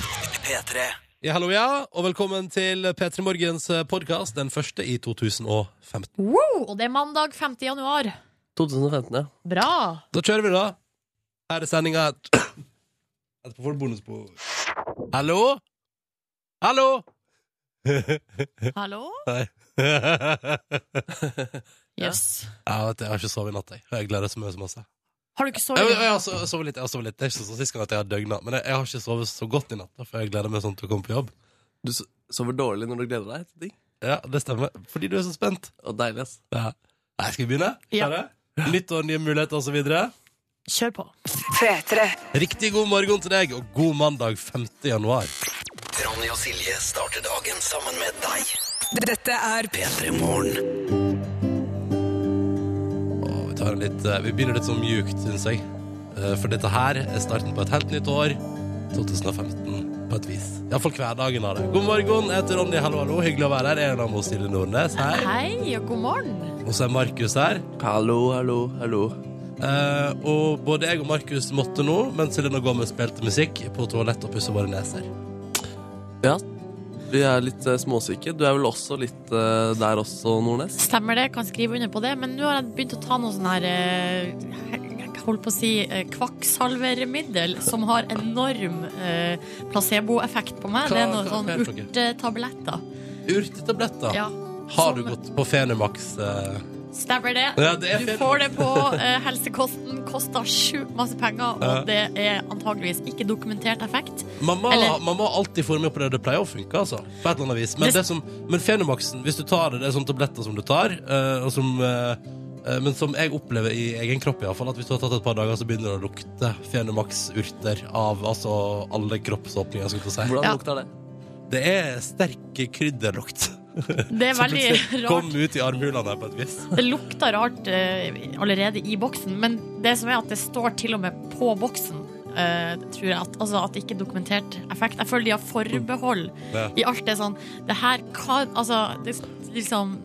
P3. Ja, hallo, ja, og velkommen til P3 Morgens podkast, den første i 2015. Wow, og det er mandag 5. januar. 2015, ja. Bra. Da kjører vi, da. Her er sendinga Etterpå får du bonusbord. Hallo? Hallo? Hallo? Nei. Yes. Jeg vet, jeg har ikke sovet i natt, jeg. Og Jeg gleder meg så masse. Har du ikke Jeg, jeg, sovet? jeg har so- sovet litt. jeg har sovet litt Det er ikke sånn som sist gang at jeg har døgna, men jeg, jeg har ikke sovet så godt i natt, da, for jeg gleder meg sånn til å komme på jobb. Du so- sover dårlig når du gleder deg til ting. Ja, det stemmer. Fordi du er så spent. Og deilig, ass. Ja. Nei, skal vi begynne? Ja. Kjære? Nytt år, nye muligheter osv. Kjør på. Riktig god morgen til deg, og god mandag 5. januar. Ronny og Silje starter dagen sammen med deg. Dette er P3 Morgen. Og vi, tar en litt, eh, vi begynner litt sånn mjukt, syns jeg. Eh, For dette her er starten på et helt nytt år. 2015 på et vis. Iallfall hverdagen av det. God morgen, jeg heter Ronny. Hallo, hallo. Hyggelig å være her. Jeg er navnet Silje Nordnes. Hei. Hei og god morgen. Og så er Markus her. Hallo, hallo, hallo. Eh, og både jeg og Markus måtte nå, mens Helena Gomez spilte musikk, på toalett og pusse våre neser. Ja, vi er litt eh, småsyke. Du er vel også litt eh, der også, Nordnes? Stemmer det, kan skrive under på det. Men nå har jeg begynt å ta noe sånn her eh, jeg holdt på å si eh, kvakksalvermiddel, som har enorm eh, placeboeffekt på meg. Hva- Det er noen hva- hva er sånn det for urtetabletter. Urtetabletter. Ja. Har du Som- gått på Fenimax? eh? Stemmer det. Ja, det er du feil. får det på eh, helsekosten. Koster sjukt masse penger, Ja. og det er antageligvis ikke dokumentert effekt. Mamma, Eller- mamma har alltid får med på det. Det pleier å funke, altså. På et eller annet vis. Men, Det- det som, men Fenomaxen, hvis du tar det, det er sånne tabletter som du tar, eh, og som eh, eh, men som jeg opplever i egen kropp, i hvert fall, at hvis du har tatt et par dager, så begynner det å lukte Fenomax-urter av altså, alle kroppsåpninger. Skal jeg til å si. Hvordan Ja. lukter det? Det er sterk krydderlukt. Det er veldig Kom rart. ut i armhulene på et vis. Det lukter rart eh, allerede i boksen, men det som er at det står til og med på boksen. eh, tror jeg at, altså at det ikke er dokumentert effekt. Jeg føler de har forbehold Ja. i alt det sånn Det her kan Altså, det, liksom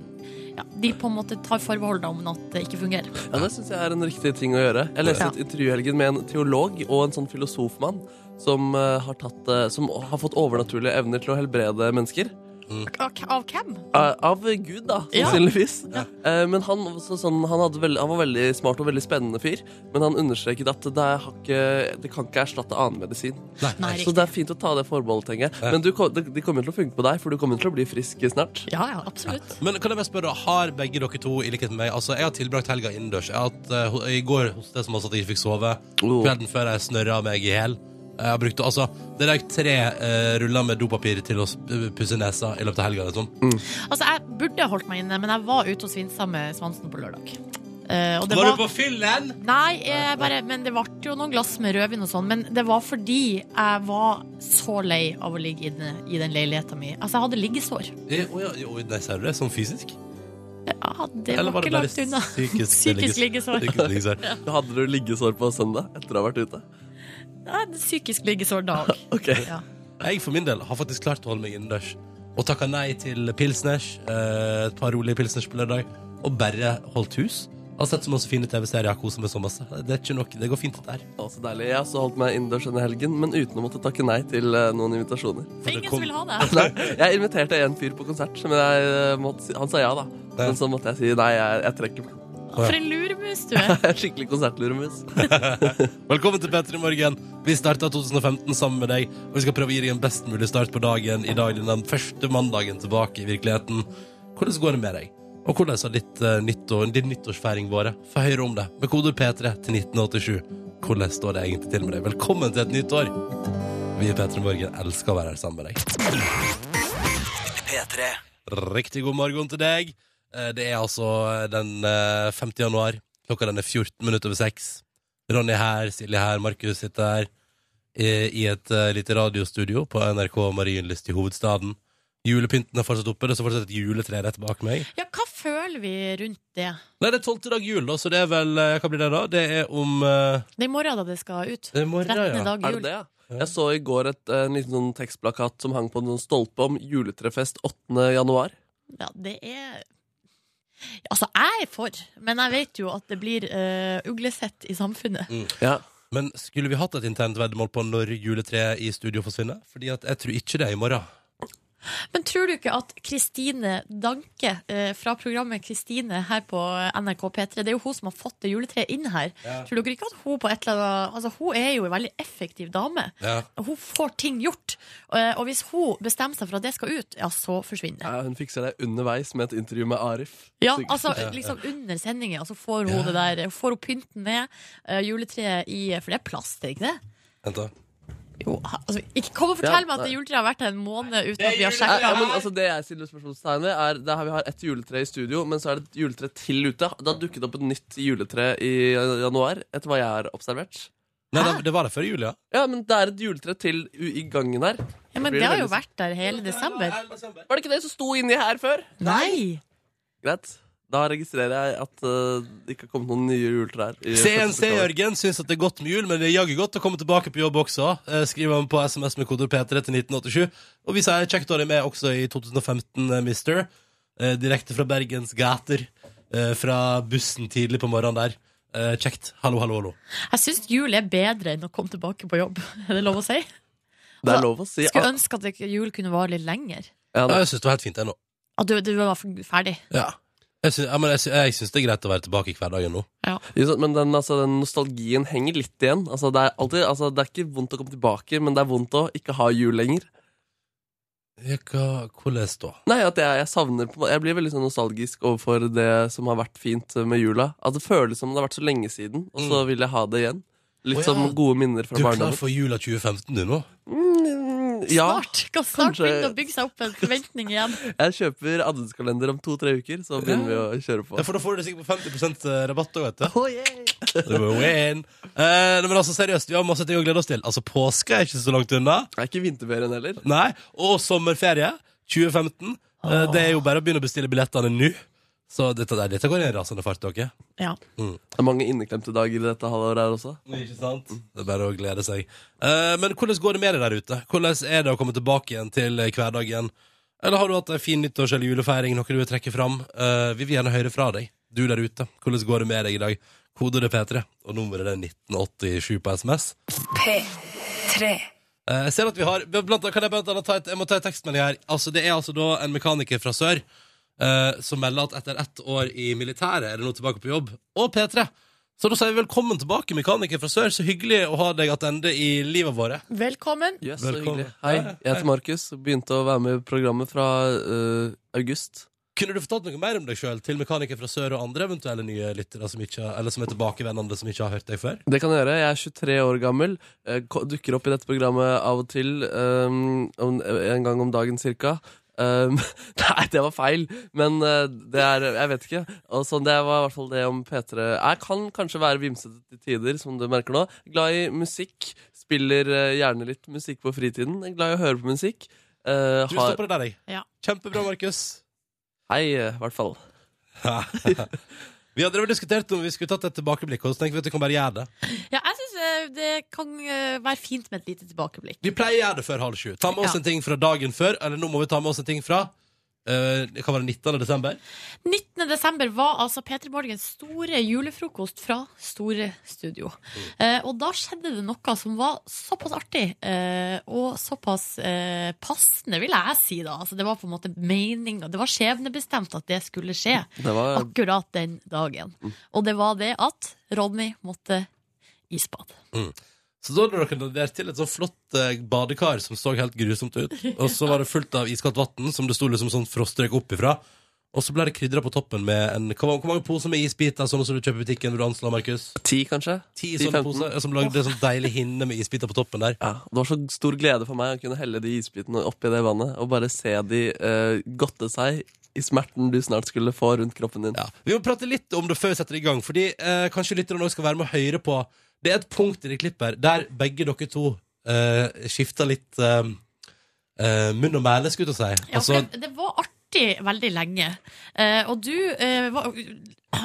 ja, De på en måte tar forbehold da om at det ikke fungerer. Ja, Det syns jeg er en riktig ting å gjøre. Jeg leste Ja. et intervju i helgen med en teolog og en sånn filosofmann som, eh, har, tatt, eh, som har fått overnaturlige evner til å helbrede mennesker. Mm. Av, av hvem? Eh, Av Gud, da, Ja. sannsynligvis. Eh, Men han, var så sånn, han, hadde veld, han var veldig smart og veldig spennende fyr, men han understreket at det, har ikke, det kan ikke erstatte annen medisin. Nei, Så riktig. det er fint å ta det forbeholdet, tenker jeg. Men du, kom- det, det kommer til å funke på deg, for du kommer til å bli frisk snart. Ja, ja, absolutt. Men kan jeg bare spørre, har begge dere to i likhet med meg Altså, jeg har tilbrakt helga innendørs. Jeg har hatt, eh, ho- I går hos det som altså at jeg ikke fikk sove. Oh. Kvelden før jeg snørra meg i hjel. Jeg har brukt altså, Det røyk tre eh, ruller med dopapir til å sp- pusse nesa i løpet av helga. Liksom. Altså, jeg burde holdt meg inne, men jeg var ute og svinsa med Svansen på lørdag. Eh, og det Var var, du på fyllen? Nei, jeg bare, men det ble jo noen glass med rødvin og sånn. Men det var fordi jeg var så lei av å ligge inne i den leiligheta mi. Altså, jeg hadde liggesår. Eh, Å ja, jo, nei, ser du det? Sånn fysisk? Ja, det var ikke langt unna. psykisk, Psykisk liggesår. Psykisk liggesår. Hadde du liggesår på søndag etter å ha vært ute? Nei, det er psykisk liggesår dag. Ok. Ja. Jeg for min del har faktisk klart å holde meg innendørs. Og takka nei til pilsners. eh, Et par rolige pilsners på lørdag. Og bare holdt hus. Har sett så masse fine TV-serier og koser meg så masse. Det er ikke nok, det går fint, dette her. Å, så deilig. Jeg har også holdt meg innendørs denne helgen, men uten å måtte takke nei til eh, noen invitasjoner. For det ingen kom- som vil ha det. Nei, jeg inviterte en fyr på konsert, men jeg, eh, måtte, si- han sa ja, da. Men så måtte jeg si nei, jeg, jeg trekker meg. For en luremus du er. Jeg er skikkelig konsertluremus. Velkommen til P3 Morgen. Vi starta 2015 sammen med deg, og vi skal prøve å gi deg en best mulig start på dagen i dag, den første mandagen tilbake i virkeligheten. Hvordan går det med deg? Og hvordan har ditt, eh, nyttår, din nyttårsfeiring vært? Få høre om det med kodeord P3 til 1987. Hvordan står det egentlig til med deg? Velkommen til et nytt år. Vi i P3 Morgen elsker å være her sammen med deg. P3. Riktig god morgen til deg. Eh, Det er altså den eh, 5. januar. Klokka den er 14 minutter over 6. Ronny her, Silje her, Markus sitter her eh, i et eh, lite radiostudio på NRK Marienlyst i hovedstaden. Julepynten er fortsatt oppe. Det står fortsatt et juletre rett bak meg. Ja, hva føler vi rundt det? Nei, det er tolvte dag jul, da, så det er vel eh, Hva blir det, da? Det er om eh, Det er i morgen da det skal ut. det er morgen, 13. ja. dag Er det jul. det, ja? Jeg så i går et, en liten sånn tekstplakat som hang på en sånn stolpe om juletrefest 8. januar. Ja, det er Altså, jeg er for, men jeg vet jo at det blir eh, uglesett i samfunnet. Ja. Men skulle vi hatt et internt veddemål på når juletreet i studio forsvinner? Fordi at jeg tror ikke det er i morgen. Men tror du ikke at Kristine Danke eh, fra programmet Kristine her på NRK P3 Det er jo hun som har fått det juletreet inn her. Tror dere ikke at hun på et eller annet Altså, hun er jo en veldig effektiv dame. Ja. Hun får ting gjort. Eh, Og hvis hun bestemmer seg for at det skal ut, ja, så forsvinner det. Ja, hun fikser det underveis med et intervju med Arif. Ja, Sikkert. altså liksom under sendinga, så får hun Ja. det der Får hun pynten ned, eh, juletreet i For det er plast, er det ikke det? Vent da. Jo, ha- altså, ikke kom og fortell Ja, meg at det nei. juletreet har vært her en måned uten at vi har Ja, sjekka. ja, men altså Det jeg stiller spørsmålstegn ved, er det her vi har ett juletre i studio, men så er det et juletre til ute. Det har dukket opp et nytt juletre i januar, etter hva jeg har observert. Nei, Hæ? det, det var det før jul, ja. Ja, men det er et juletre til u- i gangen her. Ja, men det Blir det har jo veldig- vært der hele desember. Var det ikke det som sto inni her før? Nei! Greit. Da registrerer jeg at eh, det ikke har kommet noen nye juletrær. i CNC første kvartal. Jørgen syns at det er godt med jul, men det er jaggu godt å komme tilbake på jobb også. Eh, Skriver han på SMS med kodeord P3 til 1987. Og vi sier kjekt å ha deg med også i 2015, eh, mister. Eh, Direkte fra Bergens gater. eh, Fra bussen tidlig på morgenen der. Eh, Kjekt. Hallo, hallo, hallo. Jeg syns jul er bedre enn å komme tilbake på jobb. Er det lov å si? Det er lov å si. Skulle ønske at det- jul kunne vare litt lenger. Ja, Ja, jeg syns det var helt fint ennå. At du, du var ferdig. Ja. Jeg syns, ja, men jeg, syns, jeg syns det er greit å være tilbake i hverdagen nå. Jo, så- Men den, altså, den nostalgien henger litt igjen. Altså, det, er alltid, altså, det er ikke vondt å komme tilbake, men det er vondt å ikke ha jul lenger. Ja, hva- Hvordan da? Nei, at jeg, jeg savner på en måte- Jeg blir veldig sånn nostalgisk overfor det som har vært fint med jula. At det føles som det har vært så lenge siden, og så vil jeg ha det igjen. Litt Mm. Å, ja. som gode minner fra Du er klar barndommen. for jula 2015, du nå? Mm, ja, Snart kan snart Kanskje- begynne å bygge seg opp en forventning igjen. jeg kjøper adventskalender om to-tre uker, så begynner vi å kjøre på. Ja, for da får du det sikkert på 50 rabatt òg, vet du. Det var win. Eh, nei, men altså, seriøst, vi har masse ting å glede oss til. Altså, Påske er ikke så langt unna. Det er ikke vinterferien heller. Nei, Og sommerferie 2015. Eh, det er jo bare å begynne å bestille billettene nå. Så dette, der, dette går i en rasende fart, dere. Ja. Det er mange inneklemte dager i dette halvåret her også. Mm, Ikke sant? Det er bare å glede seg. Eh, men hvordan går det med deg der ute? Hvordan er det å komme tilbake igjen til eh, hverdagen? Eller har du hatt en fin nyttårs- eller julefeiring, noe du vil trekke fram? Eh, vi vil gjerne høre fra deg, du der ute. Hvordan går det med deg i dag? Kodet er P3, og nummeret er 1987 på SMS. P3. Eh, Jeg ser at vi har blant, annet- Kan jeg blant annet ta et, jeg må ta et tekstmelding her Altså det er altså da en mekaniker fra sør eh, Som melder at etter ett år i militæret Er det nå tilbake på jobb Og P3 Så da sier vi velkommen tilbake mekaniker fra sør Så hyggelig å ha deg attende i livet våre Velkommen. Yes, så Velkommen. hyggelig. Hei, jeg heter Markus. Begynte å være med i programmet fra eh, august. Kunne du fortalt noe mer om deg selv Til mekaniker fra sør og andre eventuelle nye lyttere som ikke, Eller som er tilbakevennende som ikke har hørt deg før Det kan jeg gjøre. Jeg er 23 år gammel. eh, ko- dukker opp i dette programmet av og til. ehm, om, en gang om dagen cirka. Ehm, nei, det var feil, men eh, det er Jeg vet ikke. Og sånn, det var i hvert fall det om P3. Jeg kan kanskje være vimsete til tider, som du merker nå. Glad i musikk. Spiller eh, gjerne litt musikk på fritiden. Jeg er Glad i å høre på musikk. Eh, Du har, stopper det der jeg Ja. Kjempebra Markus hei, eh, i hvert fall. Vi hadde vel diskutert om vi skulle tatt et tilbakeblikk Og så tenkte vi at vi kan bare gjøre det Ja, jeg syns det kan eh, være fint med et lite tilbakeblikk. Vi pleier å gjøre det før halv sju. Ta med oss Ja. en ting fra dagen før, eller nå må vi ta med oss en ting fra eh, Det kan være 19. desember. 19. desember var altså Peter Morgens store julefrokost fra Store Studio. Eh, og da skjedde det noe som var såpass artig, eh, og såpass eh, passende, vil jeg si da. Altså, det var på en måte meninga. Det var skjebnebestemt at det skulle skje Det var akkurat den dagen. Og det var det at Ronny måtte isbad. Så da hadde dere dandert til et sånn flott eh, badekar som så helt grusomt ut. Og så var det fullt av iskaldt vann som det sto liksom sånn frostrøyk opp ifra. Og så ble det krydra på toppen med en Hvor hvor mange poser med isbiter sånne som du kjøper i butikken? Vil du anslå, Markus? ti, kanskje? Ti 10, sånne 15. poser eh, som lagde sånn deilig hinne med isbiter på toppen der. Ja, Det var så stor glede for meg å kunne helle de isbitene oppi det vannet og bare se de eh, godte seg i smerten du snart skulle få rundt kroppen din. Ja. Vi må prate litt om det før vi setter i gang, fordi eh, kanskje lytterne også skal være med og høre på Det er et punkt i det klippet her der begge dere to eh, skifter litt eh, eh, munn og mæle, skulle jeg til å si. Ja, altså, for det, det var artig veldig lenge. Eh, og du eh, var,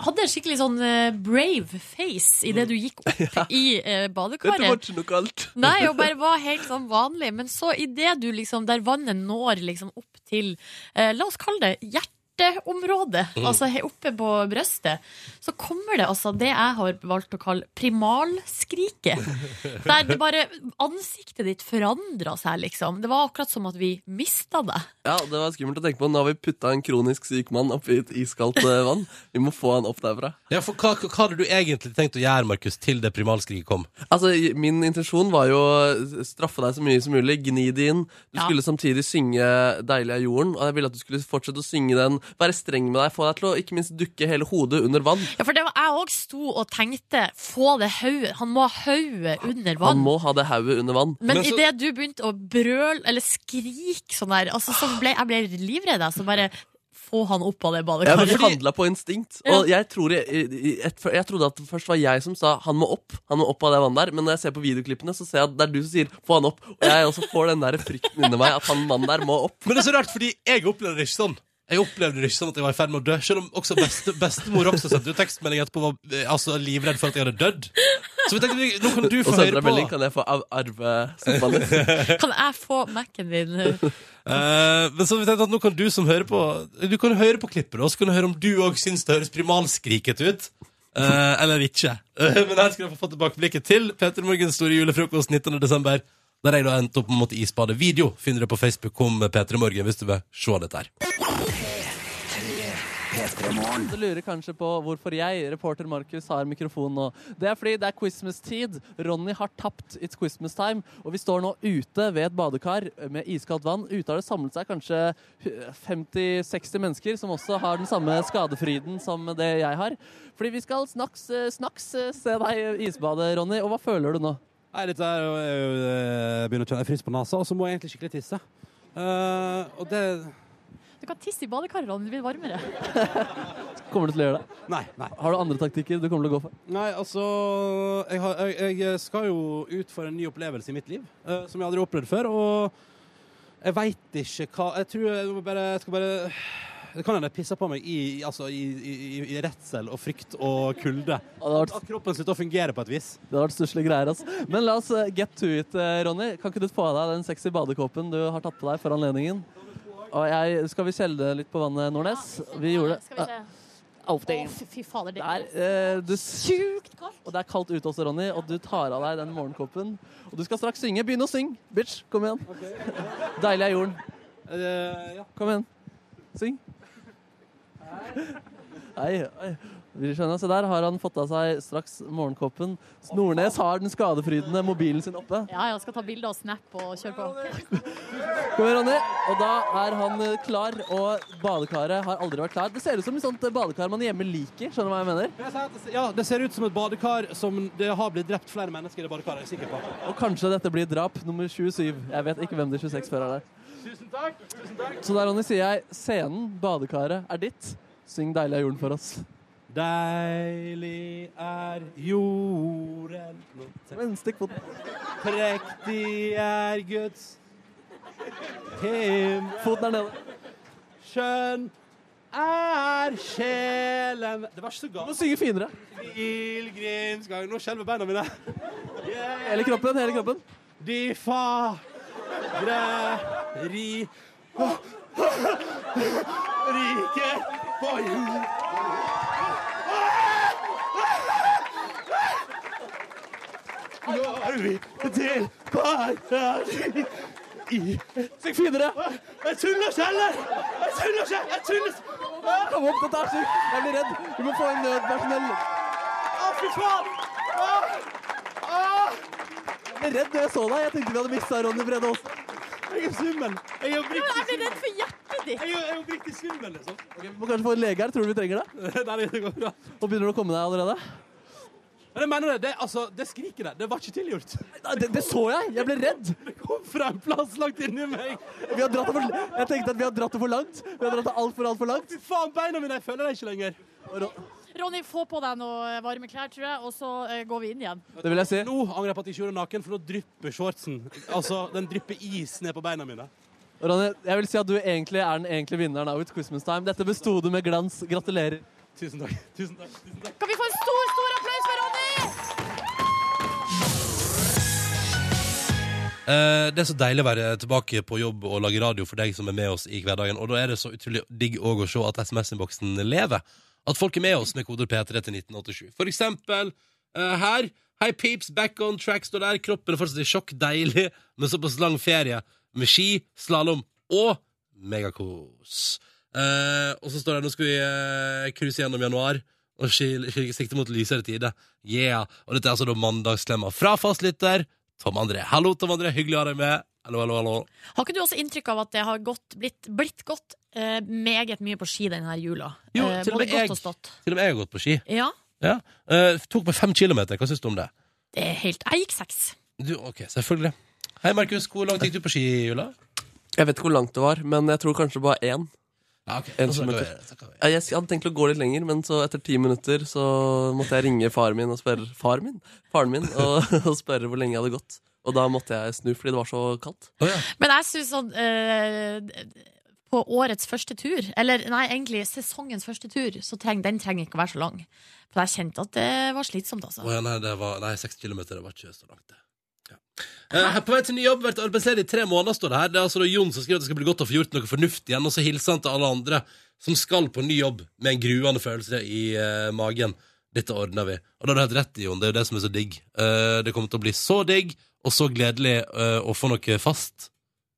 hadde en skikkelig sånn eh, brave face idet du gikk opp i eh, Dette var badekaret. ikke noe alt. Nei, og bare var helt sånn vanlig. Men så idet du liksom, der vannet når liksom opp til eh, La oss kalle det hjertet. hjerteområdet, Mm. altså he- oppe på brøstet, så kommer det altså det jeg har valgt å kalle primalskriket. Der det bare ansiktet ditt forandra seg, liksom. Det var akkurat som at vi mista deg. Ja, Det var skummelt å tenke på. Nå har vi putta en kronisk syk mann oppi et iskaldt eh, vann. Vi må få han opp derfra. Ja, for hva, hva hadde du egentlig tenkt å gjøre, Markus, til det primalskriget kom? Altså, i- Min intensjon var jo å straffe deg så mye som mulig. Gni det inn. Du Ja. skulle samtidig synge 'Deilig er jorden', og jeg ville at du skulle fortsette å synge den. Være streng med deg, få deg til å ikke minst dukke hele hodet under vann. Ja, for det var, jeg òg sto og tenkte Få det hodet Han må ha hodet under Han vann. må ha det hauet under vann. Men, Men så- idet du begynte å brøle eller skrike sånn der, altså, så ble jeg ble livredd. jeg, Så bare få han opp av det Ja, men badekaret. Vi handla på instinkt. Og jeg, tror jeg, i- i- et, jeg trodde at det først var jeg som sa 'han må opp', han må opp av det vannet der. Men når jeg ser på videoklippene, så ser jeg at det er du som sier 'få han opp'. Og jeg også får den der frykten inni meg at han mannen der må opp. Men det er så rart, fordi jeg opplevde det ikke sånn. Jeg opplevde det ikke sånn at jeg var i ferd med å dø. Selv om også beste, bestemor også sendte ut tekstmelding etterpå var eh, altså, livredd for at jeg hadde dødd. Så vi tenkte vi- nå kan du Og få så høre en melding på. kan jeg få av arve sofaen din. Kan jeg få Mac-en din? Eh, men så vi tenkte at nå kan du som hører på Du kan høre på klippet, og så kan du høre om du òg syns det høres primalskriket ut. Eh, eller ikke. Eh, men her skal du få få tilbakeblikket til Peter Morgens store julefrokost 19.12., der jeg da endte opp med å måtte isbade. Video finner du på Facebook om Peter Morgen hvis du vil se dette her. Du lurer kanskje på hvorfor jeg, reporter Markus, har mikrofonen nå. Det er fordi det er Christmas-tid. Ronny har tapt It's Christmas Time. Og vi står nå ute ved et badekar med iskaldt vann. Ute har det samlet seg kanskje 50-60 mennesker som også har den samme skadefryden som det jeg har. Fordi vi skal snaks, eh, snaks eh, se deg isbade, Ronny. Og hva føler du nå? Nei, dette er jo, er jo eh, begynner å kjenne frys på nesa, og så må jeg egentlig skikkelig tisse. Eh, og det Du kan tisse i badekaret, Ronny. Det blir varmere. Kommer du til å gjøre det? Nei, nei. Har du andre taktikker du kommer til å gå for? Nei, altså jeg, har, jeg, jeg skal jo ut for en ny opplevelse i mitt liv, eh, som jeg aldri har opplevd før. Og jeg veit ikke hva Jeg tror jeg må bare jeg skal bare Det kan hende jeg pisser på meg i, i- altså, i, i, i- i redsel og frykt og kulde. Ja, det har vært At kroppen slutter å fungere på et vis. Det har vært stusslige greier. Altså. Men la oss eh, get to it, eh, Ronny. Kan ikke du få av deg den sexy badekåpen du har tatt på deg for anledningen? Og jeg, skal vi kjelde litt på vannet, Nordnes? Vi gjorde Skal vi det. se. Au, det Å, fy- fy fader, det er er eh, du, s- sjukt kaldt. Og det er kaldt ute også, Ronny, og du tar av deg den morgenkåpen. Og du skal straks synge. Begynn å synge, bitch. Kom igjen. Deilig er jorden. Eh, ja. Kom igjen. Syng. Nei, nei. Vil du skjønne? Se der har han fått av seg straks morgenkåpen. Snornes har den skadefrydende mobilen sin oppe. Ja, jeg skal ta bilde og snap og kjøre på. Kom igjen, Ronny. Og da er han eh, klar, og badekaret har aldri vært klar. Det ser ut som et sånt eh, badekar man hjemme liker. Skjønner du hva jeg mener? Men jeg sier at det ser- Ja, det ser ut som et badekar som det har blitt drept flere mennesker i det badekaret. Jeg er sikker på. Og kanskje dette blir drap nummer 27. Jeg vet ikke hvem de 26 før er der. Så der, Ronny, sier jeg scenen, badekaret, er ditt. Syng 'Deilig er jorden' for oss. Deilig er jorden Nå tar jeg- Men stikk foten. Prektig er Guds himmel Foten er nede. Skjønn er sjelen Det var ikke så Du må galt. synge finere. Pilegrimsgang Nå skjelver beina mine. Hele kroppen. hele kroppen. De fadre ri Rike på jord Når vi til paradis Syng finere! Jeg tuller ikke heller! Jeg tuller ikke! Jeg tuller ikke! Kom opp, dette er sykt. Jeg blir redd. Vi må få inn nødpersonell. Å, fy faen! Jeg ble redd da jeg så deg. Jeg tenkte vi hadde mista Ronny Brede Aas. Jeg er svimmel. Jeg er Jeg oppriktig blir redd for hjertet ditt. jeg er- jeg er oppriktig svimmel, liksom. Vi må kanskje få en lege her. Tror du vi trenger det? Nei, det går bra. Og begynner du å komme deg allerede? Men jeg mener det, det, altså, det skriket der, det var ikke tilgjort. Nei, Det, det så jeg! Jeg ble redd. Det kom fra en plass langt inni meg. Vi har dratt det for, jeg tenkte at vi har dratt det for langt. Vi har dratt det alt for, alt for langt. Fy faen, beina mine, jeg føler det ikke lenger. Og Ron- Ronny, få på deg noe varme klær, tror jeg, og så eh, går vi inn igjen. Det vil jeg si. Nå angrer jeg på at jeg ikke gjorde det naken, for nå drypper shortsen. Altså, den drypper is ned på beina mine. Ronny, jeg vil si at du egentlig er den egentlige vinneren av It's Christmas Time. Dette besto du med glans. Gratulerer. Tusen takk. Tusen takk. Tusen takk. Kan vi få en stor, stor applaus for Ronny? Eh, det er så deilig å være tilbake på jobb og lage radio for deg som er med oss i hverdagen. Og da er det så utrolig digg òg å se at SMS-innboksen lever. At folk er med oss med koder P3 til 1987. For eksempel eh, her. Hei, peeps, back on track står der. Kroppen er fortsatt i sjokk. Deilig med såpass lang ferie. Med ski, slalåm og megakos. Eh, og så står det nå skal vi eh, cruise gjennom januar og skil- skil- sikte mot lysere tider. Yeah. Og dette er altså da mandagsklemma fra fastlytter Tom André. Hallo, Tom André. Hyggelig å ha deg med. Hallo, hallo, hallo. Har ikke du også inntrykk av at det har gått, blitt, blitt gått eh, meget mye på ski denne jula? Jo, Eh, til og både med godt jeg. og stått. Til og med jeg har gått på ski. Ja, Ja. Eh, tok meg fem kilometer. Hva syns du om det? det er helt Jeg gikk seks. Du, ok, selvfølgelig. Hei, Markus. Hvor langt gikk du på ski i jula? Jeg vet ikke hvor langt det var, men jeg tror kanskje bare én. Ja, ok. En Da snakker kilometer. vi- snakker vi. Ja, Jeg hadde tenkt å gå litt lenger, men så etter ti minutter så måtte jeg ringe faren min og spørre faren min, faren min og, og spørre hvor lenge jeg hadde gått. Og da måtte jeg snu fordi det var så kaldt. Å, ja. Men jeg syns sånn eh, På årets første tur, eller nei, egentlig sesongens første tur, så treng, den trenger ikke å være så lang. For jeg kjente at det var slitsomt, altså. Å ja, nei, det var, nei, 60 km det var ikke så langt, det. Ja. Eh, her på vei til ny jobb, vært arbeidsledig i tre måneder, står det her. Det er altså da Jon som skriver at det skal bli godt å få gjort noe fornuftig igjen, og så hilser han til alle andre som skal på ny jobb med en gruende følelse i eh, magen. Dette ordner vi. Og da har du helt rett, Jon. Det er jo det som er så digg. Eh, det kommer til å bli så digg og så gledelig eh, å få noe fast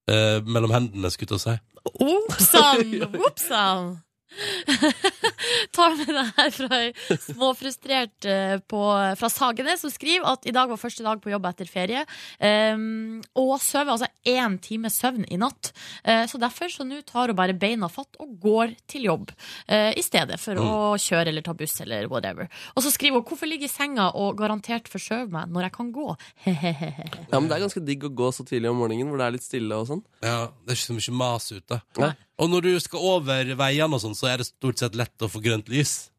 eh, mellom hendene, skulle jeg til å si. Opsann! Opsann! Tar med det her fra ei småfrustrert eh, på, fra Sagene, som skriver at i dag var første dag på jobb etter ferie. ehm, og sover altså én time søvn i natt. Eh, så derfor så nå tar hun bare beina fatt og går til jobb. eh, I stedet for å kjøre eller ta buss eller whatever. Og så skriver hun 'Hvorfor ligge i senga og garantert forsøve meg når jeg kan gå?' Hehehe. Ja, Men det er ganske digg å gå så tidlig om morgenen hvor det er litt stille og sånn. Ja, Det er ikke så mye mas ute. Nei. Og når du skal over veiene og sånn, så er det stort sett lett å få grønt lys.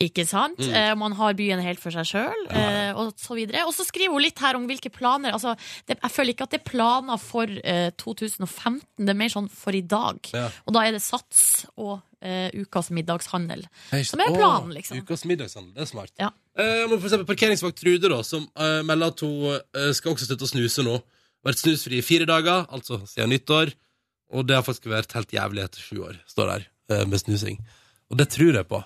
Ikke sant? Mm. Eh, man har byen helt for seg sjøl, eh, og så videre. Og så skriver hun litt her om hvilke planer altså, det, Jeg føler ikke at det er planer for eh, 2015, det er mer sånn for i dag. Ja. Og da er det Sats og eh, ukas middagshandel. Hei, Som er å, planen, liksom. Ukas middagshandel, det er smart. Ja. Eh, men for eksempel parkeringsvakt Trude, da, som eh, melder at hun eh, skal også slutte å snuse nå. Vært snusfri i fire dager, altså siden nyttår. Og det har faktisk vært helt jævlig etter sju år, står der, eh, med snusing. Og det tror jeg på.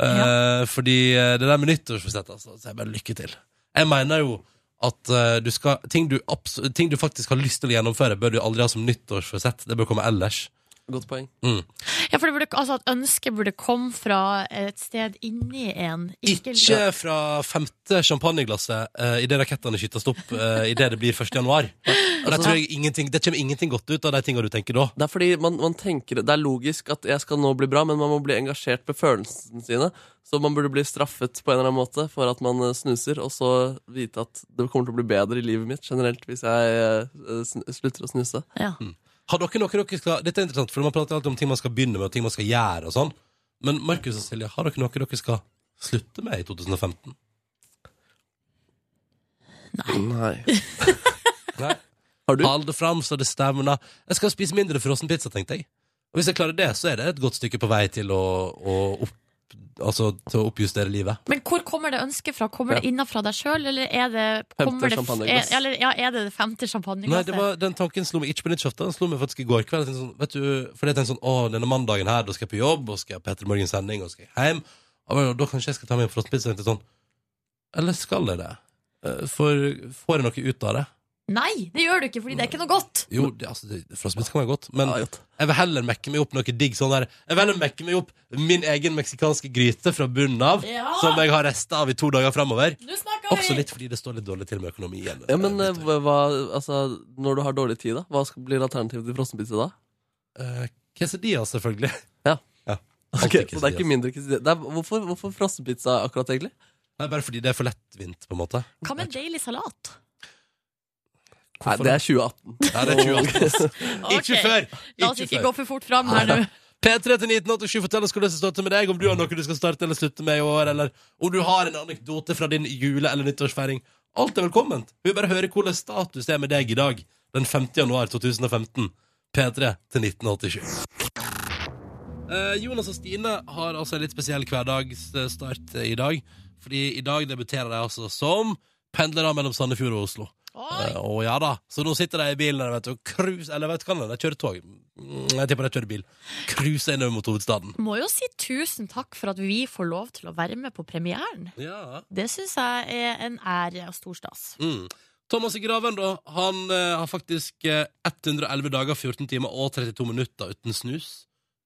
Eh, Fordi eh, det der med nyttårsforsett, altså, så jeg bare lykke til. Jeg mener jo at eh, du skal, ting, du abs- ting du faktisk har lyst til å gjennomføre, bør du aldri ha som nyttårsforsett. Det bør komme ellers. Godt poeng. Ja, for det burde, altså, at ønsket burde komme fra et sted inni en. Ikke fra femte champagneglasset uh, idet rakettene skytes opp uh, idet det blir 1. januar. Og det, tror jeg ingenting, det kommer ingenting godt ut av de tingene du tenker da. Det er fordi man, man tenker, det er logisk at jeg skal nå bli bra, men man må bli engasjert med følelsene sine. Så man burde bli straffet på en eller annen måte for at man eh, snuser, og så vite at det kommer til å bli bedre i livet mitt generelt hvis jeg eh, sn- slutter å snuse. Ja. Mm. Har dere noe dere skal Dette er interessant, for man prater alltid om ting man skal begynne med, og ting man skal gjøre og sånn. Men Markus og Silje, har dere noe dere skal slutte med i 2015? Nei. Nei. Har du? Hold det fram så det stevner. Jeg skal spise mindre frossen pizza, tenkte jeg. Og hvis jeg klarer det, så er det et godt stykke på vei til å, å, opp, altså, til å oppjustere livet. Men hvor kommer det ønsket fra? Kommer det innenfra deg sjøl, eller er det kommer det- champagneglass. er- Eller, ja, er det det femte champagneglasset? Nei, det var, den tanken slo meg ikke på nyttårsaften. Den slo meg faktisk i går kveld. Jeg tenkte sånn, vet du, fordi jeg tenkte sånn, å, denne mandagen her, da skal jeg på jobb, og skal jeg på Petter Morgens sending, og skal jeg hjem. Og bare, da kanskje jeg skal ta med en frostpizza. tenkte jeg Sånn, eller skal jeg det? Eh, For får jeg noe ut av det? Nei, det gjør du ikke, fordi det er ikke noe godt! Jo, det, altså, det, frostpizza kan være godt, men Ja, godt. jeg vil heller mekke meg opp noe digg sånn der. Jeg vil heller mekke meg opp min egen meksikanske gryte fra bunnen av, Ja! som jeg har rester av i to dager framover. Nå snakker Også litt fordi det står litt dårlig til med økonomien. Ja, men eh, Eh, hva, hva- altså, når du har dårlig tid, da, hva skal- blir alternativet til frossenpizza da? eh, Quesadillas, selvfølgelig. Ja. Alltid Ok, så det er quesadillas. ikke mindre quesadilla. Det er, hvorfor, hvorfor frossenpizza akkurat, egentlig? Nei, bare fordi det er for lettvint, på en måte. Hva med en deilig salat? Nei, det er 2018. Nei, det er 2018. Ikke Ok, før! La oss Ikke ikke gå før. for fort fram her nå. P3 til 1987, fortell oss hvordan det står til med deg, om du har noe du skal starte eller slutte med i år, eller om du har en anekdote fra din jule- eller nyttårsfeiring. Alt er velkomment. Vi vil bare høre hvordan status det er med deg i dag, den 5. januar 2015. P3 til 1987. Eh, Jonas og Stine har altså en litt spesiell eh, hverdagsstart i dag. Fordi i dag debuterer de altså som pendlere mellom Sandefjord og Oslo. Oi! Eh, Å ja da. Så nå sitter de i bilen der, vet du, og cruise Eller vet du hva, de kjører tog. Mm, Jeg tipper de kjører bil. Cruiser innover mot hovedstaden. Må jo si tusen takk for at vi får lov til å være med på premieren. Ja. Det syns jeg er en ære og stor stas. Mm. Thomas Graven da, han eh, har faktisk eh, 111 dager, 14 timer og 32 minutter uten snus.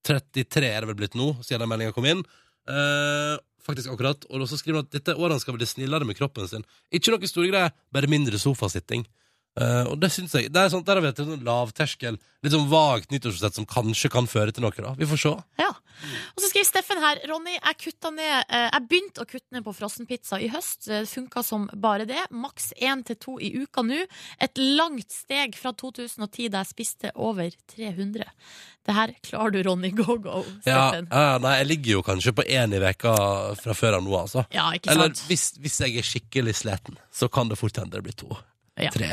33 er det vel blitt nå, siden den meldinga kom inn. Eh, faktisk akkurat. Og så skriver han at dette året han skal bli snillere med kroppen sin. Ikke noe store greier, bare mindre sofasitting. Eh, og det syns jeg. Det er sånn, der har vi et sånn lavterskel, litt sånn vagt nyttårsforsett som kanskje kan føre til noe, da. Vi får se. Ja. Og så skriver Steffen her Ronny, jeg kutta ned eh, Jeg begynte å kutte ned på frossenpizza i høst. Det funka som bare det. Maks én til to i uka nå. Et langt steg fra 2010, da jeg spiste over 300. Det her klarer du, Ronny Go-Go. Ja, Steffen. Ja. ja, nei, jeg ligger jo kanskje på én i veka fra før av nå, altså. ikke Eller sant? hvis, hvis jeg er skikkelig sliten, så kan det fort hende det blir to. Ja. Tre.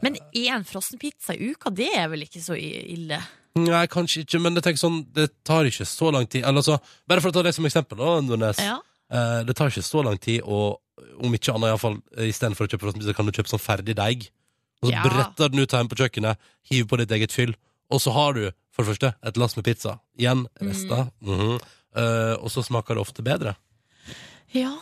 Men én frossenpizza i uka, det er vel ikke så i- ille? Nei, kanskje ikke, men jeg tenker sånn, det tar ikke så lang tid. Eller, altså, bare for å ta det som eksempel, da, Nordnes. Ja. Eh, det tar ikke så lang tid, og om ikke annet, iallfall istedenfor å kjøpe frossenpizza, kan du kjøpe sånn ferdig deig. Og så Ja. bretter du den ut hjemme på kjøkkenet, hiver på ditt eget fyll, og så har du for det første et lass med pizza. Igjen Mm. rester. Mhm. Eh, og så smaker det ofte bedre. Ja.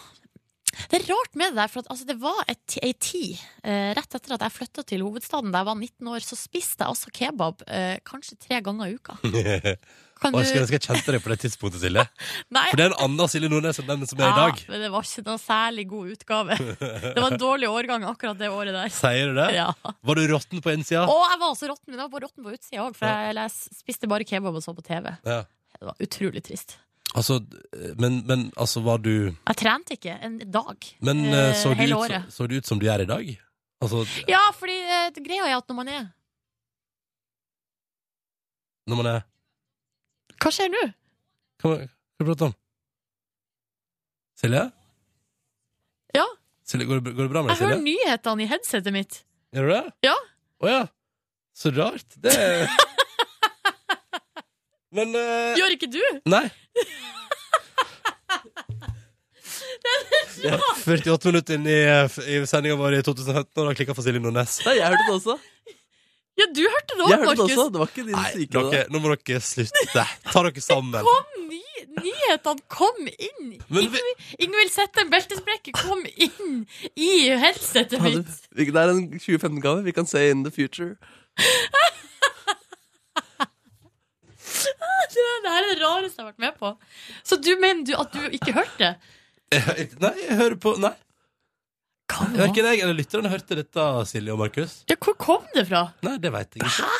Det er rart med det der, for at, altså, det var et, ei tid eh, rett etter at jeg flytta til hovedstaden da jeg var 19 år, så spiste jeg altså kebab eh, kanskje tre ganger i uka. Kan Og jeg Hm. skal, du jeg skal kjenne deg på det tidspunktet, Silje. Nei, For det er en annen Silje Nordnes enn den som er i ja, dag. men det var ikke noen særlig god utgave. Det var en dårlig årgang akkurat det året der. Sier du det? Ja. Var du råtten på innsida? Og jeg var også råtten, men jeg var bare råtten på utsida òg, for jeg, jeg spiste bare kebab og så på TV. Ja. Det var utrolig trist. Altså, men, men altså, var du Jeg trente ikke en dag Men eh, eh, så, du ut, hele så, året. så du ut som du gjør i dag? Altså, Ja, fordi eh, greia er at når man er når man er Hva skjer nå? Hva hva prater du om? Silje? Ja. Silje, går, det- går det bra med deg, Jeg Silje? hører nyhetene i headsetet mitt. Gjør du det? Ja. Å ja. Så rart. Det er Men eh, Gjør ikke du? Nei. Ja, 48 minutter inn i, i sendinga vår i 2015, og da klikka for Silje Nordnes. Nei, jeg hørte det også. Ja, du hørte det Jeg òg, hørte det også. Markus. Det var ikke din Nei, syke. dere, nå må dere slutte. Ta dere sammen. Ny, nyhetene kom inn. Men vi- Ingvild- Ingvild Sette, en beltesprekke, kom inn i headsetet Ja, mitt. du- vi- Det er en 2015-gave. Vi kan se in the future. Det det her er det rareste jeg har vært med på. Så du mener du at du ikke hørte det? Nei, jeg hører på Nei, Hva var det? verken jeg eller lytterne hørte dette, Silje og Markus. Ja, hvor kom det fra? Nei, det veit jeg ikke.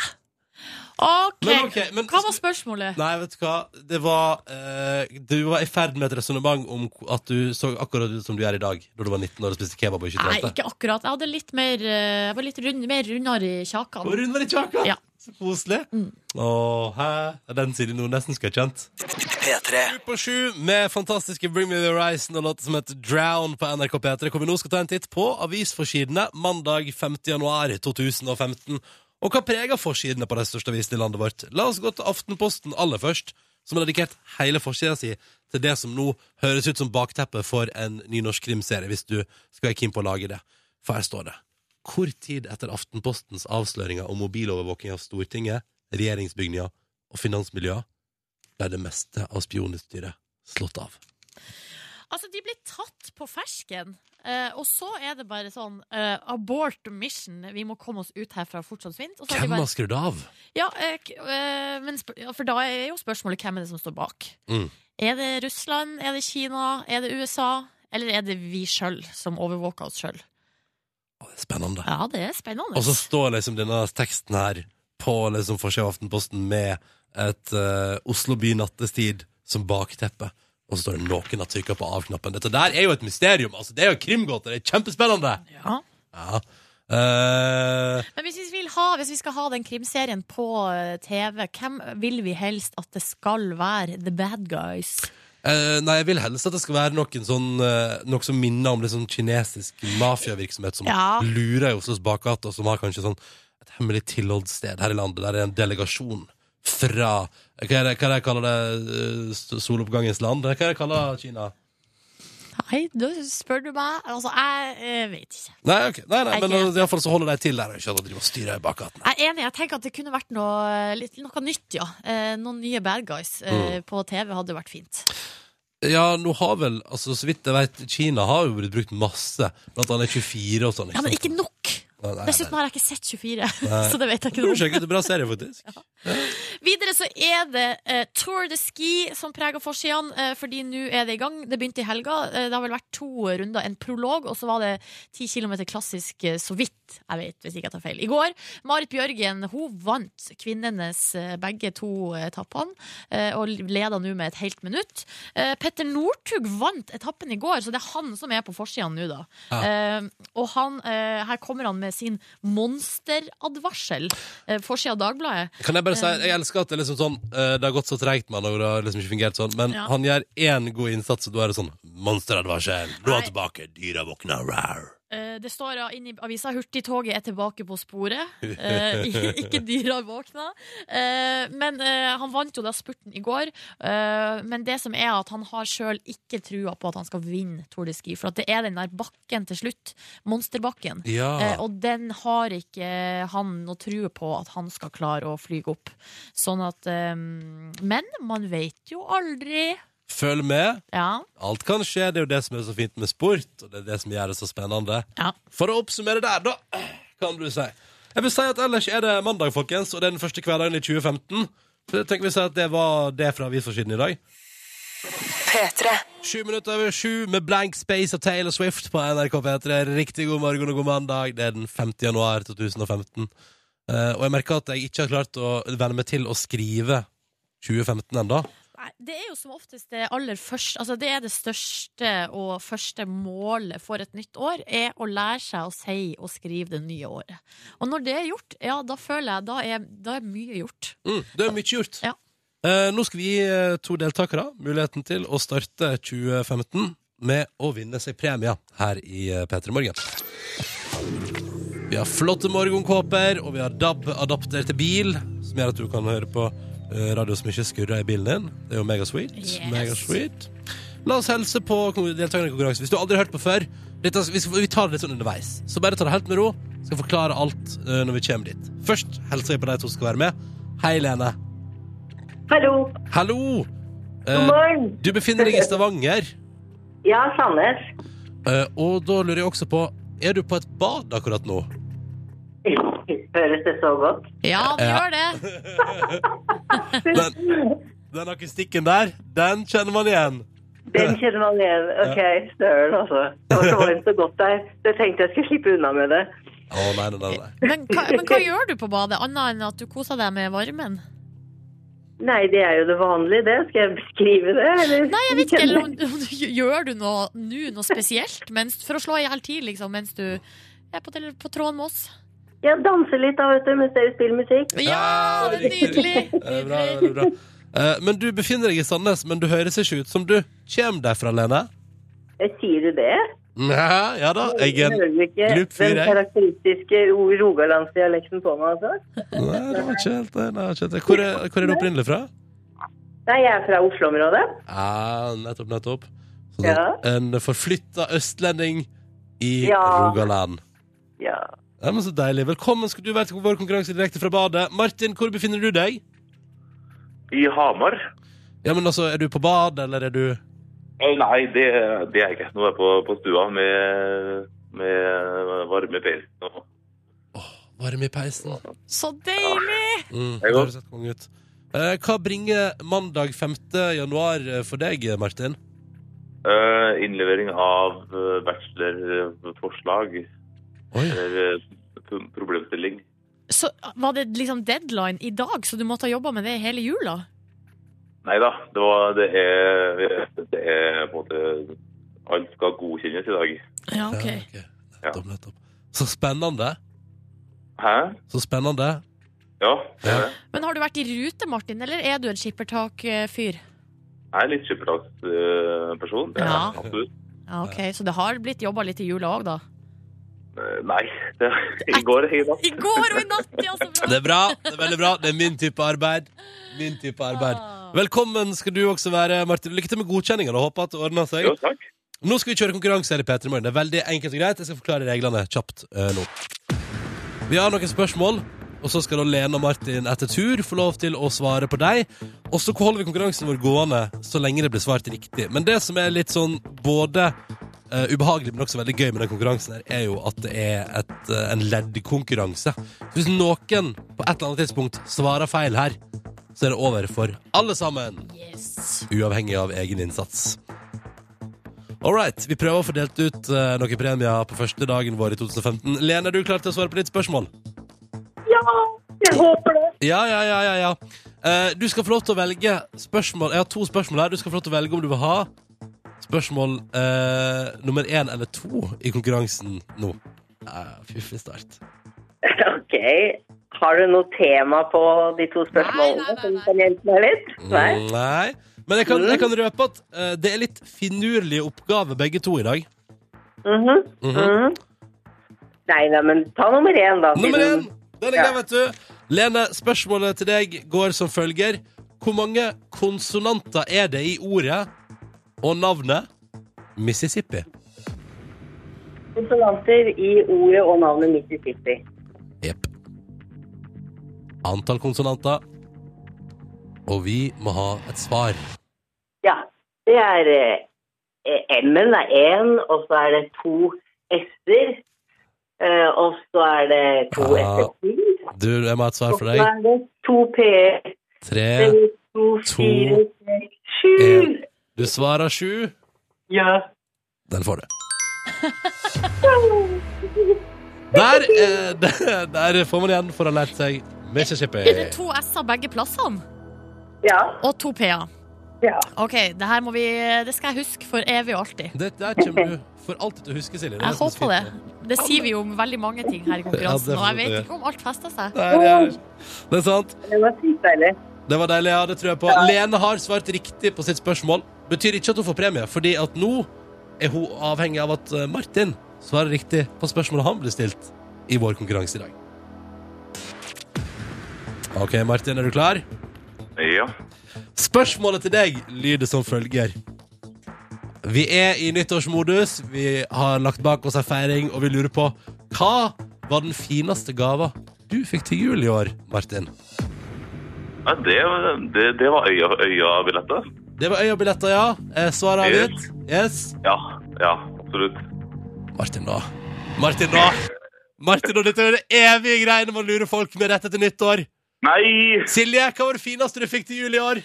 Ok, Men ok, men- Hva var spørsmålet? Nei, vet du hva. Det var eh, Du var i ferd med et resonnement om k- at du så akkurat ut som du gjør i dag, da du var 19 år og spiste kebab og ikke Nei, trente. ikke akkurat. Jeg hadde litt mer, eh, jeg var litt rund, mer rundere i Og kjakan. Rune var litt kjaka. Ja. Så koselig. Mm. Åh, hæ? Ja, Den Silje Nordnesen skulle jeg kjent. P3. Sju på sju med fantastiske Bring Me The Horizon og låta som heter Drown på NRK P3, hvor vi nå skal ta en titt på avisforsidene mandag 5. januar 2015. Og hva preger forsidene på de største avisene i landet vårt? La oss gå til Aftenposten aller først, som har dedikert hele forsida si til det som nå høres ut som bakteppet for en ny norsk krimserie, hvis du skal være keen på å lage det. For her står det Kort tid etter Aftenpostens avsløringer om mobilovervåking av Stortinget, regjeringsbygninga og finansmiljøa, ble det meste av spionutstyret slått av. Altså, de ble tatt på fersken. Eh, og så er det bare sånn eh, Abort mission. Vi må komme oss ut herfra fortsatt svint. Og så har de Hvem bare, har skrudd av? ja, eh, k- eh, men sp ja, for da er jo spørsmålet hvem er det som står bak. Mm. Er det Russland? Er det Kina? Er det USA? Eller er det vi sjøl som overvåker oss sjøl? Å, det er Spennende. Ja, det er spennende. Og så står liksom denne teksten her på liksom forsida av Aftenposten med et eh, Oslo by nattestid som bakteppe. Og så står det noen har trykka på av-knappen. Dette der er jo et mysterium! altså Det er jo krimgåte! Det er kjempespennende! Ja. Ja. Eh, Men hvis vi, vil ha, hvis vi skal ha den krimserien på eh, TV, hvem vil vi helst at det skal være the bad guys? eh, nei, jeg vil helst at det skal være noen sånn, eh, noe som minner om litt sånn kinesisk mafiavirksomhet som Ja. lurer i Oslos bakgater, som har kanskje sånn et hemmelig tilholdssted her i landet. Der er en delegasjon fra eh, Hva er det hva er det jeg kaller det? eh, s- Soloppgangens land? Hva er det jeg kaller Kina? Nei, da spør du meg. Altså, jeg eh, vet ikke. Nei, ok. Nei, nei, Jeg er men ikke i alle fall så holder de til der og ikke at de driver og styrer i bakgaten. Jeg er enig. Jeg tenker at det kunne vært noe, litt, noe nytt, ja. Eh, Noen nye bad guys eh, på TV hadde vært fint. Ja, nå har vel, altså så vidt jeg vet, Kina har jo blitt brukt masse. Blant annet 24 og sånn. Ja, men ikke nok! Nei, nei, Dessuten nei. har jeg ikke sett 24, Nei. så det vet jeg Du ikke noe om. sjekket ut en bra serie, faktisk. Videre så er det eh, Tour de Ski som preger forsidene, eh, fordi nå er det i gang. Det begynte i helga. Eh, det har vel vært to runder. En prolog, og så var det ti kilometer klassisk eh, så vidt jeg vet, hvis ikke jeg tar feil. I går, Marit Bjørgen hun vant kvinnenes eh, begge to etappene, eh, og leder nå med et helt minutt. Eh, Petter Northug vant etappen i går, så det er han som er på forsidene nå, da. Ja. Eh, og han, eh, her kommer han med sin monsteradvarsel, eh, forsida av Dagbladet. Kan jeg bare si, Eh. jeg elsker at det er liksom sånn eh, Det har gått så tregt med han, og det har liksom ikke fungert sånn, men Ja. han gjør én god innsats, og da er det sånn Monsteradvarsel, nå er Nei. han tilbake, dyra våkner, rar. Eh, Det står ja, inne i avisa 'Hurtigtoget er tilbake på sporet'. Eh, ik- ikke dyra våkna. Eh, men eh, han vant jo da spurten i går. Eh, men det som er at han har sjøl ikke trua på at han skal vinne Tour de Ski, for at det er den der bakken til slutt, monsterbakken. Ja. Eh, og den har ikke han noe true på at han skal klare å flyge opp. Sånn at eh, Men man veit jo aldri. Følg med. Ja. Alt kan skje, det er jo det som er så fint med sport, og det er det som gjør det så spennende. ja. For å oppsummere der, da, kan du si. Jeg vil si at ellers er det mandag, folkens, og det er den første hverdagen i 2015. Så jeg tenker vi sier at det var det fra avisforsiden i dag. P3. Sju minutter over sju med Blank Space og Taylor Swift på NRK P3. Riktig god morgen og god mandag. Det er den 5. januar 2015. Eh, og jeg merker at jeg ikke har klart å venne meg til å skrive 2015 ennå. Nei, det er jo som oftest det aller første Altså det er det største og første målet for et nytt år, er å lære seg å si og skrive det nye året. Og når det er gjort, ja, da føler jeg Da er, da er mye gjort. Mm, det er mye gjort. Ja. Eh, nå skal vi gi eh, to deltakere muligheten til å starte 2015 med å vinne seg premier her i eh, P3 Morgen. Vi har flotte morgenkåper, og vi har DAB-adapter til bil, som gjør at du kan høre på eh, radio som ikke skurrer i bilen din. Det er jo megasweet. Yes. megasweet. La oss helse på kon- deltakerne i konkurransen. Hvis du aldri har hørt på før, dette, vi, skal, vi tar det litt sånn underveis. Så bare ta det helt med ro. Skal forklare alt eh, når vi kommer dit. Først hilser jeg på de to som skal være med. Hei, Lene. Hallo. Hallo! Eh, God morgen. du befinner deg i Stavanger, Ja, Sandnes. eh, og da lurer jeg også på Er du på et bad akkurat nå? Høres det så godt? Ja, det Ja. gjør det! Den, den akustikken der, den kjenner man igjen. Den kjenner man igjen. OK, søren, altså. Det var så varmt og godt der. Jeg tenkte jeg skulle slippe unna med det. Å, nei, nei, nei, nei. Men hva, men hva gjør du på badet, annet enn at du koser deg med varmen? Nei, det er jo det vanlige, det. Skal jeg beskrive det, eller? Nei, jeg vet ikke, eller om, om du, Gjør du noe nå, noe spesielt, mens, for å slå i hjel tid, liksom, mens du er på, tele- på tråden med oss? Jeg danser litt da, vet du, mens dere spiller musikk. Ja, det er riktig. nydelig! Ja, Det er bra, det er bra. Eh, men du befinner deg i Sandnes, men du høres ikke ut som du kommer derfra, Lene. Jeg Eh, sier du det? Nei, ja da, jeg er Hører en du ikke glup fyr, den jeg. karakteristiske ro- rogalandsdialekten på meg, altså? Nei, det var ikke helt det. det var ikke helt det. Hvor er, hvor er du opprinnelig fra? Nei, jeg er fra Oslo-området. Ja, nettopp, nettopp. Så Ja. En forflytta østlending i Ja. Rogaland. Ja. Ja, men så deilig. Velkommen skal du være til vår konkurranse direkte fra badet. Martin, hvor befinner du deg? I Hamar? Ja, men altså, Er du på bad, eller er du Eh, Nei, det, det er jeg ikke. Nå er jeg på, på stua med, med varme peisen. og- varm i peisen? Så deilig! Mm, er det godt. høres helt konge ut. Eh, hva bringer mandag 5. januar eh, for deg, Martin? Eh, Innlevering av eh, bachelorforslag. Oi. Eller eh, pro- problemstilling. Så var det liksom deadline i dag, så du måtte ha jobba med det hele jula? Nei da, det, var, det, er, det er på en måte Alt skal godkjennes i dag. Ja, ok. Ja, ok. Nettopp, nettopp. Så spennende. Hæ? Så spennende. Ja. det er det. Men har du vært i rute, Martin, eller er du en skippertak-fyr? Jeg er litt skippertaksperson. det er Ja. jeg Absolutt. Ja, ok, Så det har blitt jobba litt i jula òg, da? Eh, Nei. Det, I går i natt. I går og i natt, ja! Så bra! Det er bra. det er Veldig bra. Det er min type arbeid. Min type arbeid. Velkommen skal du også være, Martin. Lykke til med godkjenningen og håper at det ordner seg. Jo, takk. Nå skal vi kjøre konkurranse her i P3 Morgen. Det er veldig enkelt og greit. Jeg skal forklare reglene kjapt eh, nå. Vi har noen spørsmål, og så skal da Lene og Martin etter tur få lov til å svare på deg. Og så holder vi konkurransen vår gående så lenge det blir svart riktig. Men det som er litt sånn både eh, ubehagelig, men også veldig gøy med den konkurransen her, er jo at det er et, eh, en leddkonkurranse. Så Hvis noen på et eller annet tidspunkt svarer feil her, så er det over for alle sammen. Yes. Uavhengig av egen innsats. All right, vi prøver å få delt ut eh, noen premier på første dagen vår i 2015. Lene, er du klar til å svare på ditt spørsmål? Ja, jeg håper det. Ja, ja, ja, ja, ja. Eh, du skal få lov til å velge spørsmål Jeg har to spørsmål her. Du skal få lov til å velge om du vil ha spørsmål eh, nummer én eller to i konkurransen nå. Eh, Fiffig start. Ok. Har du noe tema på de to spørsmålene? Nei, nei, nei, som nei. kan hjelpe meg litt? Nei? Mm, Nei. Men jeg kan, jeg kan røpe at eh, det er litt finurlige oppgaver begge to i dag. Mhm, Mhm. mhm. Nei, nei, men ta nummer én, da. Nummer siden- én! Den er grei, vet du. Lene, spørsmålet til deg går som følger. Hvor mange konsonanter er det i ordet og navnet Mississippi? Konsonanter i ordet og navnet Mississippi. Jepp. Antall konsonanter. Og vi må ha et svar. Ja, det er eh, M-en er én, og så er det to S-er. eh, og så er det to Ja, S-er til. Du, jeg må ha et svar Og for så deg. er det to P-er. Tre. To, fire, seks, en. sju. Du svarer sju. Ja. Den får du. Der, eh, der, der får man igjen for å ha lært seg Mississippi. Er det to S-er begge plassene? Ja. Og to P-er. ja. OK, det her må vi Det skal jeg huske for evig og alltid. Det der kommer du for alltid til å huske, Silje. Det er Jeg som er så håper det. fint. Det sier vi jo om veldig mange ting her i konkurransen, Ja, det og jeg får vi vet gjøre. ikke om alt fester seg. Nei, det er, det er sant. Det var sykt deilig. Det var deilig, ja. Det tror jeg på. Lene har svart riktig på sitt spørsmål. Betyr ikke at hun får premie, fordi at nå er hun avhengig av at eh, Martin svarer riktig på spørsmålet han ble stilt i vår konkurranse i dag. OK, Martin, er du klar? Ja. Spørsmålet til deg lyder som følger. Vi er i nyttårsmodus, vi har lagt bak oss en feiring, og vi lurer på hva var den fineste gava du fikk til jul i år, Martin? ja det, det, det var øya, øya-billettet. Det var øyebilletter, ja. Eh, Svaret er avgitt. Yes. Ja, ja, absolutt. Martin, da. Martin, da. Martin, og dette er det evige greiene med å lure folk med rett etter nyttår. Nei! Silje, hva var det fineste du fikk til jul i år?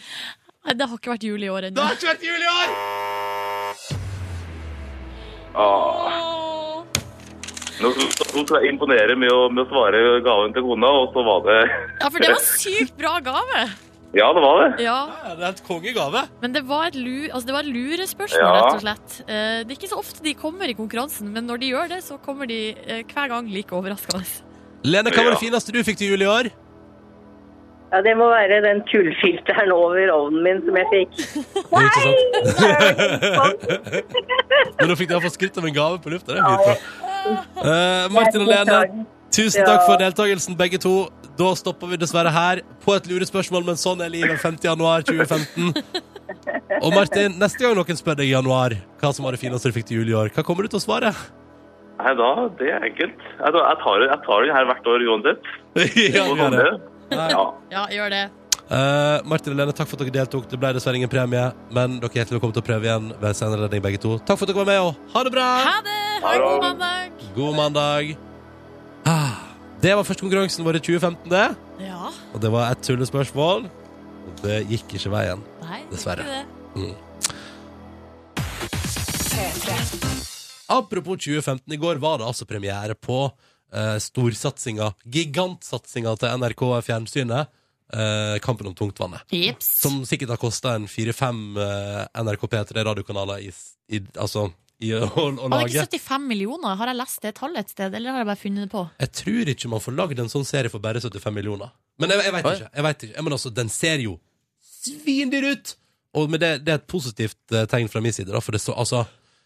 Nei, Det har ikke vært jul i år Det ennå. har ikke vært jul i år! Ah. Nå, nå skal jeg imponere med å, med å svare gaven til kona, og så var det Ja, for det var sykt bra gave. Ja, det var det. Ja, Ja, det er et kongegave. Men det var et, lu, altså det var et lurespørsmål, Ja. rett og slett. Eh, Det er ikke så ofte de kommer i konkurransen, men når de gjør det, så kommer de eh, hver gang like overraskende. Lene, hva var Ja. det fineste du fikk til jul i år? Ja, det må være den kullfilteren over ovnen min som jeg fikk. Nei! Ikke sant? Nei! Men nå fikk du iallfall skrytt av en gave på lufta. Det er fint. da. Eh, Martin og Lene, tusen takk for deltakelsen, begge to. Da stopper vi dessverre her på et lurespørsmål, men sånn er livet 5. januar 2015. Og Martin, neste gang noen spør deg i januar hva som var det fineste du fikk til jul i år, hva kommer du til å svare? Nei, da, det er enkelt. Jeg, jeg tar jeg tar den her hvert år uansett. ja, Og vi gjør det. sånn det. Ja. Ja, gjør det. Eh, Martin og Lene, takk for at dere deltok. Det ble dessverre ingen premie, men dere er hjertelig velkommen til å prøve igjen ved en senere anledning, begge to. Takk for at dere var med, og ha det bra! Ha det! Ha Ha en det. god mandag! God mandag. Ah, det var første konkurransen vår i 2015, det. Ja. Og det var et tullespørsmål. Og det gikk ikke veien. Nei, det er Dessverre. ikke det. Apropos 2015, i går var det altså premiere på eh, storsatsinga, gigantsatsinga til NRK Fjernsynet, eh, Kampen om tungtvannet. Jips. Som sikkert har kosta en fire-fem eh, NRK P3 radiokanaler i, s- i, altså, i å, å Var det lage. ikke 75 millioner? Har jeg lest det tallet et sted, eller har jeg bare funnet det på? Jeg tror ikke man får lagd en sånn serie for bare 75 millioner. Men jeg, jeg veit Oi. ikke. jeg vet ikke. Men altså, den ser jo svindyr ut! Og men det, det er et positivt eh, tegn fra min side, da, for det så altså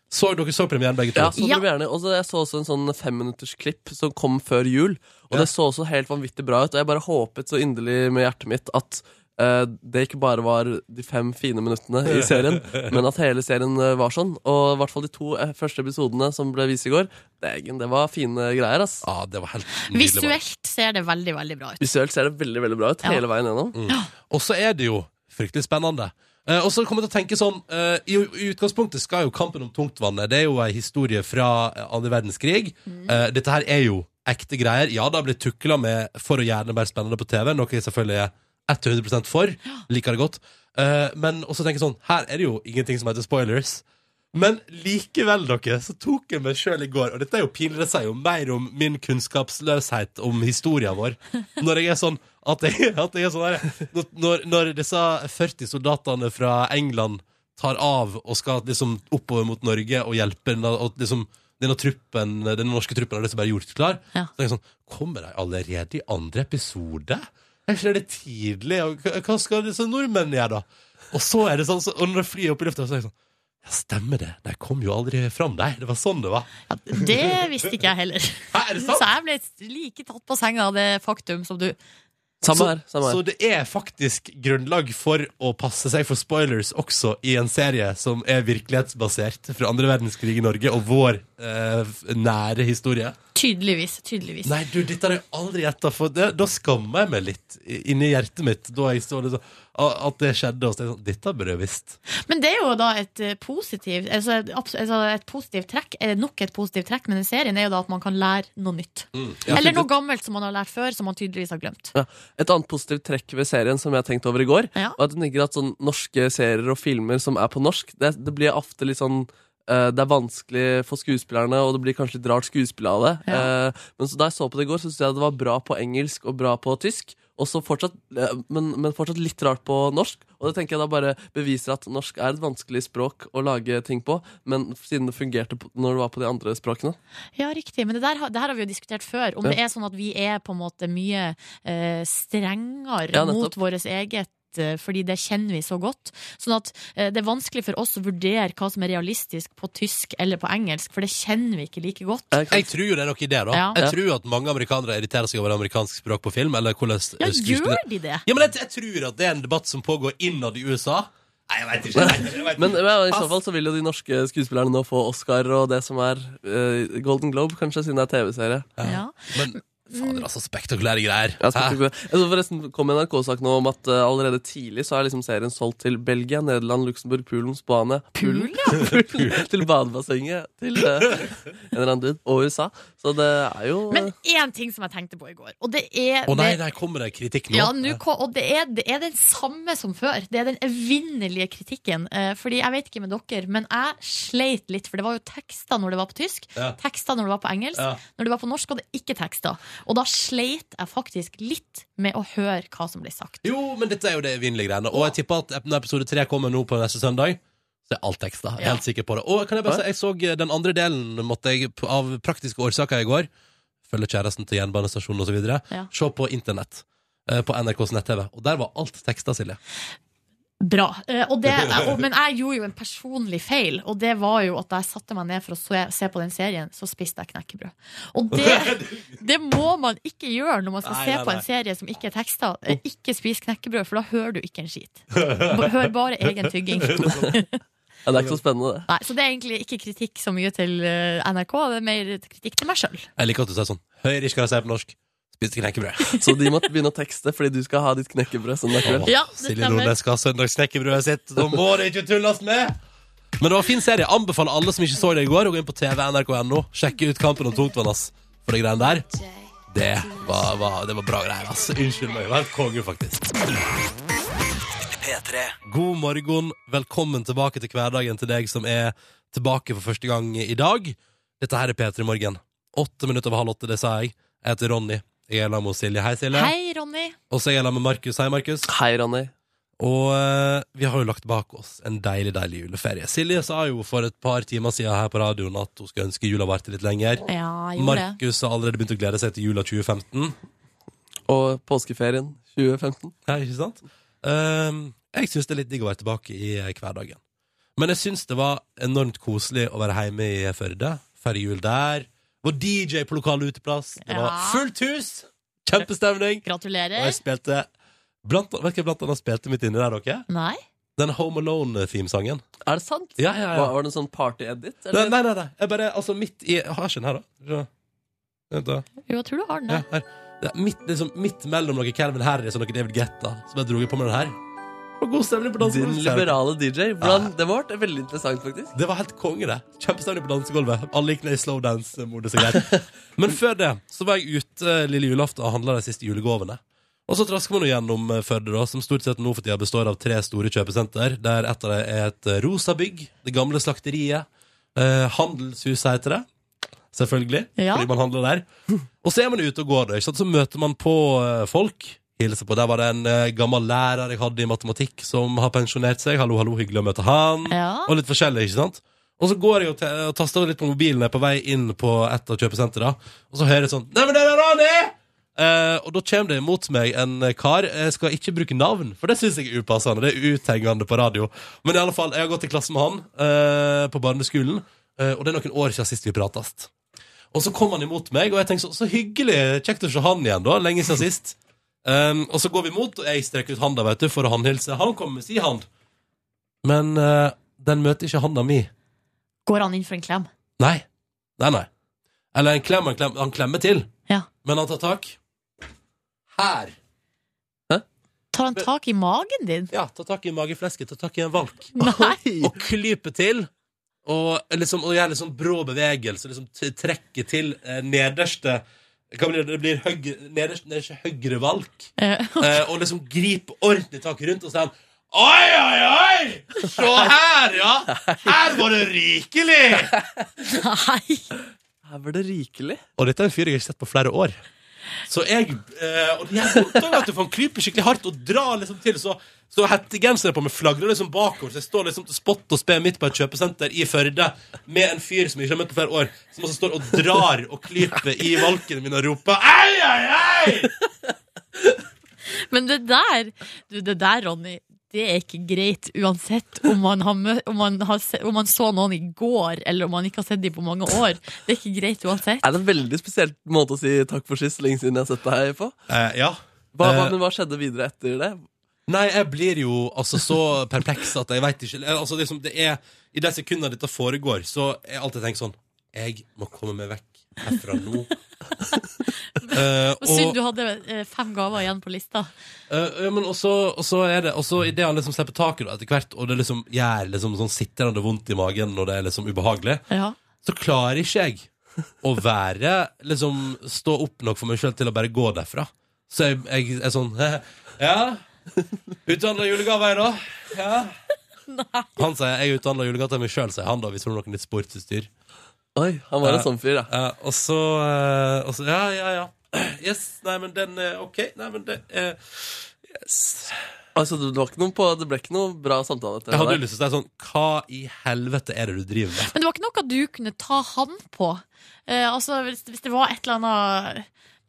så, Dere så premieren, begge to? Ja, så Ja. det blir gjerne. Og så jeg så også en sånn femminuttersklipp som kom før jul, og Ja. det så også helt vanvittig bra ut. Og jeg bare håpet så inderlig med hjertet mitt at eh, det ikke bare var de fem fine minuttene i serien, men at hele serien eh, var sånn. Og i hvert fall de to eh, første episodene som ble vist i går, dægen, det var fine greier, ass. Ja, det var helt nydelig. bare. Visuelt ser det veldig, veldig bra ut. Visuelt ser det veldig veldig bra ut Ja. hele veien gjennom. Mm. Og så er det jo fryktelig spennende. Eh, og så kommer jeg til å tenke sånn eh, i, I utgangspunktet skal jo kampen om tungtvannet Det er jo ei historie fra eh, andre verdenskrig. Eh, dette her er jo ekte greier. Ja, det har blitt tukla med for å gjøre det mer spennende på TV, noe jeg selvfølgelig er 100 for. Liker det godt. Eh, men også tenker jeg sånn Her er det jo ingenting som heter spoilers. Men likevel, dere, så tok jeg meg sjøl i går, og dette er jo pinlig, det sier jo mer om min kunnskapsløshet om historien vår, når jeg er sånn at jeg, at jeg er sånn der, når- når, når disse 40 soldatene fra England tar av og skal liksom oppover mot Norge og hjelpe den, og liksom denne truppen, den norske truppen har liksom bare gjort klar, Ja. så tenker jeg sånn, kommer de allerede i andre episode? Er ikke det litt tidlig? Og hva- hva skal disse nordmennene gjøre da? Og så er det sånn, så, og når de flyr opp i lufta, så er jeg sånn, ja, stemmer det. De kom jo aldri fram, de. Det var sånn det var. Ja, det visste ikke jeg heller. Hæ, er det sant? Så jeg ble like tatt på senga av det faktum som du. Samme her. samme her Så det Sånn er faktisk grunnlag for å passe seg for spoilers også i en serie som er virkelighetsbasert fra andre verdenskrig i Norge og vår eh, f- nære historie. Tydeligvis. Tydeligvis. Nei, du, dette har jeg aldri gjetta, for det, da skammer jeg meg litt i- inni hjertet mitt da jeg så det så, a- at det skjedde. Og så, tenkte jeg sånn, dette burde jeg visst. Men det er jo da et eh, positivt altså et, abs- altså et positivt trekk eh, Nok et positivt trekk med den serien er jo da at man kan lære noe nytt. Eller noe gammelt som man har lært før, som man tydeligvis har glemt. ja. Et annet positivt trekk ved serien som jeg tenkte over i går, Ja. Og at jeg tenker at sånn norske serier og filmer som er på norsk, det, det blir ofte litt sånn eh, det er vanskelig for skuespillerne, og det blir kanskje litt rart skuespill av det. Ja. Eh, men så da jeg så på det i går, så syntes jeg det var bra på engelsk og bra på tysk. Og så fortsatt, eh, men, men fortsatt litt rart på norsk. Og det tenker jeg da bare beviser at norsk er et vanskelig språk å lage ting på. Men siden det fungerte på- når det var på de andre språkene. Ja, riktig. Men det, der, har- det her har vi jo diskutert før. Om Ja. det er sånn at vi er på en måte mye eh, strengere Ja, nettopp. mot vårt eget eh, fordi det kjenner vi så godt. Sånn at eh, det er vanskelig for oss å vurdere hva som er realistisk på tysk eller på engelsk, for det kjenner vi ikke like godt. Eh, Jeg tror jo det er noe i det, da. Ja. Jeg tror at mange amerikanere irriterer seg over amerikansk språk på film. Eller hvordan Ja, eh, skuespillere- gjør de det? Ja, men jeg, jeg tror at det er en debatt som pågår innad i USA. Nei, jeg vet ikke. Jeg vet ikke, jeg vet ikke. Men, men i så fall så vil jo de norske skuespillerne nå få Oscar og det som er eh, Golden Globe, kanskje, siden det er TV-serie. Ja. Men Mm. fader, altså, spektakulære greier. Jeg skal Hæ? ikke- Jeg så forresten kom en NRK-sak nå om at eh, allerede tidlig så er liksom serien solgt til Belgia, Nederland, Luxembourg, Pulen, Spania Pulen? Pulen, til badebassenget, til eh, en eller annen dude, og USA. Så det er jo Men én ting som jeg tenkte på i går, og det er Å nei, det- nei, kommer det kritikk nå? Ja, nå kom, og det er, det er den samme som før. Det er den evinnelige kritikken. Eh, Fordi jeg vet ikke med dere, men jeg sleit litt, for det var jo tekster når det var på tysk, Ja. tekster når det var på engelsk, Ja. når det var på norsk, og det er ikke tekster. Og da sleit jeg faktisk litt med å høre hva som ble sagt. Jo, men dette er jo det evinnelige greiene. Og jeg tipper at når episode tre kommer nå på neste søndag, så er alt teksta. Jeg er Ja. helt sikker på det. Og kan jeg bare si, jeg så eh, den andre delen måtte jeg p- av praktiske årsaker i går. Følge kjæresten til jernbanestasjonen osv. Ja. Se på internett. eh, På NRKs nett-TV. Og der var alt teksta, Silje. Bra. Eh, Og det, jeg- og, men jeg gjorde jo en personlig feil, og det var jo at da jeg satte meg ned for å se, se på den serien, så spiste jeg knekkebrød. Og det, det må man ikke gjøre når man skal Nei, se nei, på en nei. serie som ikke er teksta. Eh, Ikke spis knekkebrød, for da hører du ikke en skit. B- Hør bare egen tygging. ja, Det er ikke så spennende, det. Nei, så det er egentlig ikke kritikk så mye til eh, NRK, det er mer kritikk til meg sjøl. Jeg liker at du sier sånn. Høyre ikke hva jeg sier på norsk. Spiste knekkebrød. Så de måtte begynne å tekste fordi du skal ha ditt knekkebrød søndag kveld. Ja, det Silje stemmer. Nordnes skal ha søndagsknekkebrødet sitt. Da må det ikke tulles med! Men det var en fin serie. Anbefaler alle som ikke så det i går, å gå inn på TV nrk.no. Sjekke ut Kampen om tungtvann, ass. For de greiene der. Det var, var, det var bra greier, ass. Unnskyld meg. Det var helt konge, faktisk. P3. God morgen. Velkommen tilbake til hverdagen til deg som er tilbake for første gang i dag. Dette her er P3 Morgen. Åtte minutter over halv åtte, det sa jeg. Jeg heter Ronny. Jeg er sammen med Silje. Hei, Silje. Hei, Ronny. Og så er jeg sammen med Markus. Hei, Markus. Hei, Ronny. Og eh, vi har jo lagt bak oss en deilig, deilig juleferie. Silje sa jo for et par timer siden her på radioen at hun skulle ønske jula varte litt lenger. Ja, jeg gjorde det. Markus har allerede begynt å glede seg til jula 2015. Og påskeferien 2015. Ja, ikke sant? Ehm, jeg syns det er litt digg å være tilbake i eh, hverdagen. Men jeg syns det var enormt koselig å være hjemme i Førde. Feire jul der. Det var DJ på lokal uteplass. Det var Ja. fullt hus! Kjempestemning. Og Gratulerer. jeg spilte Blant, vet ikke, blant annet spilte midt inni der, dere. Nei? Den Home Alone-themesangen. Er det sant? Ja, ja, ja. Var, var det en sånn party-edit? Nei, eller? nei, nei. nei. Jeg bare, altså, midt i Har jeg ikke den her, da? Vent, da. Jo, jeg tror du har den. Ja, ja. her. Det er midt, liksom, midt mellom noe Calvin Harris og noe David Guetta. Som jeg dro på med den her. Og god stemning på Din dansegulvet. liberale DJ. Hvordan, det var veldig interessant, faktisk. Det var helt konge, det. Kjempestemning på dansegulvet. Alle gikk ned i slowdance-modus og greier. Men før det så var jeg ute eh, lille julaften og handla de siste julegavene. Og så trasker man jo gjennom eh, Førde, da, som stort sett nå for tida består av tre store kjøpesenter, der et av dem er et eh, rosa bygg, det gamle slakteriet. Eh, handelshuset heter det. Selvfølgelig, Ja. fordi man handler der. Og så er man ute og går, da, ikke sant? så møter man på eh, folk. Hilser på. Der var det en eh, gammel lærer jeg hadde i matematikk som har pensjonert seg. Hallo, hallo, hyggelig å møte han Ja. og litt forskjellig, ikke sant? Og så går jeg og, te- og taster litt på mobilen jeg er på vei inn på et av kjøpesentrene, og så hører jeg sånn Nei, men det er Rani! Eh, og da kommer det imot meg en kar. Jeg skal ikke bruke navn, for det syns jeg er upassende. Det er uthengende på radio. Men i alle fall, jeg har gått i klasse med han eh, på barneskolen, eh, og det er noen år siden sist vi pratast. Og så kom han imot meg, og jeg tenkte så, så hyggelig. Kjekt å se han igjen, da. Lenge siden sist. Um, og så går vi imot, og jeg strekker ut handa vet du, for å håndhilse. Han kommer med si hand. Men eh, den møter ikke handa mi. Går han inn for en klem? Nei. Nei, nei. Eller en klem, han, klem, han klemmer til. Ja. Men han tar tak. Her. Tar han tak i magen din? Ja, tar tak i mageflesket, tar tak i en valk. Nei! Og klyper til. Og, liksom, og gjør litt sånn brå bevegelse. Liksom t- trekker til eh, nederste hva blir det? det blir høyre, nederste, nederste høyre valk. Eh, Eh, og liksom griper ordentlig tak rundt og sier han, Oi, oi, oi! Se her, ja! Her var det rikelig! Nei! Her var det rikelig. Og dette er en fyr jeg ikke har sett på flere år. Så jeg eh, Og det gjør vondt også, vet du, for han kryper skikkelig hardt og drar liksom til. Så, så hettegenseren på meg flagrer liksom bakover. Så jeg står liksom til spott og spe midt på et kjøpesenter i Førde med en fyr som jeg ikke har møtt på flere år, som også står og drar og klyper i valkene mine og roper Ei, ei, ei! Men det der, du, det der, Ronny, det er ikke greit uansett om man, har mø om, man har se om man så noen i går, eller om man ikke har sett dem på mange år. Det er ikke greit uansett. Er det en veldig spesiell måte å si takk for sist lenge siden jeg har sett deg på? Eh, ja. Hva, hva, Eh, men hva skjedde videre etter det? Nei, jeg blir jo altså så perpleks at jeg veit ikke altså, det, er som, det er, I de sekundene dette foregår, så er jeg alltid tenkt sånn Jeg må komme meg vekk herfra nå. Eh, Og Synd du hadde eh, fem gaver igjen på lista. Eh, ja, men også, og så er det også idet han liksom slipper taket da, etter hvert, og det liksom gjør liksom sånn sitrende vondt i magen når det er liksom ubehagelig, Ja. så klarer ikke jeg å være liksom stå opp nok for meg sjøl til å bare gå derfra. Så jeg, jeg er sånn Ja, uthandla julegave, jeg, da. Ja. Han sier jeg uthandla julegave til meg sjøl, sier han da, hvis det var noe nytt sportsutstyr. Oi, han var Eh, en sånn fyr, ja. Eh, og så eh, og så- Ja, ja, ja. Yes. Nei, men den eh, OK. Nei, men det eh, Yes. Altså, det, var ikke noen på, det ble ikke noe bra samtale etter Jeg hadde jo det. lyst til å si sånn Hva i helvete er det du driver med? Men det var ikke noe du kunne ta han på. Eh, altså, hvis, hvis det var et eller annet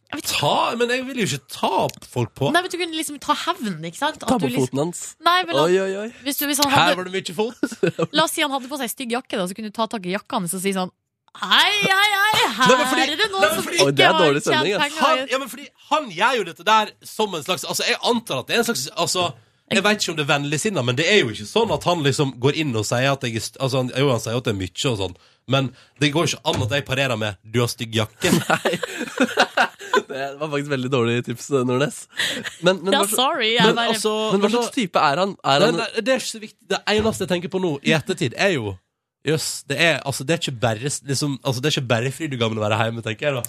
jeg vet ikke. Ta, men jeg vil jo ikke ta folk på. Nei, men Du kunne liksom ta hevn, ikke sant? At Ta du på liksom, foten hans. nei, men Oi, la, oi, oi. hvis du, hvis han Her hadde, var det mye fot. la oss si han hadde på seg stygg jakke, da, så kunne du ta tak i jakka hans og si sånn Hei, hei, hei, her Nei, men fordi- er det nei, noen men som fordi- Oi, det er ikke har dårlig tjent stemning, ass. penger. Han, ja, men fordi han gjør jo dette der som en slags Altså, jeg antar at det er en slags Altså jeg vet ikke om det er vennligsinna, men det er jo ikke sånn at han liksom går inn og sier at jeg er st- altså, han- Jo, han sier at det er mye og sånn, men det går ikke an at jeg parerer med 'du har stygg jakke'. Det var faktisk veldig dårlig tips, eh, Nordnes. Men, men, Ja, hva sl- sorry. Jeg Men bare, altså, men hva slags type er han? Er Nei, han nei, det er ikke så viktig. Det eneste jeg tenker på nå, i ettertid, er jo Jøss, det, er- altså, det er ikke bare liksom, altså, Det er ikke bare Frydegammen å være hjemme, tenker jeg da.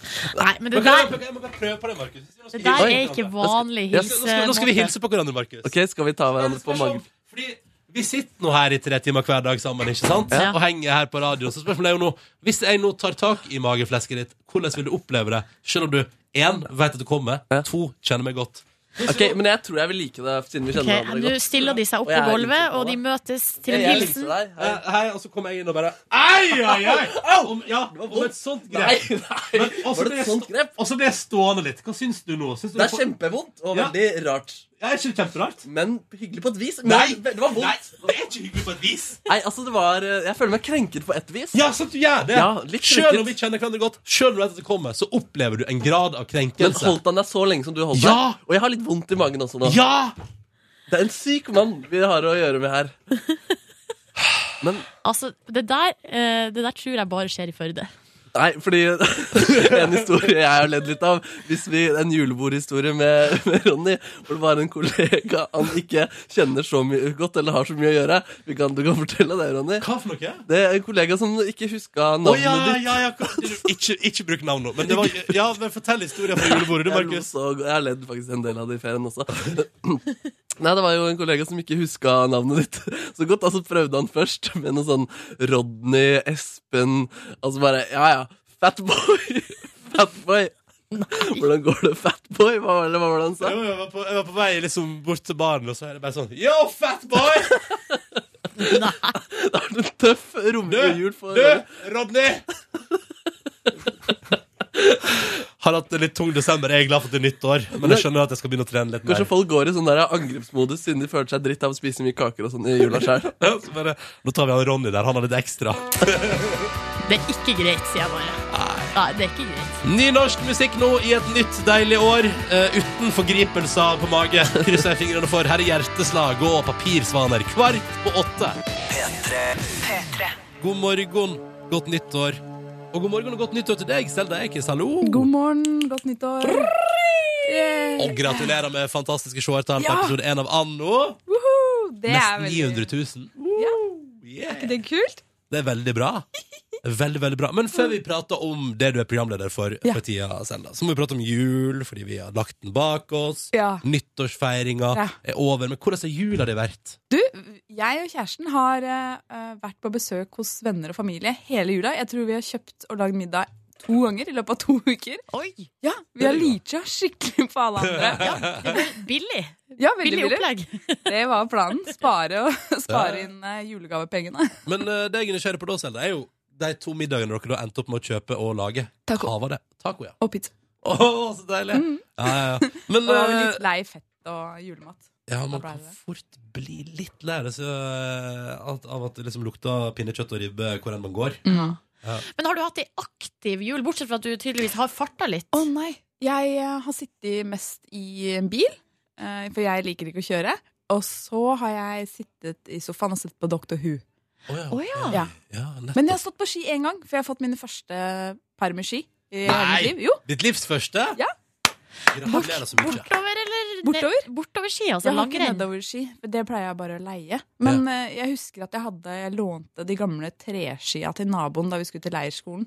nei, men det Men kan der, jeg, jeg må bare prøve på det, Markus. Nå skal det der vi er hilse ikke på hverandre. vanlig eh, Ja, nå skal- Nå skal vi hilsemåte. hilse på hverandre, Markus. Ok, skal vi ta hverandre på magen? sånn, Fordi vi sitter nå her i tre timer hver dag sammen, ikke sant? Ja. Og henger her på radioen. Så spørsmålet er jo nå, hvis jeg nå tar tak i mageflesket ditt, hvordan vil du oppleve det? Selv om du, en, vet at du kommer, Ja. to, kjenner meg godt. Ok, men jeg tror jeg vil like det, siden vi kjenner Ok, hverandre Nå godt. stiller de seg opp Og jeg på er gulvet, sånn- hilsen på og de deg. møtes til en Jeg- jeg hilsen. hilser deg. Hei, Hei. Eh, hei, og så kommer jeg inn og bare, ei, ei, ei! Om, ja, om et sånt Nei, grep. nei. Men altså, også Var det blir et jeg sånt stå- grep? Og så blir jeg stående litt. Hva syns du nå? Syns du Det er får- kjempevondt og Ja. veldig rart. Det er ikke kjemperart. Men hyggelig på et vis. Men Nei, det var Nei, vondt. det er ikke hyggelig på et vis. Nei, altså det var eh, Jeg føler meg krenket på ett vis. Ja, sant du gjør det! Ja, litt selv krenket. om vi kjenner hverandre godt, selv om du vet at det kommer, så opplever du en grad av Men krenkelse. holdt han deg så lenge som du holdt Ja! deg? Og jeg har litt vondt i magen også nå. Ja! Det er en syk mann vi har å gjøre med her. Men Altså, det der, eh, det der tror jeg bare skjer i Førde. Nei, fordi en historie jeg har ledd litt av Hvis vi, En julebordhistorie med, med Ronny, hvor det var en kollega han ikke kjenner så mye godt eller har så mye å gjøre. Vi kan, du kan fortelle det, Ronny. Hva for noe? Det er en kollega som ikke Å huska navnet ja, ditt. ja, ja. kom- Ikke, ikke bruk navn nå. Men, det var, ja, men fortell historien fra julebordet, du, Jeg, lo Markus. så, godt. jeg har ledd faktisk en del av det i ferien også. Nei, det var jo en kollega som ikke huska navnet ditt så godt. Altså prøvde han først med noe sånn Rodney, Espen Altså bare Ja, ja. Fatboy. Fatboy. Hvordan går det, Fatboy? Hva var det, hva var det han sa? Jo, jeg, var på, jeg var på vei liksom bort til baren, og så er det bare sånn Yo, fat boy! Det er en tøff romjul for Du, Rodney! Har hatt en litt tung desember. Jeg er glad for at det er nytt år, men jeg skjønner at jeg skal begynne å trene litt mer. Kanskje folk går i sånn der angrepsmodus siden de føler seg dritt av å spise mye kaker og sånn i jula sjøl. Ja, så bare, nå tar vi han Ronny der. Han har litt ekstra. Det er ikke greit, sier jeg bare. Nei, det er ikke greit. Ny norsk musikk nå i et nytt deilig år. eh, uten forgripelser på mage. Krysser jeg fingrene for. Her er hjerteslag og papirsvaner. Kvart på åtte. P3. God morgen, godt nyttår. Og god morgen og godt nyttår til deg, Selda Ekiz. Hallo. God morgen, godt nyttår. Yeah. Og gratulerer med fantastiske seertall på Ja. episode én av Anno. Woohoo! Det er Nesten veldig 900 000. Ja. Yeah. Er ikke det kult? Det er veldig bra. Veldig, veldig bra. Men før vi prater om det du er programleder for, Ja. for tida, Selda, så må vi prate om jul, fordi vi har lagt den bak oss. Ja. Nyttårsfeiringa Ja. er over. Men hvordan har jula di vært? Du, jeg og kjæresten har eh, vært på besøk hos venner og familie hele jula. Jeg tror vi har kjøpt og lagd middag to ganger i løpet av to uker. Oi, Ja, Vi har leacha skikkelig på alle andre. det ble billig. Ja, veldig Billig billig. opplegg. Det var planen. Spare, og, Ja. spare inn eh, julegavepengene. Men eh, det jeg er nysgjerrig på da, Selda, er jo de to middagene dere da endte opp med å kjøpe og lage. Taco. Hva var det? Taco, ja. Og pizza. Å, så deilig! Ja, ja, ja. Men Og eh, litt lei fett og julemat. ja, man Da ble kan det. fort bli litt lei det, så, eh, at- av at det liksom lukter pinnekjøtt og ribbe hvor enn man går. Men har du hatt ei aktiv jul, bortsett fra at du tydeligvis har farta litt? Å nei, jeg eh, har sittet mest i en bil, eh, for jeg liker ikke å kjøre. Og så har jeg sittet i sofaen og sett på Doctor Who. Å ja. Å ja. Ja. ja nettopp. Men jeg har stått på ski én gang, for jeg har fått mine første par med ski. I hele Nei! mitt liv. Jo, Ditt livs første? Ja. Gratulerer så mye. Bortover eller ned- Bortover? Bortover ski, altså. jeg har ikke Langrenn. nedoverski, for det pleier jeg bare å leie. Men eh, jeg husker at jeg hadde Jeg lånte de gamle treskia til naboen da vi skulle til leirskolen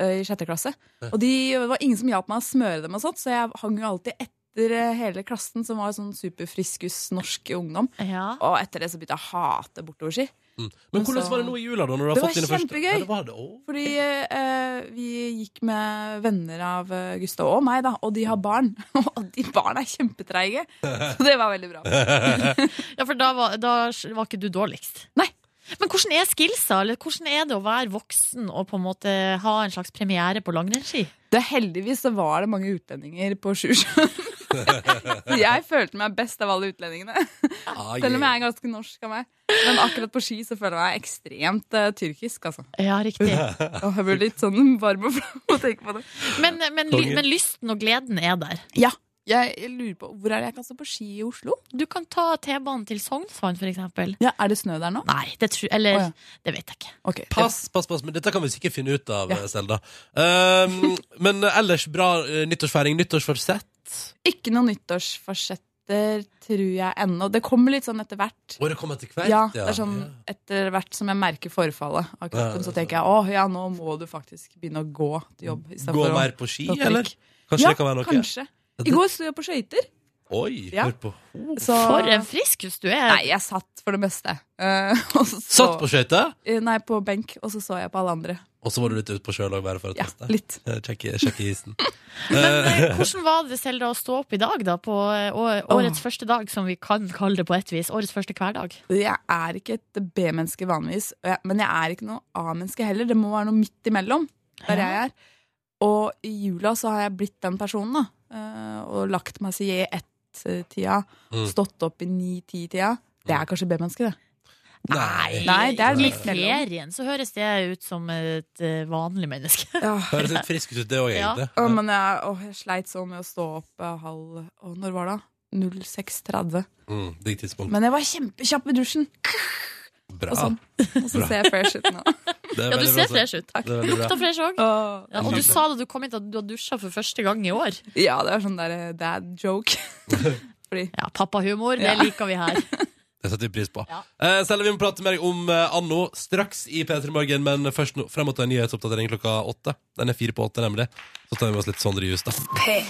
eh, i sjette klasse. Og de, det var ingen som hjalp meg å smøre dem, og sånt, så jeg hang jo alltid etter eh, hele klassen, som var sånn superfriskus norsk ungdom. Ja. Og etter det så begynte jeg å hate bortoverski. Men hvordan Så- var det nå i jula, da? Når du har Det fått var dine første kjempegøy. Ja, det var det. Å. Fordi eh, vi gikk med venner av eh, Gustav og meg, da, og de har barn. Og de barna er kjempetreige! Så det var veldig bra. ja, for da var, da var ikke du dårligst. Nei. Men hvordan er skillsa? Eller hvordan er det å være voksen og på en måte ha en slags premiere på langrennsski? Det Heldigvis så var det mange utlendinger på Sjusjøen. Så jeg følte meg best av alle utlendingene. Ah, Selv om yeah. jeg er ganske norsk av meg. Men akkurat på ski så føler jeg meg ekstremt eh, tyrkisk, altså. Ja, riktig. Og jeg blir litt sånn varm og flau av å tenke på det. Men, men, ly- men lysten og gleden er der. Ja, jeg lurer på Hvor er det jeg kan stå på ski i Oslo? Du kan ta T-banen til Sognsvann, for eksempel. Ja, Er det snø der nå? Nei, det tror Eller, Å, ja. det vet jeg ikke. Ok. Pass, pass, pass. Men dette kan vi sikkert finne ut av, eh, Ja. Selda. Um, men ellers bra eh, nyttårsfeiring. Nyttårsforsett? Ikke noen nyttårsforsetter, tror jeg ennå. Det kommer litt sånn etter hvert. Å, det kom etter hvert? Ja, det er sånn Etter hvert som jeg merker forfallet av Ja, kroppen, ja, så tenker jeg åh, ja, nå må du faktisk begynne å gå til jobb. i stedet Gå for å- mer på ski, ta trykk. eller? Kanskje ja, det kan være noe? kanskje. I går sto jeg på skøyter. Oi, Ja. hør på. Så For en friskus du er! Oh, Nei, jeg satt for det meste. Eh, og så, Satt på skøyter, Eh, Nei, på benk, og så så jeg på alle andre. og så var du litt ute på sjøen òg, bare for å Ja, teste? litt. Eh, Sjekke, sjekke isen. Men eh, hvordan var det selv da å stå opp i dag, da? På eh, å- årets første dag, som vi kan kalle det på et vis. Årets første hverdag. Jeg er ikke et B-menneske vanligvis, og jeg- men jeg er ikke noe A-menneske heller. Det må være noe midt imellom, Ja. der jeg er. Og i jula så har jeg blitt den personen, da. eh, Og lagt meg si i ett ett-tida, Mm. stått opp i ni-ti-tida. Det er kanskje B-mennesker, det. Nei. Nei, det er I litt mellom. ferien så høres det ut som et eh, vanlig menneske. Høres litt frisk ut, det òg, Ja. egentlig. Å, men jeg, å, jeg sleit sånn med å stå opp eh, halv å, Når var det? da? 06.30. Mm, Digg tidspunkt. Men jeg var kjempekjapp i dusjen. Bra. Og sånn. Og så Bra. ser jeg fresh ut nå. Det er Ja, du veldig bra ser sagt. fresh ut. Det er veldig bra. Lukta fresh òg. Ja, og du sa da du kom hit at du har dusja for første gang i år. Ja, det er sånn der eh, dad joke. Fordi Ja, pappahumor, det Ja. liker vi her. Det setter vi pris på. Eh, selv om vi må prate mer om eh, Anno straks i P3 Morgen, men først nå, frem mot en nyhetsoppdatering klokka åtte. Den er fire på åtte, nemlig. Så tar vi med oss litt Sondre Justad.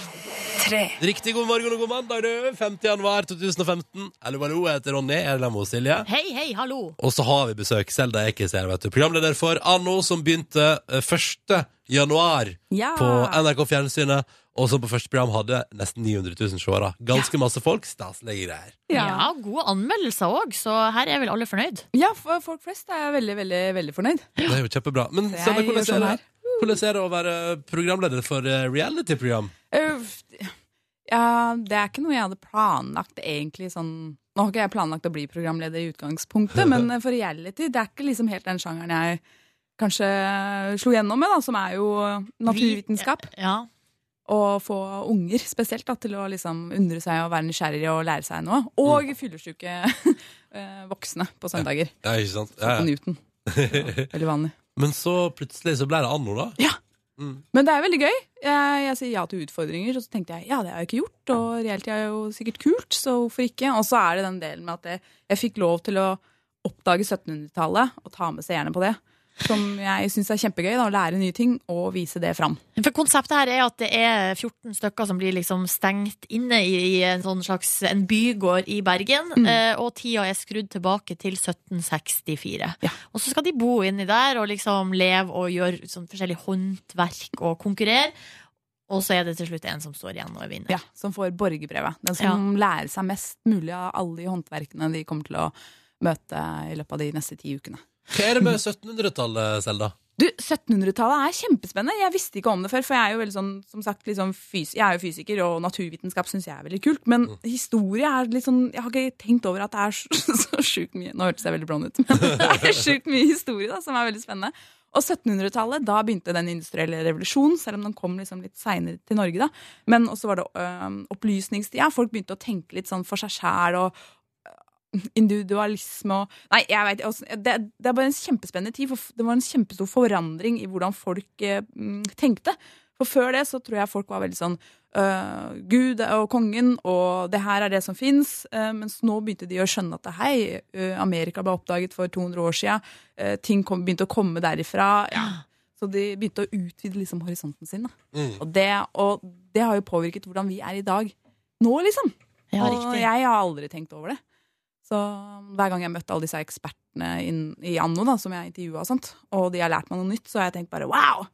P3. Riktig god morgen og god mandag, du! 5. januar 2015. Hallo, hallo, jeg heter Ronny. Jeg er sammen med Silje. Hei, hei, hallo. Og så har vi besøk. Selda Ekiz her, vet du. Programleder for Anno, som begynte eh, 1. januar Ja. på NRK Fjernsynet. Og som på første program hadde nesten 900 000 seere. Ganske masse folk. Staselige greier. Ja. Ja, gode anmeldelser òg, så her er vel alle fornøyd. Ja, for folk flest er veldig, veldig, veldig fornøyd. Det er jo kjempebra. Men Det er Selda, jo hvordan sånn er det? Hvordan er det å være programleder for eh, reality-program? Øff, Eh, Ja, det er ikke noe jeg hadde planlagt egentlig sånn Nå har ikke jeg planlagt å bli programleder i utgangspunktet, men eh, for reality, det er ikke liksom helt den sjangeren jeg kanskje slo gjennom med, da, som er jo eh, naturvitenskap. Ja. Å få unger spesielt da, til å liksom undre seg og være nysgjerrig og lære seg noe. Og fyllesyke eh, voksne på søndager. Mm. Ja, ikke sant? På Newton. Veldig vanlig. Men så plutselig så ble det anno, da. Ja. Men det er veldig gøy. Jeg, jeg sier ja til utfordringer, og så tenkte jeg ja, det har jeg ikke gjort. Og reality er jo sikkert kult, så hvorfor ikke? Og så er det den delen med at jeg, jeg fikk lov til å oppdage 1700-tallet og ta med seerne på det. Som jeg syns er kjempegøy. da, Å lære nye ting og vise det fram. For konseptet her er at det er 14 stykker som blir liksom stengt inne i, i en sånn slags en bygård i Bergen, Mm. eh, og tida er skrudd tilbake til 1764. Og så skal de bo inni der og liksom leve og gjøre sånn forskjellig håndverk og konkurrere. Og så er det til slutt en som står igjen og vinner. Ja, Som får borgerbrevet. Den som lærer seg mest mulig av alle de håndverkene de kommer til å møte i løpet av de neste ti ukene. Hva er det med 1700-tallet, Selda? Du, 1700-tallet er kjempespennende. Jeg visste ikke om det før, for jeg er jo veldig sånn, som sagt, litt sånn fys jeg er jo fysiker, og naturvitenskap syns jeg er veldig kult. Men historie er litt sånn Jeg har ikke tenkt over at det er så, så sjukt mye Nå hørtes jeg veldig blond ut, men det er sjukt mye historie da, som er veldig spennende. Og 1700-tallet, da begynte den industrielle revolusjonen, selv om den kom liksom litt seinere til Norge. da. Men også var det øh, opplysningstida. Folk begynte å tenke litt sånn for seg sjæl og individualisme og Nei, jeg vet ikke. altså, Det, det er bare en kjempespennende tid, for det var en kjempestor forandring i hvordan folk eh, mm, tenkte. For før det så tror jeg folk var veldig sånn øh, Gud og kongen, og det her er det som fins. eh, mens nå begynte de å skjønne at hei, eh, Amerika ble oppdaget for 200 år sia. ting kom, begynte å komme derifra. Ja. Så de begynte å utvide liksom horisonten sin. Da. Mm. Og, det, og det har jo påvirket hvordan vi er i dag. Nå, liksom. Ja, og riktig. jeg har aldri tenkt over det. Så um, hver gang jeg har møtt alle disse ekspertene inn, i Anno, da, som jeg intervjua, og sånt, og de har lært meg noe nytt, så har jeg tenkt bare wow!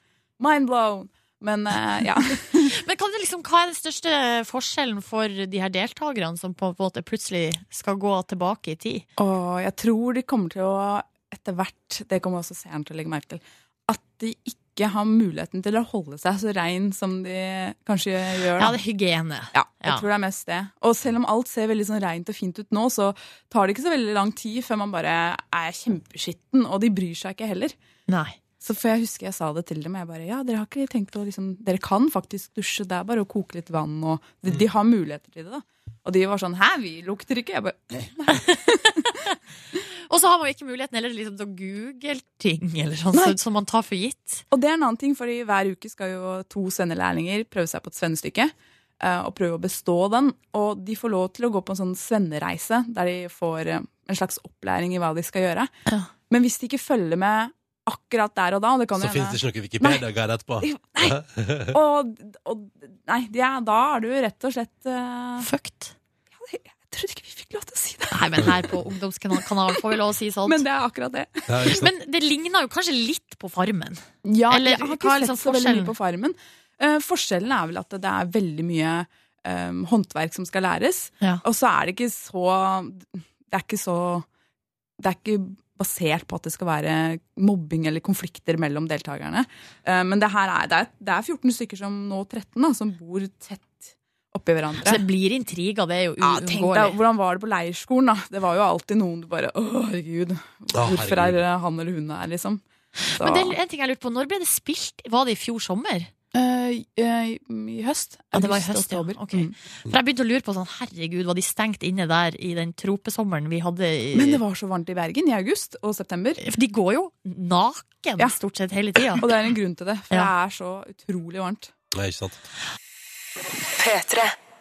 Mind blown! Men eh, ja. Men kan du liksom, hva er den største forskjellen for de her deltakerne som på en måte plutselig skal gå tilbake i tid? Og jeg tror de kommer til å etter hvert, det kommer også seeren til å legge merke til, at de ikke har muligheten til å holde seg så rein som de kanskje Ja, gjør. da. det er hygiene. Ja, jeg Ja. tror det er mest det. Og selv om alt ser veldig sånn rent og fint ut nå, så tar det ikke så veldig lang tid før man bare er kjempeskitten, og de bryr seg ikke heller. Nei. Så for jeg husker jeg sa det til dem, jeg bare ja, dere har ikke tenkt å liksom Dere kan faktisk dusje, det er bare å koke litt vann, og de, Mm. de har muligheter til det, da. Og de var sånn hæ, vi lukter ikke. Jeg bare Og så har man jo ikke muligheten heller liksom, til å google ting eller sånn, Nei. så- som man tar for gitt. Og det er en annen ting, fordi hver uke skal jo to svennelærlinger prøve seg på et svennestykke. eh, Og prøve å bestå den. Og de får lov til å gå på en sånn svennereise, der de får eh, en slags opplæring i hva de skal gjøre. Men hvis de ikke følger med akkurat der og da og Sånn det kan Så jo fins hende- det ikke noe Wikipedia-guide etterpå. Nei. og, og, Nei, de er, da er du rett og slett uh, Fucked. Jeg trodde ikke vi fikk lov til å si det. Nei, men her på Ungdomskanalen får vi lov å si sånt. Men det er akkurat det. Men det ligner jo kanskje litt på Farmen. Ja, Eller, jeg har hva ikke er sett liksom så forskjellen? veldig mye på Farmen. Eh, forskjellen er vel at det er veldig mye eh, håndverk som skal læres. Ja. Og så er det ikke så Det er ikke så Det er ikke basert på at det skal være mobbing eller konflikter mellom deltakerne. Eh, men det her er, det, er, det er 14 stykker som nå 13 da, som bor tett oppi hverandre. Så det blir intriger, det er jo Ja, tenk uunngåelig. deg, Hvordan var det på leirskolen? da? Det var jo alltid noen du bare Å, herregud. Hvorfor er herregud. det han eller hun her, liksom? Så- Men det er en ting jeg lurte på, når ble det spilt? Var det i fjor sommer? Eh, eh, I høst. Ja, det var i August, høst, ja. oktober. Mm. Ok. For jeg begynte å lure på sånn, herregud, var de stengt inne der i den tropesommeren vi hadde i Men det var så varmt i Bergen i august og september. For de går jo naken stort sett hele tida. Og det er en grunn til det, for Ja. det er så utrolig varmt. Nei, ikke sant.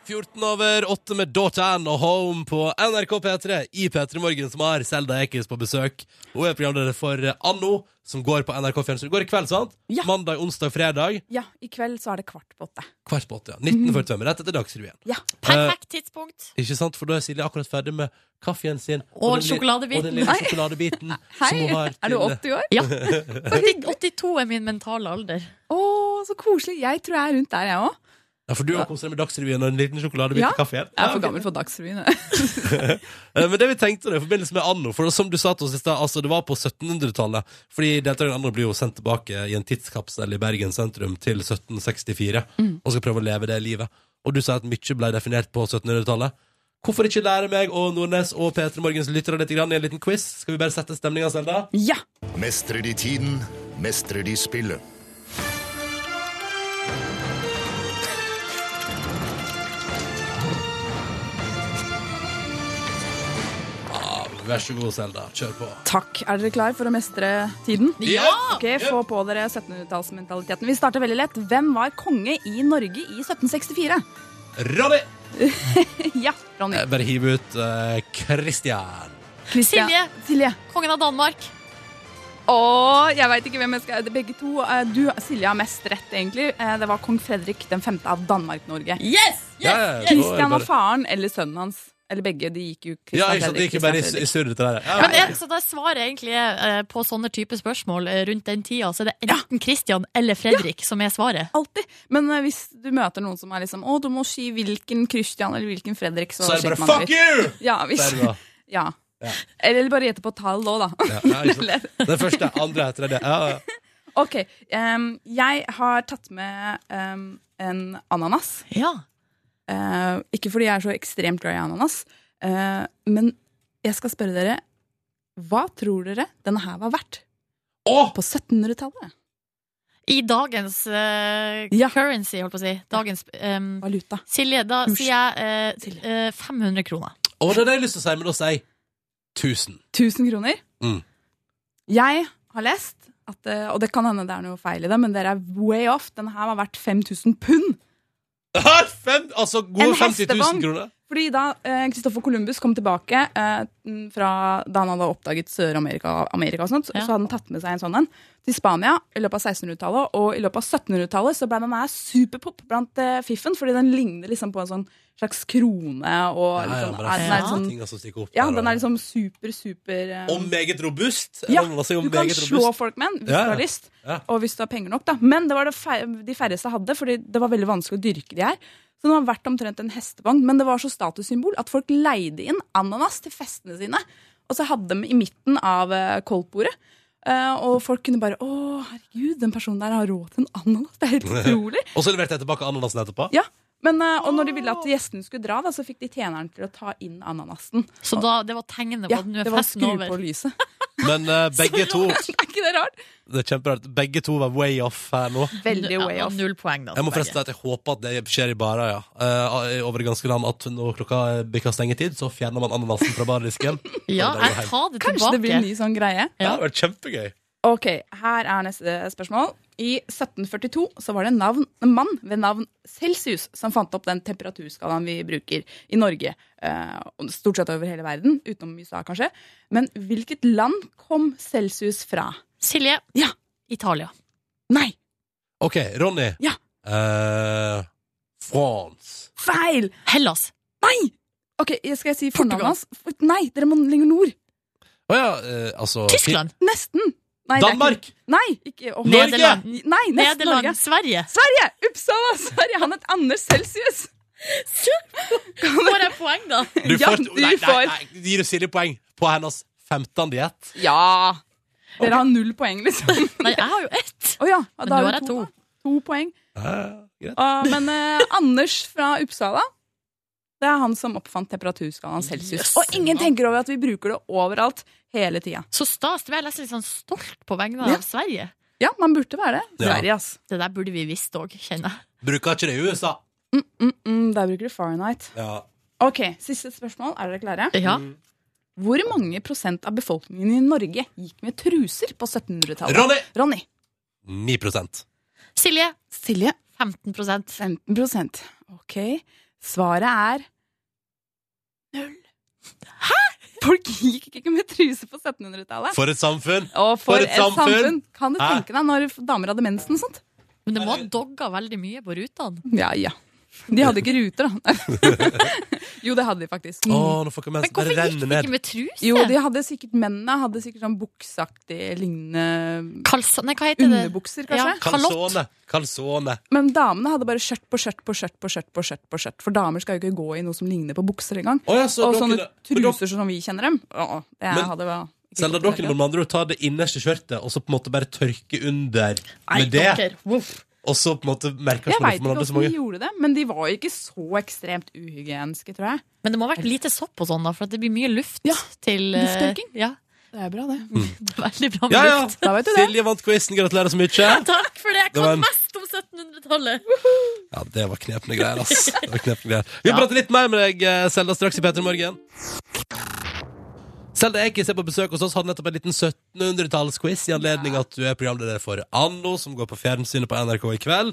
14 over 8 med Daughtan og Home på NRK P3 i P3 Morgen, som har Selda Ekiz på besøk. Hun er programleder for Anno, som går på NRK Fjernsyn. Går i kveld, sant? Mandag, onsdag, fredag. Ja, i kveld så er det kvart på åtte. Kvart på åtte, ja. 19.45, rett etter Dagsrevyen. Ja. Perfekt tidspunkt. Eh, ikke sant? For da er Silje akkurat ferdig med kaffen sin. Og den lille- sjokoladebiten. Og den lille Nei. sjokoladebiten Hei, som hun har er du til- 80 år? Ja. 82 er min mentale alder. Å, så koselig! Jeg tror jeg er rundt der, jeg òg. Ja, for du har kost deg med Dagsrevyen og en liten sjokoladebit Ja. til kaffen. Jeg er for gammel for Dagsrevyen. jeg. Eh, Men det vi tenkte da, i forbindelse med Anno For som du sa til oss i sted, altså det var på 1700-tallet Fordi deltakerne Anno blir jo sendt tilbake I en tidskapsel i Bergen sentrum til 1764 Mm. Og skal prøve å leve det livet Og du sa at mye ble definert på 1700-tallet Hvorfor ikke lære meg og Nordnes og Peter Morgens lyttere litt grann i en liten quiz? Skal vi bare sette stemningen selv da? Ja! Mestrer de tiden, mestrer de spillet. Vær så god, Selda. Kjør på. Takk. Er dere klar for å mestre tiden? Ja! Ok, Få på dere 1700-tallsmentaliteten. Vi starter veldig lett. Hvem var konge i Norge i 1764? Ronny! ja, Ronny. Eh, Bare hiv ut eh, Christian. Christian. Silje. Kongen av Danmark. Og jeg veit ikke hvem jeg skal Begge to. eh, Du, Silje, har mest rett, egentlig. Eh, Det var kong Fredrik den femte av Danmark-Norge. Yes! Ja, ja, ja. yes! Christian Bare- var faren eller sønnen hans. Eller begge. De gikk jo Ja, Christian ikke sant? Det Fredrik, gikk jo bare i, Christian i surr dette der. Ja. Men er, så da svaret egentlig er, eh, på sånne type spørsmål eh, rundt den tida, så er det enten Christian eller Fredrik som er svaret. Alltid. Men eh, hvis du møter noen som er liksom Å, du må si hvilken Christian eller hvilken Fredrik, så, Så er det sjekker bare, man «Fuck ut. you!» Ja, hvis, Så er det bra. ja. Ja. Eller bare gjette på tall òg, da. Ja, ja, ikke sant? Den første, andre, tredje. Ja, ja. OK. em, jeg har tatt med em, en ananas. Eh, ikke fordi jeg er så ekstremt glad i ananas, eh, men jeg skal spørre dere Hva tror dere denne her var verdt? På 1700-tallet. I dagens eh, currency, holdt på å si. Dagens ehm, Silje, da sier jeg eh, eh, 500 kroner. Og det er det jeg har lyst til å si, men da sier jeg 1000. 1000 kroner. Mm. Jeg har lest, at, eh, og det kan hende det er noe feil i det, men dere er way off. Den her var verdt 5000 pund. Fem, altså En gode 50 000 hestevogn. kroner. Fordi da eh, Christopher Columbus kom tilbake eh, fra da han hadde oppdaget Sør-Amerika, Amerika og sånt, så hadde han tatt med seg en sånn en til Spania i løpet av 1600-tallet. Og i løpet av 1700-tallet så ble den her superpop blant eh, fiffen, fordi den ligner liksom på en sånn slags krone. Og Ja, ja, men det liksom, er, den er er flere sånn, ting som stikker opp. ja, der, den og- er liksom super, super eh, Og meget robust. ja, Eller noe som er du kan meget slå robust. folk med Ja, den hvis du har ja. lyst, Ja. og hvis du har penger nok. da. Men det var det fer de færreste hadde, fordi det var veldig vanskelig å dyrke de her. Så den var verdt omtrent en hestevogn, men det var så statussymbol at folk leide inn ananas til festene sine, og så hadde dem i midten av eh, koldtbordet. Eh, og folk kunne bare 'Å, herregud, den personen der har råd til en ananas'. Det er helt utrolig. og så leverte jeg tilbake ananasen etterpå. Ja, men, eh, Og når de ville at gjestene skulle dra, da, så fikk de tjeneren til å ta inn ananasen. Så da, det var tegnet på Ja, at nå det er var festen skru over. på lyset. Men eh, begge to Er ikke det rart? Det er kjemperart. Begge to var way off her nå. Veldig way Ja, off. null poeng, da. Jeg må for begge. forresten si at jeg håper at det skjer i barer, ja. Eh, over det ganske land at når klokka eh, bikker stengetid, så fjerner man ananasen fra bardisken. Ja, Og det går jeg hjem. tar det tilbake. Kanskje det blir en ny sånn greie. Det hadde vært kjempegøy. Ok, her er neste spørsmål. I 1742 så var det en, navn, en mann ved navn Celsius som fant opp den temperaturskalaen vi bruker i Norge. eh, og Stort sett over hele verden, utenom USA kanskje. Men hvilket land kom Celsius fra? Silje. Ja. Italia. Nei, OK, Ronny. Ja. Eh, France. feil! Hellas. Nei! Ok, Skal jeg si fornavnet hans? For- Nei, dere må lenger nord. Å ja, eh, altså Nesten. Nei, det er ikke- Danmark. Nei, ikke å, Norge. Nederland. Nei, nesten Nederland. Norge. Sverige. Sverige! Uppsala, Sverige. Han het Anders Celsius. Får jeg poeng, da? Du Ja, får, du nei, nei, får. nei, gir du Silje poeng på hennes 15. diett? Ja! Dere har null poeng, liksom. Nei, jeg har jo ett. Å ja, Men da nå har har du jeg to. to. da. To poeng. Eh, greit. Og, men eh, Anders fra Uppsala det er han som oppfant temperaturskalaen celsius. Yes. Og ingen tenker over at vi bruker det overalt hele tida. Så stas. Det ble jeg nesten litt sånn stolt på vegne av Sverige. Ja, man burde være det. Ja. Sverige, ass. Det der burde vi visst òg, kjenner jeg. Bruker ikke det i USA? Mm, mm, der bruker du Fahrenheit. Ja. Ok, Siste spørsmål. Er dere klare? Ja. Mm. Hvor mange prosent av befolkningen i Norge gikk med truser på 1700-tallet? Ronny! Ronny. 9 Silje. Silje. 15 15 prosent. Ok. Svaret er null. Hæ?! Folk gikk ikke med truse på 1700-tallet. For et samfunn! Og for, et samfunn! Kan du Hæ? tenke deg når damer hadde mensen og sånt? Men det må ha dogga veldig mye på rutene. Ja, ja. De hadde ikke ruter, da. jo, det hadde de faktisk. Å, nå får ikke mensen bare renne ned. med truse? Jo, de hadde sikkert mennene hadde sikkert sånn bukseaktig lignende Kalsone, hva heter det? Underbukser, kanskje? Kalsone. Kalsone. Men damene hadde bare skjørt på skjørt på skjørt på skjørt, på skjørt, på skjørt. for damer skal jo ikke gå i noe som ligner på bukser engang. Å, ja, så og dere- sånne men dere- truser som vi kjenner dem. Å, det Men- hadde vært Selda, dere må med andre ord ta det innerste skjørtet og så på en måte bare tørke under med det. Og så på en måte merker Jeg man at veit ikke man hadde så hvordan de mange. gjorde det, men de var jo ikke så ekstremt uhygieniske, tror jeg. Men det må ha vært lite sopp og sånn, da, for at det blir mye luft til eh, Lufttørking. Ja. Det er bra, det. Det er veldig bra med Ja, ja. luft. Silje vant quizen, gratulerer så mye. Takk for det! Jeg Det var kan en- mest om 1700-tallet. Ja, det var knepne greier, ass. Det var knepne greier. Vi prater litt mer med deg, eh, Selda, straks i P3 Morgen. Selda Ekiz er på besøk hos oss, hadde nettopp en liten 1700-tallsquiz i anledning at du er programleder for Anno, som går på fjernsynet på NRK i kveld.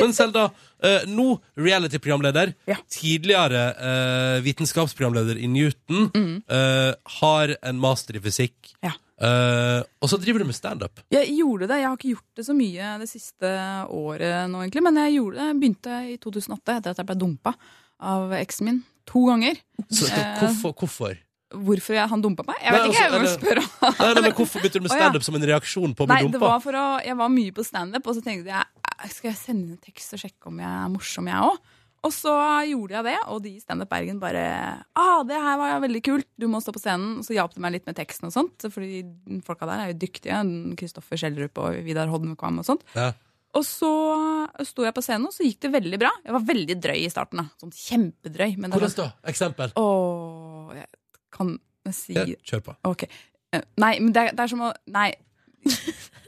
Men Selda, eh, nå reality-programleder, tidligere eh, vitenskapsprogramleder i Newton, eh, har en master i fysikk, Mhm. Ja. eh, og så driver du med standup. Jeg gjorde det. Jeg har ikke gjort det så mye det siste året nå, egentlig. Men jeg gjorde det. begynte i 2008, etter at jeg ble dumpa av eksen min to ganger. Så Eh, hvorfor? hvorfor? hvorfor jeg, han dumpa meg? Jeg Nei, vet ikke, jeg altså, må eller- spørre han. Nei, nei, men Hvorfor begynte du med Å, ja. standup som en reaksjon på å bli Nei, det dumpa? var for å, jeg var mye på standup, og så tenkte jeg "Eh, skal jeg sende en tekst og sjekke om jeg er morsom, jeg òg. Og så gjorde jeg det, og de i Standup Bergen bare ah, 'Det her var veldig kult, du må stå på scenen.' Og så hjalp de meg litt med teksten og sånt, fordi folka der er jo dyktige. Kristoffer Schjelderup og Vidar Hodnekvam og sånt. Ja. Og så sto jeg på scenen, og så gikk det veldig bra. Jeg var veldig drøy i starten. da, sånn Kjempedrøy. Men det Hvordan var, da? Eksempel. Åh, jeg kan si Ja, kjør på. Ok. Eh, Nei, men det, er- det er som å Nei.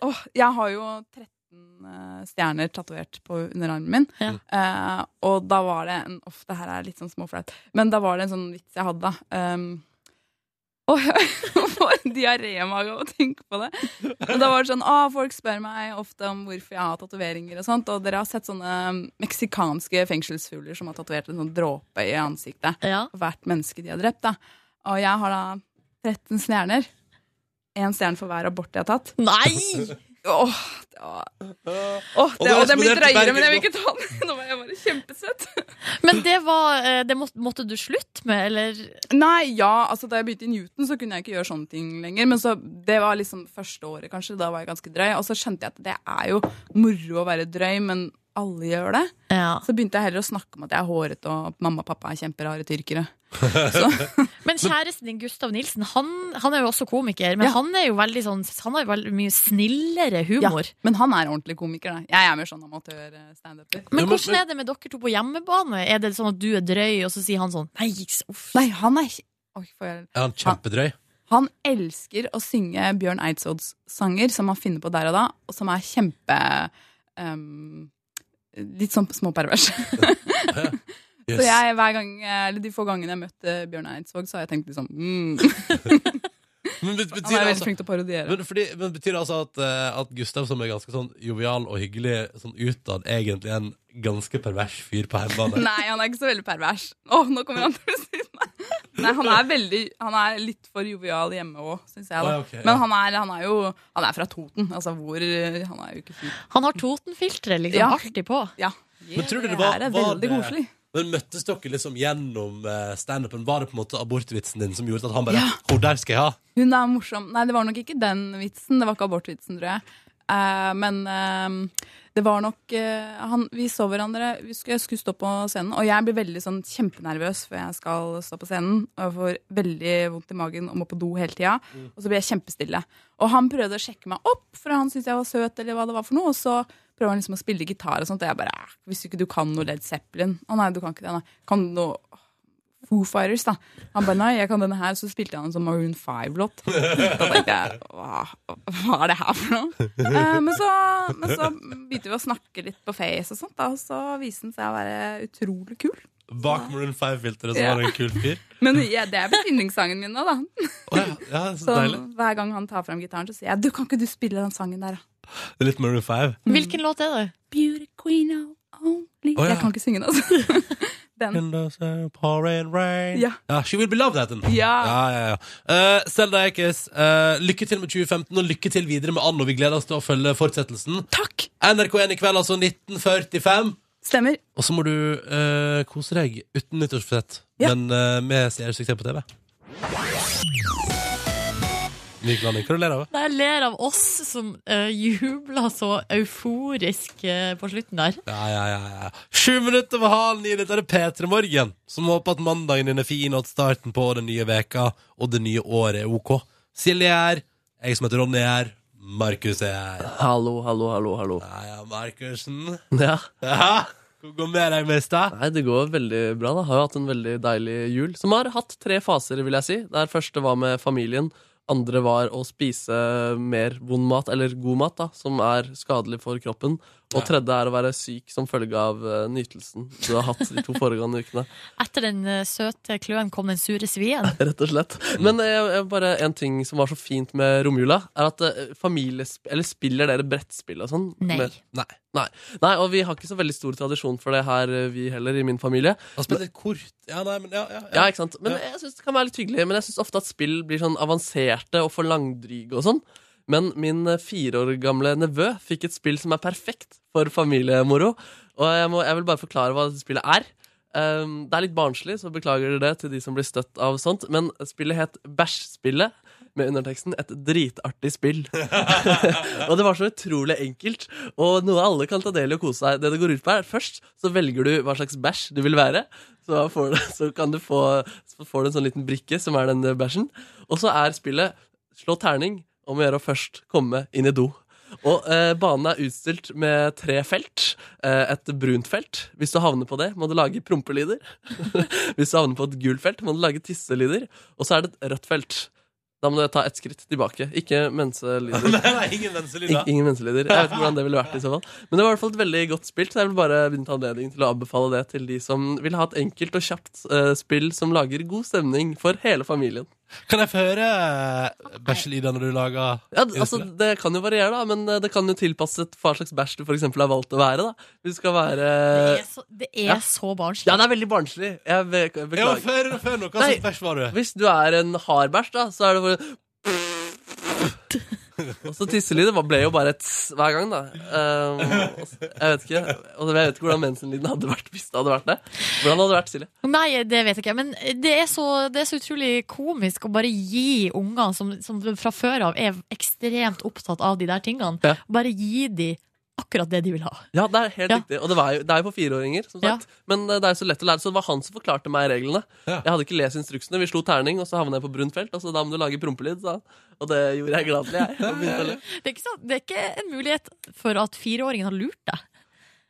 Åh, jeg har jo 13 eh, stjerner tatovert på underarmen min. Eh, og da var det en Uff, det her er litt sånn småflaut. Men da var det en sånn vits jeg hadde, da. Um, Åh, jeg får diaré i magen av å tenke på det. Men da var det sånn, ah, Folk spør meg ofte om hvorfor jeg har tatoveringer. Og sånt, og dere har sett sånne um, meksikanske fengselsfugler som har tatovert en sånn dråpe i ansiktet på hvert menneske de har drept. da. Og jeg har da 13 stjerner. Én stjerne for hver abort jeg har tatt. Nei! Åh, det var... Åh, Og det, da og den blir eksploderte drøyere, Bergen men jeg vil nå. ikke ta den. Nå var jeg bare kjempesøt. Men det var eh, Det måtte, måtte du slutte med, eller? Nei, ja, altså Da jeg begynte i Newton, så kunne jeg ikke gjøre sånne ting lenger. Men så, det var liksom første året, kanskje. Da var jeg ganske drøy. Og så skjønte jeg at det er jo moro å være drøy, men alle gjør det. Så begynte jeg heller å snakke om at jeg er hårete, og at mamma og pappa er kjemperare tyrkere. Men kjæresten din, Gustav Nilsen, han, han er jo også komiker, men han er jo veldig sånn Han har jo veldig mye snillere humor. Ja, men han er ordentlig komiker, da. Jeg er mer sånn amatør-standuper. Men hvordan er det med dere to på hjemmebane? Er det sånn at du er drøy, og så sier han sånn Nei, uff. Nei, han er ikke Oi, får jeg Er han kjempedrøy? Han elsker å synge Bjørn Eidsvods sanger som han finner på der og da, og som er kjempe ehm, Litt sånn småpervers. Så jeg, hver gang, eller de få gangene jeg har møtt eh, Bjørn Eidsvåg, så har jeg tenkt liksom mm. Men, bet- betyr Han er det veldig flink til å parodiere. Men, fordi, men betyr det altså at, eh, at Gustav, som er ganske sånn jovial og hyggelig sånn utad, egentlig er en ganske pervers fyr på hjemmebane? Nei, han er ikke så veldig pervers. Åh, nå kommer han til å si meg! Nei, han er, veldig, han er litt for jovial hjemme òg, syns jeg. Da. Å, ja, ok, ja. Men han er, han er jo Han er fra Toten. Altså, hvor eh, Han er jo ikke fin. Han har Toten-filteret liksom Ja. alltid på. Ja. Men tror du det var, her er var veldig det, koselig. Men møttes dere liksom gjennom eh, standupen? Var det på en måte abortvitsen din som gjorde at han bare Hvor der skal jeg ha? Hun er morsom. Nei, det var nok ikke den vitsen. Det var ikke abortvitsen, tror jeg. Eh, men eh, det var nok eh, han, Vi så hverandre. Vi skulle, jeg skulle stå på scenen, og jeg blir veldig sånn kjempenervøs før jeg skal stå på scenen. Og jeg får veldig vondt i magen og må på do hele tida. Og så blir jeg kjempestille. Og han prøvde å sjekke meg opp, for han syntes jeg var søt, eller hva det var for noe. Og så prøver han liksom å spille gitar og sånt, og jeg bare "Ah, Hvis ikke du kan noe Led Zeppelin Å nei, du kan ikke det, nei. Kan du noe Foo Fighters, da? Han bare nei, jeg kan denne her. Så spilte han en sånn Maroon 5-låt. Da tenkte jeg hva, hva er det her for noe? Eh, men, så, men så begynte vi å snakke litt på Face og sånt, da, og så viste han seg å være utrolig kul. Bak Maroon 5-filteret så Ja. var det en kul fyr. Men ja, det er blitt yndlingssangen min nå, da. Ja, så Så deilig. hver gang han tar fram gitaren, så sier jeg du kan ikke du spille den sangen der, da? Det er Litt Maroon 5. Hvilken låt er det? Beauty queen of only Å, ja. Jeg kan ikke synge den, altså. den. Windows are Mm. pouring rain. Ja. Ja, She Will Be Loved heter den. Ja. Ja, ja, ja. Eh, Selda Eikes, eh, lykke til med 2015, og lykke til videre med Ann, og vi gleder oss til å følge fortsettelsen. Takk! NRK1 i kveld, altså 1945. Stemmer. Og så må du eh, kose deg uten nyttårsforsett, Ja. men eh, med seersuksess på TV. Myk landing. Hva du ler av? Nei, Jeg ler av oss som uh, jubla så euforisk eh, på slutten der. Ja, ja, ja, ja. Sju minutter over halv ni, dette er P3 Morgen, som håper at mandagen din er fin, og at starten på den nye veka og det nye året er ok. Silje er her, jeg som heter Ronny er her, Markus er her. Hallo, hallo, hallo. hallo. Ja, ja, Markussen. Ja. Ja, Hvordan går det med deg, mester? Nei, Det går veldig bra. da Har jo hatt en veldig deilig jul. Som har hatt tre faser, vil jeg si. Der første var med familien. Andre var å spise mer vond mat, eller god mat, da som er skadelig for kroppen. Og tredje er å være syk som følge av eh, nytelsen du har hatt de to foregående ukene. Etter den eh, søte kløen kom den sure svien. Rett og slett. Mm. Men eh, jeg- bare en ting som var så fint med romjula, er at eh, familiesp... Eller spiller dere brettspill og sånn? Nei. Med- eh, Nei. Nei. Nei. Og vi har ikke så veldig stor tradisjon for det her, eh, vi heller, i min familie. Har spilt et kort. Ja, nei, men ja, ja, Ja, ikke sant? Men jeg synes det kan være litt hyggelig Men jeg synes ofte at spill blir sånn avanserte og for langdryge og sånn Men min eh, fire år gamle nevø fikk et spill som er perfekt for familiemoro Og jeg, må, jeg vil bare forklare hva spillet er Ehm, Det er litt barnslig, så beklager dere det til de som blir støtt av sånt Men spillet het Bæsjspillet med underteksten 'Et dritartig spill'. og det var så utrolig enkelt, og noe alle kan ta del i og kose seg. Det det går ut på er Først så velger du hva slags bæsj du vil være. Så, får du, så kan du få så får du en sånn liten brikke som er den bæsjen. Og så er spillet slå terning om å gjøre å først komme inn i do. Og eh, banen er utstilt med tre felt. Eh, et brunt felt. Hvis du havner på det, må du lage prompelyder. Hvis du havner på et gult felt, må du lage tisselyder. Og så er det et rødt felt. Da må du ta ett skritt tilbake. Ikke menselyder. Nei, nei, ingen menselyder. Ik- Ingen menselyder. Jeg vet ikke hvordan det ville vært i så fall. Men det var i hvert fall et veldig godt spill, så jeg vil bare benytte anledningen til å anbefale det til de som vil ha et enkelt og kjapt eh, spill som lager god stemning for hele familien. Kan jeg få høre bæsjelyder når du lager Ja, d- altså, det kan jo variere, da, men eh, det kan jo tilpasses hva slags bæsj du for eksempel har valgt å være. da. Hvis du skal være Det er så, det er Ja. så barnslig. Ja, det er veldig barnslig. Jeg be Ja, beklager. før, før noe, hva slags Nei. bæsj var du? Hvis du er en hard bæsj, da, så er det bare Og så tisselydet var- ble jo bare et tss hver gang, da. Um, og s- jeg vet ikke og jeg vet ikke hvordan mensenlyden hadde vært hvis det hadde vært det. Hvordan hadde det vært, Silje? Nei, det vet jeg ikke. Men det er så, det er så utrolig komisk å bare gi unger som, som fra før av er ekstremt opptatt av de der tingene, Ja. bare gi de akkurat det de vil ha. Ja, det er helt riktig. Og det, var jo, det er jo på fireåringer, som sagt. Men eh, det er jo så lett å lære. Så det var han som forklarte meg reglene. Jeg hadde ikke lest instruksene. Vi slo terning, og så havnet jeg på brunt felt. Og så da må du lage prompelyd, sa han. Og det gjorde jeg gladelig, jeg. Og begynte å le. Det er ikke, så, det er ikke en mulighet for at fireåringen har lurt deg.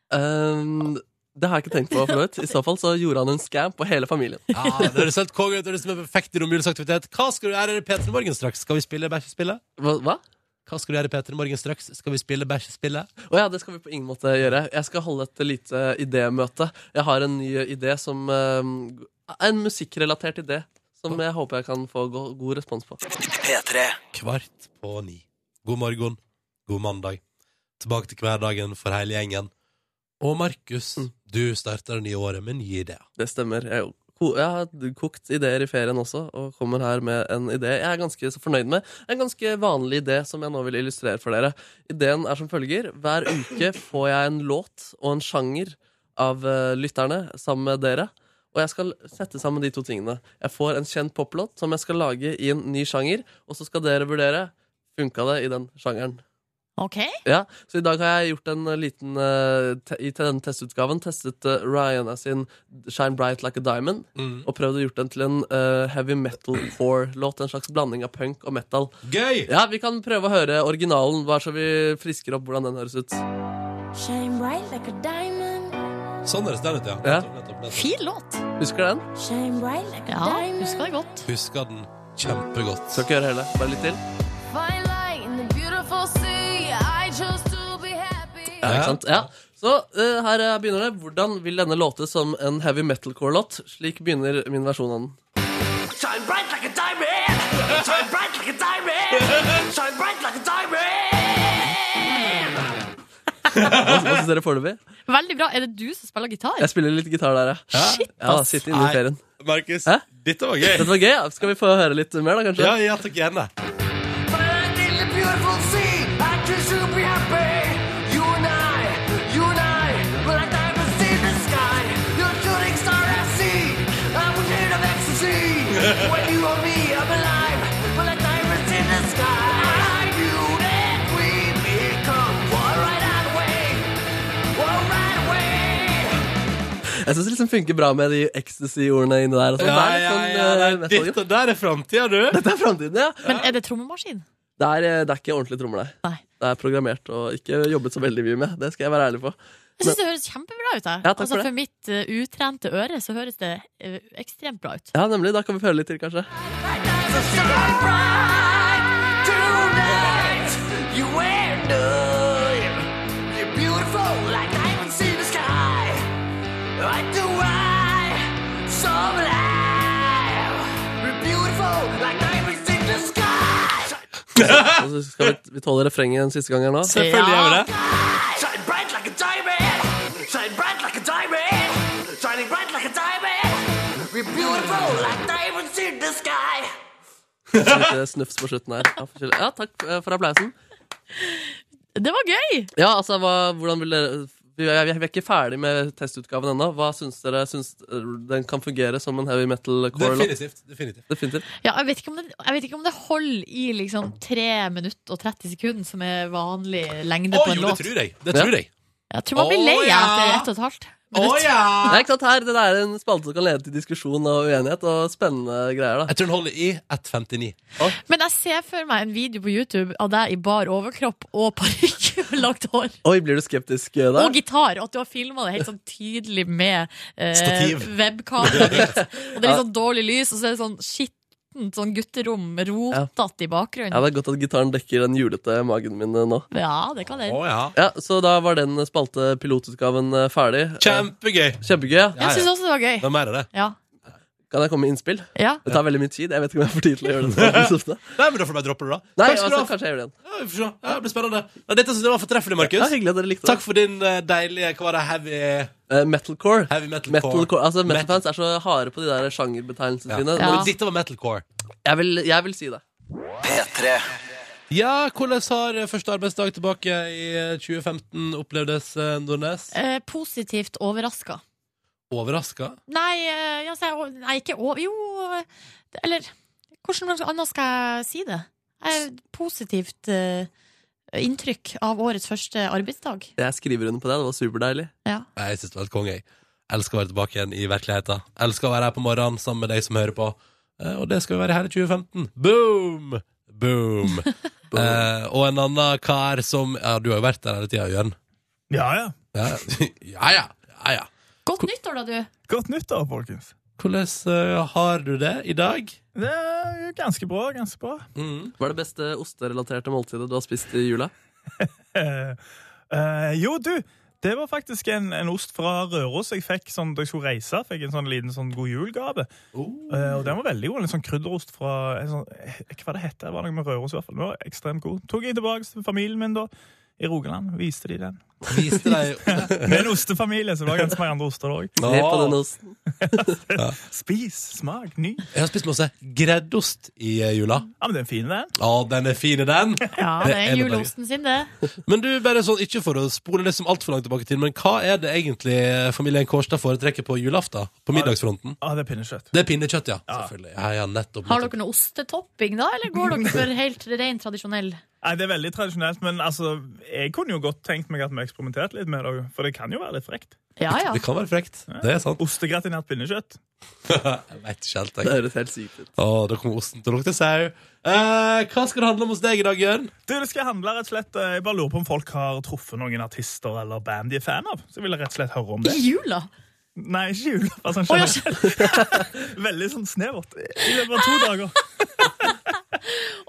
Um, det har jeg ikke tenkt på, Floyd. I så fall så gjorde han en scam på hele familien. Ja, Ah, det høres helt konge ut. Det høres som en perfekt romjulsaktivitet. Hva skal du gjøre i P3 Morgen straks? Skal vi spille bæsjespillet? Hva? Hva skal du gjøre i P3 Morgen straks? Skal vi spille bæsjespillet? Å ja, det skal vi på ingen måte gjøre. Jeg skal holde et lite idémøte. Jeg har en ny idé som um, En musikkrelatert idé som jeg håper jeg kan få go god respons på. P3. Kvart på ni. God morgen. God mandag. Tilbake til hverdagen for hele gjengen. Og Markus, Mm. du starter det nye året med nye ideer. Det stemmer. Jeg, ko- jeg har kokt ideer i ferien også, og kommer her med en idé jeg er ganske så fornøyd med. En ganske vanlig idé som jeg nå vil illustrere for dere. Ideen er som følger. Hver uke får jeg en låt og en sjanger av eh, lytterne sammen med dere. Og jeg skal sette sammen de to tingene. Jeg får en kjent poplåt som jeg skal lage i en ny sjanger, og så skal dere vurdere funka det i den sjangeren. Ok? Ja, så i dag har jeg gjort en eh, liten eh, te I te- denne testutgaven testet eh, Rihanna sin Shine Bright Like a Diamond Mm. Og prøvd å gjort den til en eh, heavy metal core-låt En slags blanding av punk og metal Gøy! Ja, vi kan prøve å høre originalen Bare så vi frisker opp hvordan den høres ut Shine bright like a diamond. Sånn høres den ut, ja. Fin låt. Husker den? Shine bright like a Ja, diamond. husker det godt. Husker den kjempegodt. Skal ikke gjøre hele. Bare litt til. Find light in the beautiful sea. I chose to be happy. Ja, ikke sant? Ja. Så eh, her eh, begynner det. Hvordan vil denne låte som en heavy metal-core-låt? Slik begynner min versjon av den. Shine bright like a diamond. Shine bright like a diamond. Shine bright like a diamond. Hva hva syns dere foreløpig? Veldig bra. Er det du som spiller gitar? Jeg spiller litt gitar der, ja. Shit, ja ass. Sitte inne Nei, i ferien. Markus, dette var gøy. Dette var gøy, ja. Skal vi få høre litt mer, da, kanskje? Ja, ja, takk gjerne. Find light in the beautiful sea. I choose to be happy. You and I, you and I, we're like diamonds in the sky. You're a shooting star I see. I'm a hit of ecstasy. When you are me, I'm alive. We're like diamonds in the sky. I knew that we'd become one right out away. One right away. Jeg syns det liksom funker bra med de ecstasy-ordene inni der. Og sånn. Ja, Det er litt ja, sånn, ja, eh, det er- metal, jo. dette der er framtida, du. Dette er framtiden, ja. Men er det trommemaskin? Det er, eh, det er ikke ordentlig trommer, nei. Det er programmert og ikke jobbet så veldig mye med. Det skal jeg være ærlig på. Jeg syns det høres kjempebra ut. Jeg. Ja, takk altså, for det. for mitt eh, utrente øre så høres det eh, ekstremt bra ut. Ja, nemlig. Da kan vi høre litt til, kanskje. Tonight, you and I, you're beautiful like diamonds in the sky. Right do I, so alive. We're beautiful like diamonds in the sky. Og så skal vi, vi tåle refrenget en siste gang her nå. Selvfølgelig gjør vi det. Shine bright like a diamond, shine bright like a diamond, shining bright like a diamond. We're beautiful like diamonds in the sky. Litt eh, snufs på slutten her. Ja, forskjellig. Ja, takk eh, for applausen. Det var gøy! Ja, altså, hva, hvordan vil dere vi er, vi er ikke ferdig med testutgaven ennå. Hva syns dere? Syns eh, den kan fungere som en heavy metal core? Definitivt. definitivt. Definitivt. Ja, jeg, vet ikke om det, jeg vet ikke om det holder i liksom 3 minutter og 30 sekunder, som er vanlig lengde Å, på en jo, det låt. tror jeg. Det tror jeg. Jeg tror man blir Å, lei ja. etter ett og et halvt minutt. Det er ikke sant her, det der er en spalte som kan lede til diskusjon og uenighet og spennende greier. da Jeg tror den holder i 1,59. Men jeg ser for meg en video på YouTube av deg i bar overkropp og parykk og langt hår. Oi, blir du skeptisk eh, der? Og gitar, og at du har filma det helt sånn tydelig med eh, Stativ. webkameraet ditt. Og det er litt Ja. sånn dårlig lys, og så er det sånn skittent sånn gutterom rotete i Ja, bakgrunnen. Det er godt at gitaren dekker den julete magen min eh, nå. Ja, det kan det. Ja, Så da var den spalte pilotutgaven eh, ferdig. Kjempegøy! Kjempegøy, ja. Jeg syns også det var gøy. er mer av det. Ja. Kan jeg komme med innspill? Ja. Det tar veldig mye tid. Jeg vet ikke om jeg får tid til å gjøre det. så ofte. Nei, men da får du bare droppe det, da. Nei, Takk skal du altså, ha. kanskje jeg gjør det igjen. Ja, vi får se. Ja, det blir spennende. Ja, dette synes jeg var fortreffelig, Markus. Ja, hyggelig at dere likte det. Takk for din eh, deilige Hva var det? Heavy Eh, metalcore. Heavy metalcore. Metalcore. Altså, Metal- Metalfans er så harde på de der sjangerbetegnelsene sine. Ja. Nå- Men dette var metalcore. Jeg vil, jeg vil si det. P3. Ja, hvordan har eh, første arbeidsdag tilbake i eh, 2015 opplevdes, eh, Nordnes? Eh, positivt overraska. Overraska? Nei, eh, altså, jeg, nei, ikke over Jo, eh, eller Hvordan annet skal jeg si det? Jeg er positivt eh, inntrykk av årets første arbeidsdag. Jeg skriver under på det. Det var superdeilig. Ja. Nei, Jeg synes det var helt konge. jeg. Elsker å være tilbake igjen i virkeligheten. Elsker å være her på morgenen sammen med deg som hører på. Eh, Og det skal vi være her i 2015. Boom! Boom. Eh, og en annen kar som Ja, du har jo vært der hele tida, Jørn. Ja, ja. Ja, ja. ja, ja, ja. Godt nyttår, da, du. Godt nyttår, folkens. Hvordan eh, har du det i dag? Det er ganske bra, ganske bra. Hva er det beste osterelaterte måltidet du har spist i jula? Eh, eh, jo, du, det var faktisk en, en ost fra Røros jeg fikk sånn, da jeg skulle reise. Fikk en sånn liten sånn god jul-gave. Eh, og den var veldig god. En sånn krydderost fra en sånn, eh, Hva det heter det? var noe med Røros, i hvert fall. Den var ekstremt god. Tok jeg tilbake til familien min da, i Rogaland. Viste de den. Viste deg Med en ostefamilie, så det var ganske mange andre oster òg. Se på den osten. Spis, smak, ny. Jeg har spist masse greddost i eh, jula. Ja, men den er fin, den. Ja, den er fin, den. Ja, det er juleosten sin, det. Men du, bare sånn, ikke for å spole liksom altfor langt tilbake i tid, men hva er det egentlig familien Kårstad foretrekker på julaften? På middagsfronten? Ja, det er pinnekjøtt. Det er pinnekjøtt, ja. Selvfølgelig. Ja, ja, nettopp. Har dere noe ostetopping, da, eller går dere for helt ren tradisjonell? Nei, Det er veldig tradisjonelt, men altså, jeg kunne jo godt tenkt meg at vi eksperimentert litt med det òg, for det kan jo være litt frekt. Ja, ja. Det kan være frekt. Det er sant. Ostegratinert pinnekjøtt. jeg vet ikke helt, jeg. Det høres helt sykt ut. Å, da kommer osten til å lukte sau. Eh, hva skal det handle om hos deg i dag, Jørn? Du, det skal handle rett og slett eh, Jeg bare lurer på om folk har truffet noen artister eller band de er fan av. Så jeg vil rett og slett høre om det. I jula? Nei, ikke i jula. Bare sånn Å, ja, generelt. Veldig sånn snevert. I løpet av to dager.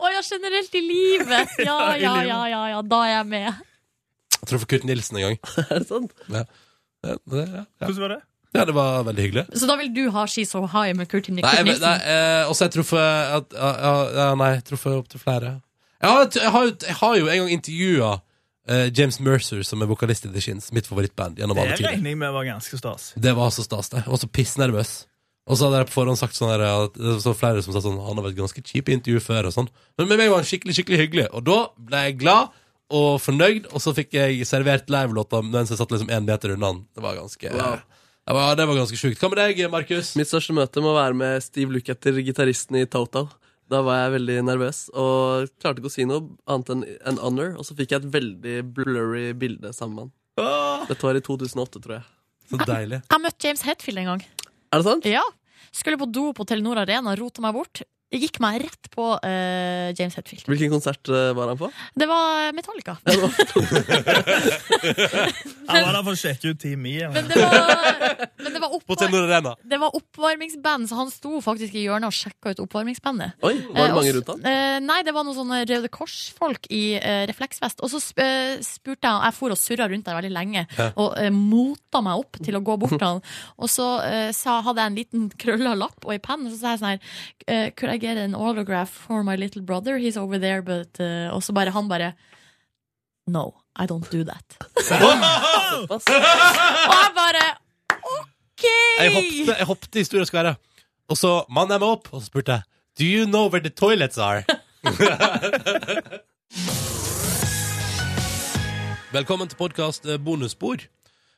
Å ja, generelt i livet! Ja, Ja, i ja, livet. ja, ja, ja, da er jeg med. Jeg traff Kurt Nilsen en gang. er det sant? Ja. Ja, det, ja. Hvordan var det? Ja, det var veldig hyggelig. Så da vil du ha She's So High med Kurt Nick- Nei, Kurt men- nei, Nilsen? eh, også jeg truffet at, ja, ja, ja, Nei, jeg truffet opp til flere. Jeg har, jeg har, jeg har jo en gang intervjua James Mercer, som er vokalist i The Shins, mitt favorittband gjennom Det alle tider. regner jeg med var ganske stas. Det var så stas, det. Og så pissnervøs. Og så hadde jeg på forhånd sagt sånn der, at det var flere som sa sånn Han har vært ganske kjip i intervju før, og sånn. Men med meg var han skikkelig skikkelig hyggelig. Og da ble jeg glad og fornøyd, og så fikk jeg servert livelåta mens jeg satt liksom én meter unna han. Det var ganske Wow. det, var, det var ganske sjukt. Hva med deg, Markus? Mitt største møte må være med Steve Lukather, gitaristen i Toto. Da var jeg veldig nervøs og klarte ikke å si noe annet enn en honor. Og så fikk jeg et veldig blurry bilde sammen med han. Dette var i 2008, tror jeg. Så deilig. Jeg møtte James Hetfield en gang. Er det sant? Ja. Skulle på do på Telenor Arena, rota meg bort. Gikk meg rett på eh, James Hetfield. Hvilken konsert eh, var han på? Det var Metallica. Han var der for å sjekke ut Team E. Men det var, men det var, På oppvar Telenor Arena. det var oppvarmingsband, så han sto faktisk i hjørnet og sjekka ut oppvarmingsbandet. Oi, var Eh, det og mange s- rundt han? eh, nei, det var noen sånne Røde Kors-folk i eh, refleksvest. Og så sp eh, spurte jeg Jeg for og surra rundt der veldig lenge Ja. og eh, mota meg opp til å gå bort til han. Og så eh, sa, hadde jeg en liten krølla lapp og ei penn, og så sa jeg sånn her eh, Could I get an autograph for my little brother? He's over there, but eh, Og så bare han bare No, I don't do that. Og Såpass. jeg bare OK! Jeg hoppte, jeg hoppte i store skværet. Og så mannet jeg meg opp, og så spurte jeg Do you know where the toilets are? Velkommen til podkast bonusbord.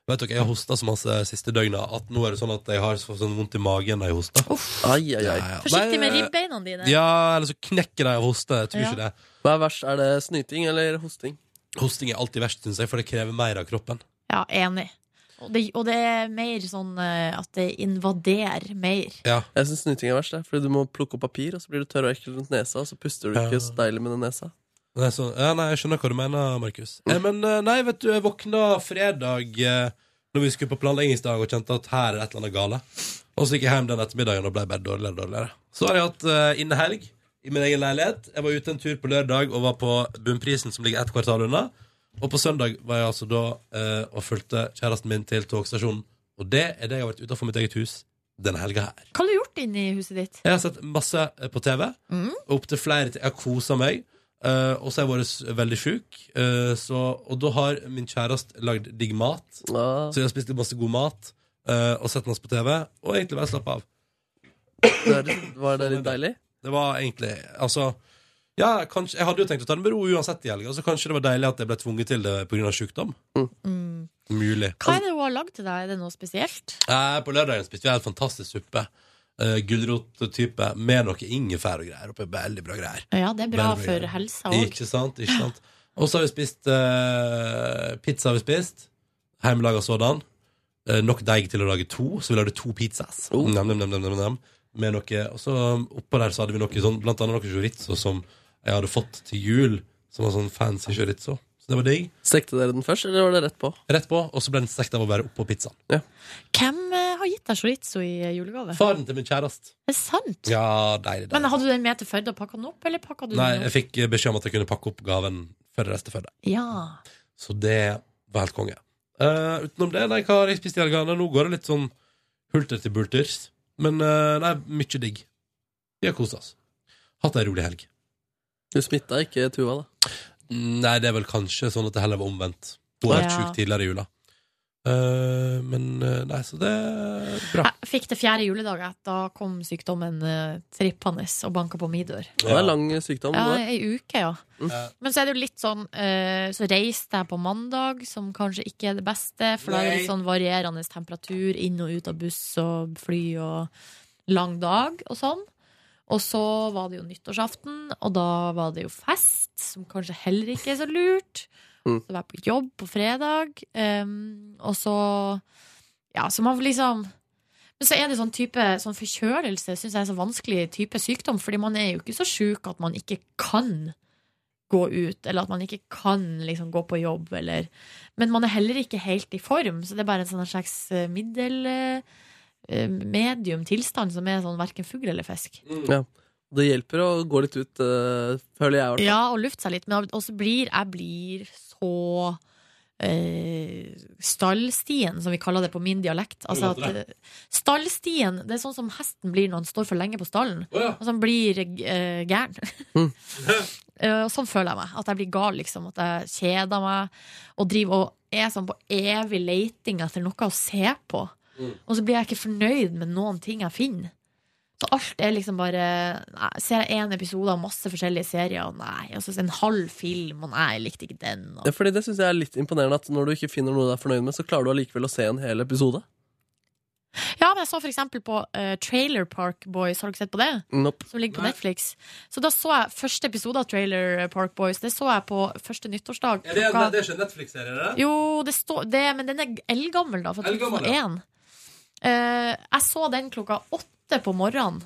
Vet dere, Jeg har hosta så masse siste døgnet at nå er det sånn at jeg har så- sånn vondt i magen når jeg hoster. Ai, ai, ai. Forsiktig med ribbeina dine. eh, Ja, eller så knekker de av hoste. Jeg tror Ja. ikke det. Hva er verst? Er det snyting eller hosting? Hosting er alltid verst, syns jeg, for det krever mer av kroppen. Ja, enig. Og det, og det er mer sånn eh, at det invaderer mer. Jeg syns snyting er verst, jeg, fordi du må plukke opp papir, og så blir du tørr og ekkel rundt nesa, og så puster du Ja. ikke så deilig med den nesa. Nei, så, ja, nei, jeg skjønner hva du mener, Markus. Eh, men eh, nei, vet du, jeg våkna fredag eh, Når vi skulle på planleggingsdag og kjente at her er et eller annet gale. Og så gikk jeg hjem den ettermiddagen og ble bare dårligere og dårligere. Så har jeg hatt eh, innehelg i min egen leilighet. Jeg var ute en tur på lørdag og var på Bunnprisen, som ligger ett kvartal unna. Og på søndag var jeg altså da eh, og fulgte kjæresten min til togstasjonen. Og det er det jeg har vært utenfor mitt eget hus denne helga her. Hva har du gjort inne i huset ditt? Jeg har sett masse eh, på TV. Mm. Opp til flere ting. Jeg har kosa meg. eh, og så har jeg vært s- veldig sjuk. eh, så- og da har min kjæreste lagd digg mat. Ah. Så jeg har spist masse god mat eh, og sett masse på TV. Og egentlig bare slappe av. Var det, var det litt deilig? Det var egentlig Altså ja, kanskje, Jeg hadde jo tenkt å ta det med ro uansett i helga, så kanskje det var deilig at jeg ble tvunget til det pga. sykdom. Mm. Mulig. Hva er det hun har lagd til deg? Er det noe spesielt? Eh, på lørdagen spiste vi en fantastisk suppe. Uh, Gulrottype med noe ingefær og greier. Oppi veldig bra greier. Ja, det er bra Veldig for helsa òg. Ikke sant, ikke sant Og så har vi spist eh, Pizza har vi spist Heimelaga sådan Eh, Nok deig til å lage to Så vi lagde to pizzas Nam, nam, nam, nam, nam, nam. Med noe Og så um, oppå der så hadde vi noe sånn Blant annet noe chorizo som jeg hadde fått til jul Som var sånn fancy chorizo Så det var digg Stekte dere den først, eller var det rett på? Rett på, og så ble den stekt av å være oppå pizzaen Hvem eh, har gitt deg chorizo i eh, julegave? Faren til min kjærest Er det sant? Ja, deilig, deilig Men hadde du den med til Førde og pakka den opp, eller pakka du Nei, den jeg opp? fikk eh, beskjed om at jeg kunne pakke opp gaven Før det resten før det Ja. Så det var helt konge. Eh, utenom det, nei, hva har jeg spist i helga? Nei, Nå går det litt sånn hulter til bulters. Men eh, nei, mye digg. Vi har kost oss. Hatt ei rolig helg. Du smitta ikke Tuva, da? Nei, det er vel kanskje sånn at det heller var omvendt. Hun var helt Ja. sjuk tidligere i jula. Eh, men eh, nei, så det er bra. Jeg fikk det fjerde juledag. jeg. Da kom sykdommen eh, trippende og banka på min dør. Det er lang sykdom. Ja, det Mm. der. ei uke, ja. Ja. Men så er det jo litt sånn eh, Så reiste jeg på mandag, som kanskje ikke er det beste, for da er det litt Nei. sånn varierende temperatur inn og ut av buss og fly og lang dag og sånn. Og så var det jo nyttårsaften, og da var det jo fest, som kanskje heller ikke er så lurt. Mm. Så var jeg på jobb på fredag, em, og så Ja, så man liksom men så er det sånn type sånn forkjølelse syns jeg er så vanskelig type sykdom, fordi man er jo ikke så sjuk at man ikke kan gå ut, eller at man ikke kan liksom gå på jobb, eller Men man er heller ikke helt i form, så det er bare en sånn slags eh, middel eh, medium tilstand som er sånn verken fugl eller fisk. Ja. Det hjelper å gå litt ut, eh, føler jeg. i hvert fall. Ja, og lufte seg litt. Men og så blir jeg blir så eh, stallstien, som vi kaller det på min dialekt. Altså Hva heter at, eh, stallstien det er sånn som hesten blir når han står for lenge på stallen. Altså han blir eh, gæren. Eh, og sånn føler jeg meg. At jeg blir gal, liksom. At jeg kjeder meg. Og driver og er sånn på evig leiting etter noe å se på. Og så blir jeg ikke fornøyd med noen ting jeg finner. Så alt er liksom bare nei, Ser jeg én episode av masse forskjellige serier, og nei. Og så en halv film, og nei, jeg likte ikke den. Og. Ja, fordi Det syns jeg er litt imponerende at når du ikke finner noe du er fornøyd med, så klarer du allikevel å se en hel episode. Ja, men jeg så for eksempel på eh, Trailer Park Boys, har du ikke sett på det? Nope. Som ligger på Netflix. Så da så jeg første episode av Trailer Park Boys. Det så jeg på første nyttårsdag. Er det, klokka- det er ikke en Netflix-serie, det? Jo, det står det, Men den er eldgammel, da, fra Eldgammel, 2001. ja. Eh, jeg så den klokka åtte på morgenen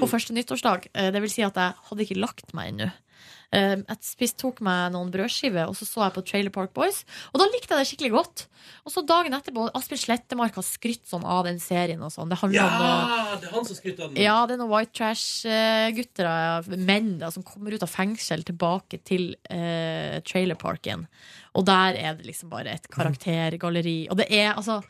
på Mm. første nyttårsdag. Eh, det vil si at jeg hadde ikke lagt meg ennå. Eh, jeg spist, tok meg noen brødskiver, og så så jeg på Trailer Park Boys. Og da likte jeg det skikkelig godt. Og så dagen etterpå Asbjørn Slettemark har skrytt sånn av den serien og sånn. Det handler om noe det er han som skryter av ja, det er noen white trash-gutter, eh, menn, da, som kommer ut av fengsel tilbake til eh, trailerparken. Og der er det liksom bare et karaktergalleri. Og det er altså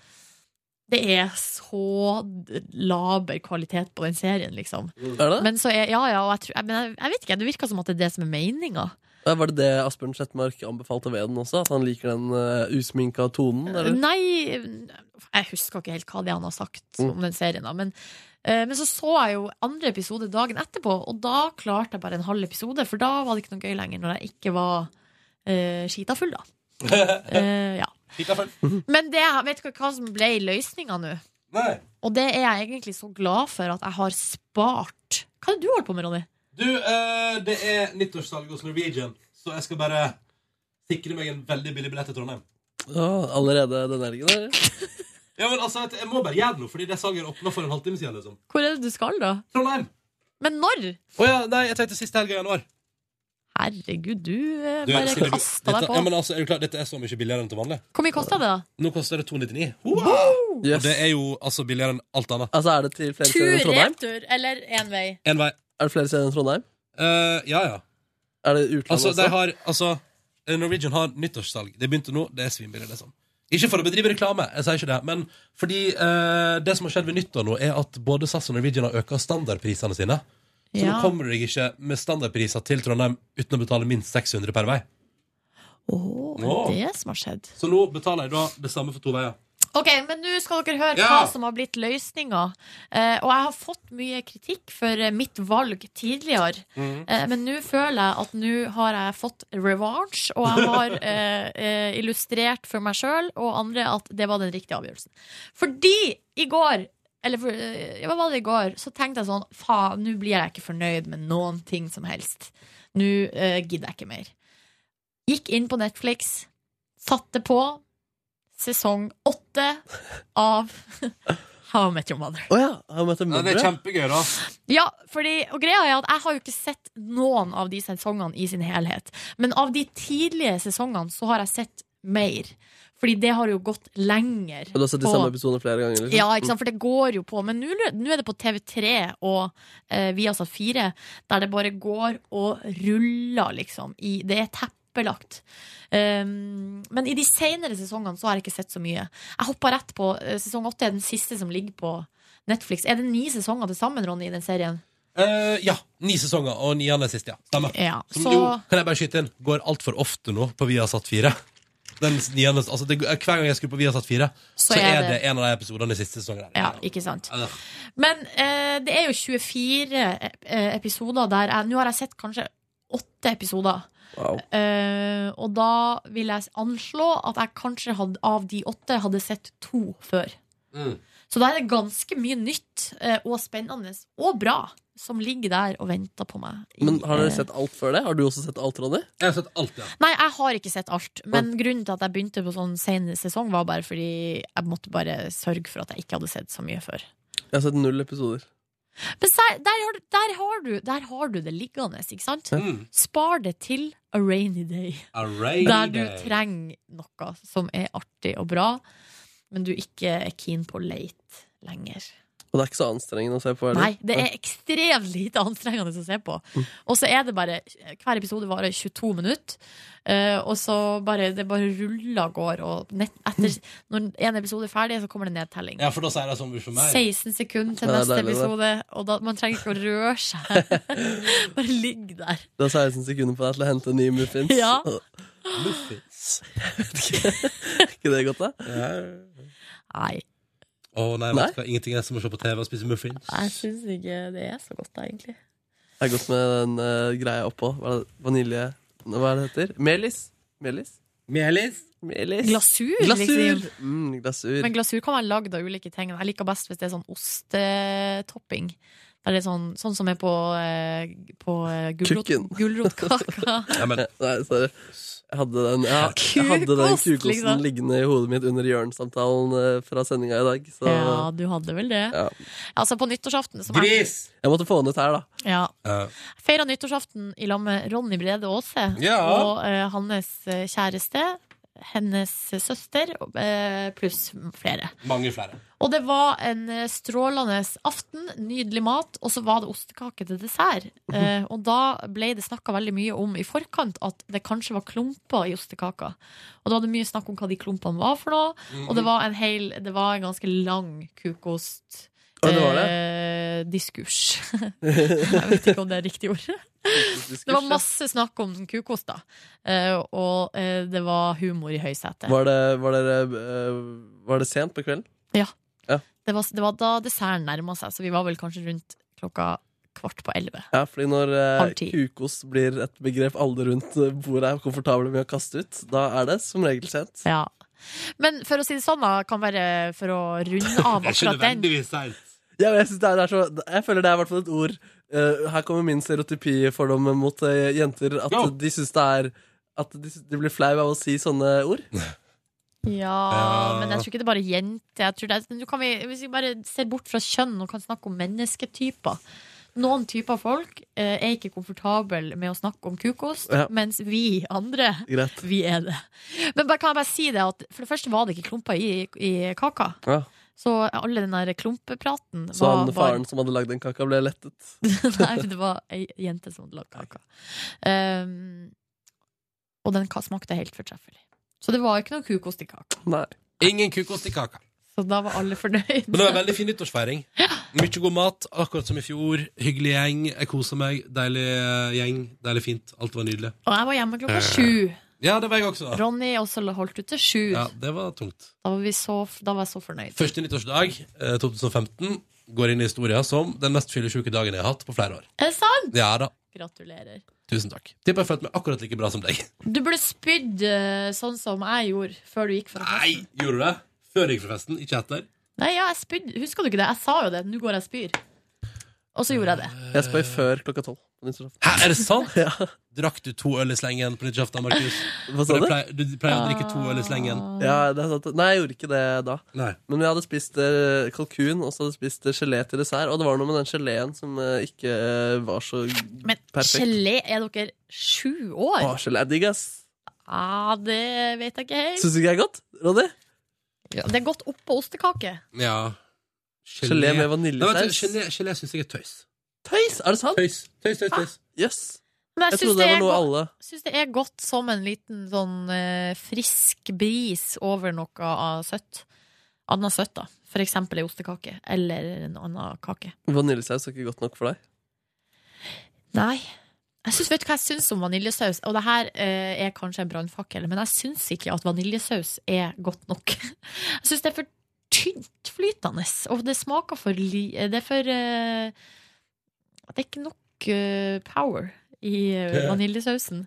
Det er så d- laber kvalitet på den serien, liksom. Er det? Men så er, ja, ja, og jeg, tror- jeg, men jeg, jeg vet ikke, det virker som at det er det som er meninga. Ja, Var det det Asbjørn Slettmark anbefalte ved den også? At han liker den eh, usminka tonen? Eller? Nei, jeg husker ikke helt hva det er han har sagt Mm. om den serien. Da. Men, eh, men så så jeg jo andre episode dagen etterpå, og da klarte jeg bare en halv episode. For da var det ikke noe gøy lenger, når jeg ikke var eh, skita full, da. Eh, ja. Men det, vet dere hva som ble løsninga nå? Og det er jeg egentlig så glad for at jeg har spart. Hva er det du holder på med, Ronny? Du, eh, det er nyttårssalg hos Norwegian, så jeg skal bare sikre meg en veldig billig billett til Trondheim. Ja, allerede den helgen, eller? Ja, men altså, jeg må bare gjøre noe, fordi det salget er åpna for en halvtime siden. Liksom. Hvor er det du skal, da? Trondheim. Men når? Å ja, nei, jeg tenkte siste helga i januar. Herregud, du eh, Du, bare skulle du- kasta deg dette- Ja, men på. altså, er du klar, dette er så mye billigere enn til vanlig. Hvor mye kosta det, da? Nå koster det 299. Og Det er jo altså billigere enn alt annet. Altså, er det til flere Tur, steder enn Trondheim? retur eller én vei? En vei. Eh, Er det flere steder enn Trondheim? ja, ja. Er det utlandet Altså, de også? har, altså eh, Norwegian har nyttårssalg. Det begynte nå. Det er svinbillig, liksom. Ikke for å bedrive reklame, jeg sier ikke det, men fordi eh, det som har skjedd ved nyttår nå, er at både SAS og Norwegian har øka standardprisene sine. Så nå Ja. kommer du deg ikke med standardpriser til Trondheim uten å betale minst 600 per vei. Åh. det som har skjedd. Så nå betaler jeg da det samme for to veier. Ok, men nå skal dere høre Ja. hva som har blitt løsninga. Eh, og jeg har fått mye kritikk for eh, mitt valg tidligere. Eh, men nå føler jeg at nå har jeg fått revansj, og jeg har eh, eh, illustrert for meg sjøl og andre at det var den riktige avgjørelsen. Fordi i går eller for, eh, hva var det i går? Så tenkte jeg sånn Faen, nå blir jeg ikke fornøyd med noen ting som helst. Nå eh, gidder jeg ikke mer. Gikk inn på Netflix, satte på sesong åtte av How I Met Your Mother. Å ja. Har vi møtt en det er mødre? kjempegøy, da. Ja, fordi, og greia er at Jeg har jo ikke sett noen av de sesongene i sin helhet. Men av de tidlige sesongene så har jeg sett mer. Fordi det har jo gått lenger. Du har sett de på- samme episodene flere ganger? liksom? ja, ikke sant, for det går jo på. Men nå nå er det på TV3 og eh, Viasat 4, der det bare går og ruller, liksom. I, det er teppelagt. Um, men i de senere sesongene så har jeg ikke sett så mye. Jeg hoppa rett på eh, sesong åtte, er den siste som ligger på Netflix. Er det ni sesonger til sammen, Ronny, i den serien? Eh, ja. Ni sesonger, og niende er sist, ja. Stemmer. Ja, Som så- jo, kan jeg bare skyte inn, går altfor ofte nå på Viasat 4. Den niende, altså det, hver gang jeg skrur på Viasat 4, så, er det en av de episodene i siste sesongen. Ja, ikke sant? Ja. Men eh, det er jo 24 ep- eh, episoder der jeg Nå har jeg sett kanskje åtte episoder. Eh, og da vil jeg anslå at jeg kanskje hadde, av de åtte hadde sett to før. Så da er det ganske mye nytt eh, og spennende og bra som ligger der og venter på meg. i, Men har eh, dere sett alt før det? Har du også sett alt, Ronny? Jeg har sett alt, ja. Nei, jeg har ikke sett alt. Men grunnen til at jeg begynte på sånn sen sesong, var bare fordi jeg måtte bare sørge for at jeg ikke hadde sett så mye før. Jeg har sett null episoder. Men der, der, har, du, der, har, du, der har du det liggende, ikke sant? Mm. Spar det til a rainy day. A rainy der du day. trenger noe som er artig og bra, men du ikke er keen på å leite lenger. Og det er ikke så anstrengende å se på? Nei, det er ekstremt lite anstrengende å se på. Mm. Og så er det bare Hver episode varer 22 minutter. eh, og så bare Det bare ruller av gårde, og nett, etter, Mm. når en episode er ferdig, så kommer det nedtelling. Ja, for da sier jeg sånn for meg. 16 sekunder til Ja, det er neste deilig, det. episode, og da, man trenger ikke å røre seg. Bare ligg der. Du har 16 sånn sekunder på deg til å hente nye muffins. Ja. Muffins. Er ikke det godt, da? Nei. Å nei, vet du hva? Ingenting er som å se på TV og spise muffins. Jeg syns ikke det er så godt, da, egentlig. Det er godt med den eh, greia oppå. Hva er det? Vanilje Hva er det heter? Melis? Melis? Melis? Glasur, Glasur! liksom. Mm, glasur. Men glasur kan være lagd av ulike ting. Jeg liker best hvis det er sånn ostetopping. Der det er sånn, sånn som er på, eh, på eh, gulrot, Kukken. gulrotkaka. Nei, sorry. Jeg hadde den, jeg, jeg hadde den Kukost, kukosten liksom. liggende i hodet mitt under hjørnesamtalen eh, fra sendinga i dag. Så, Ja, du hadde vel det. Ja. Altså, på nyttårsaften som Jeg måtte få den ut her, da. Jeg, ja. jeg feira nyttårsaften i lag med Ronny Brede Aase Ja. og eh, hans eh, kjæreste, hennes søster, eh, pluss flere. Mange flere. Og det var en eh, strålende aften, nydelig mat, og så var det ostekake til dessert. Mhm. Eh, og da ble det snakka veldig mye om i forkant at det kanskje var klumper i ostekaka. Og da var det mye snakk om hva de klumpene var for noe, og Mhm. det var en, hel, det var en ganske lang kukost. Ja, det var det. eh, diskurs. Jeg vet ikke om det er riktig ord. Det var masse snakk om kukost, da. Eh, og eh, det var humor i høysetet. Var det, var, dere, eh, var det sent på kvelden? Ja. Ja. Det var, det var da desserten nærma seg, så vi var vel kanskje rundt klokka kvart på elleve. Ja, fordi når eh, Halv ti. kukost blir et begrep alle rundt eh, bordet er komfortable med å kaste ut, da er det som regel sent. Ja. Men for å si det sånn, da, kan være for å runde av akkurat den. Ja, men jeg, synes det er, det er så, jeg føler det er i hvert fall et ord eh, Her kommer min stereotypifordom mot eh, jenter. At de syns det er At de, sy- de blir flau av å si sånne ord. Ja, Ja. men jeg tror ikke det er bare jenter. Jeg tror det er, nå kan vi, hvis vi bare ser bort fra kjønn og kan snakke om mennesketyper. Noen typer folk eh, er ikke komfortable med å snakke om kukost, Ja. mens vi andre Greit. Vi er det. Men bare, kan jeg bare si det at for det første var det ikke klumper i, i kaka. Ja. Så alle den der klumpepraten Så han var, var faren som hadde lagd den kaka, ble lettet. Nei, for det var ei jente som hadde lagd kaka. Um, og den ka- smakte helt fortreffelig. Så det var ikke noe kukost i kaka. Ingen kukost i kaka. Så da var alle fornøyd. Men det var en veldig fin nyttårsfeiring. Mye god mat, akkurat som i fjor. Hyggelig gjeng. Jeg koser meg. Deilig eh, gjeng. Deilig fint. Alt var nydelig. Og jeg var hjemme klokka Eh, sju. Ja, det var jeg også. Ronny også holdt ut til sju. Ja, det var tungt. Da, var vi så, da var jeg så fornøyd. Første nyttårsdag eh, 2015 går inn i historien som den mest fyllesyke dagen jeg har hatt på flere år. Er det sant? Ja da. Gratulerer. Tusen takk. Tipper jeg følte meg akkurat like bra som deg. Du burde spydd eh, sånn som jeg gjorde før du gikk fra festen. Gjorde du det? Før jeg gikk fra festen, ikke etter. Nei, ja, jeg spydde. Husker du ikke det? Jeg sa jo det. Nå går jeg og spyr. Og så gjorde jeg det. Jeg spøy Eh. før klokka tolv. Hæ, er det sant? Drakk du to øl i slengen på nyttårsaften, Markus? Hva sa For du? det Pleier, du pleier å drikke to øl i slengen. Ja, det er sant. Nei, jeg gjorde ikke det da. Nei. Men jeg hadde spist eh, kalkun og så hadde jeg spist eh, gelé til dessert. Og det var noe med den geleen som eh, ikke eh, var så Men perfekt. gelé, er dere sju år? Å, gelé er digg, ass. Ah, det vet jeg ikke helt. Syns du ikke det er godt, Ronny? Det er godt oppå ostekake. Ja. Gelé med vaniljesaus. Nei, vet du, Gelé, gelé syns jeg er tøys. Tøys, er det sant? Tøys, tøys, tøys, tøys. Yes. Men Jeg jeg syns trodde det, det er var noe godt- alle- syns det er godt som en liten sånn eh, frisk bris over noe av søtt. Annet søtt, da. For eksempel ei ostekake eller en annen kake. Vaniljesaus er ikke godt nok for deg? Nei. Jeg synes, vet du hva jeg syns om vaniljesaus? Og det her eh, er kanskje en brannfakkel, men jeg syns ikke at vaniljesaus er godt nok. Jeg syns det er for tynt flytende, og det smaker for li... Det er for eh, Det er ikke nok eh, power i eh, vaniljesausen.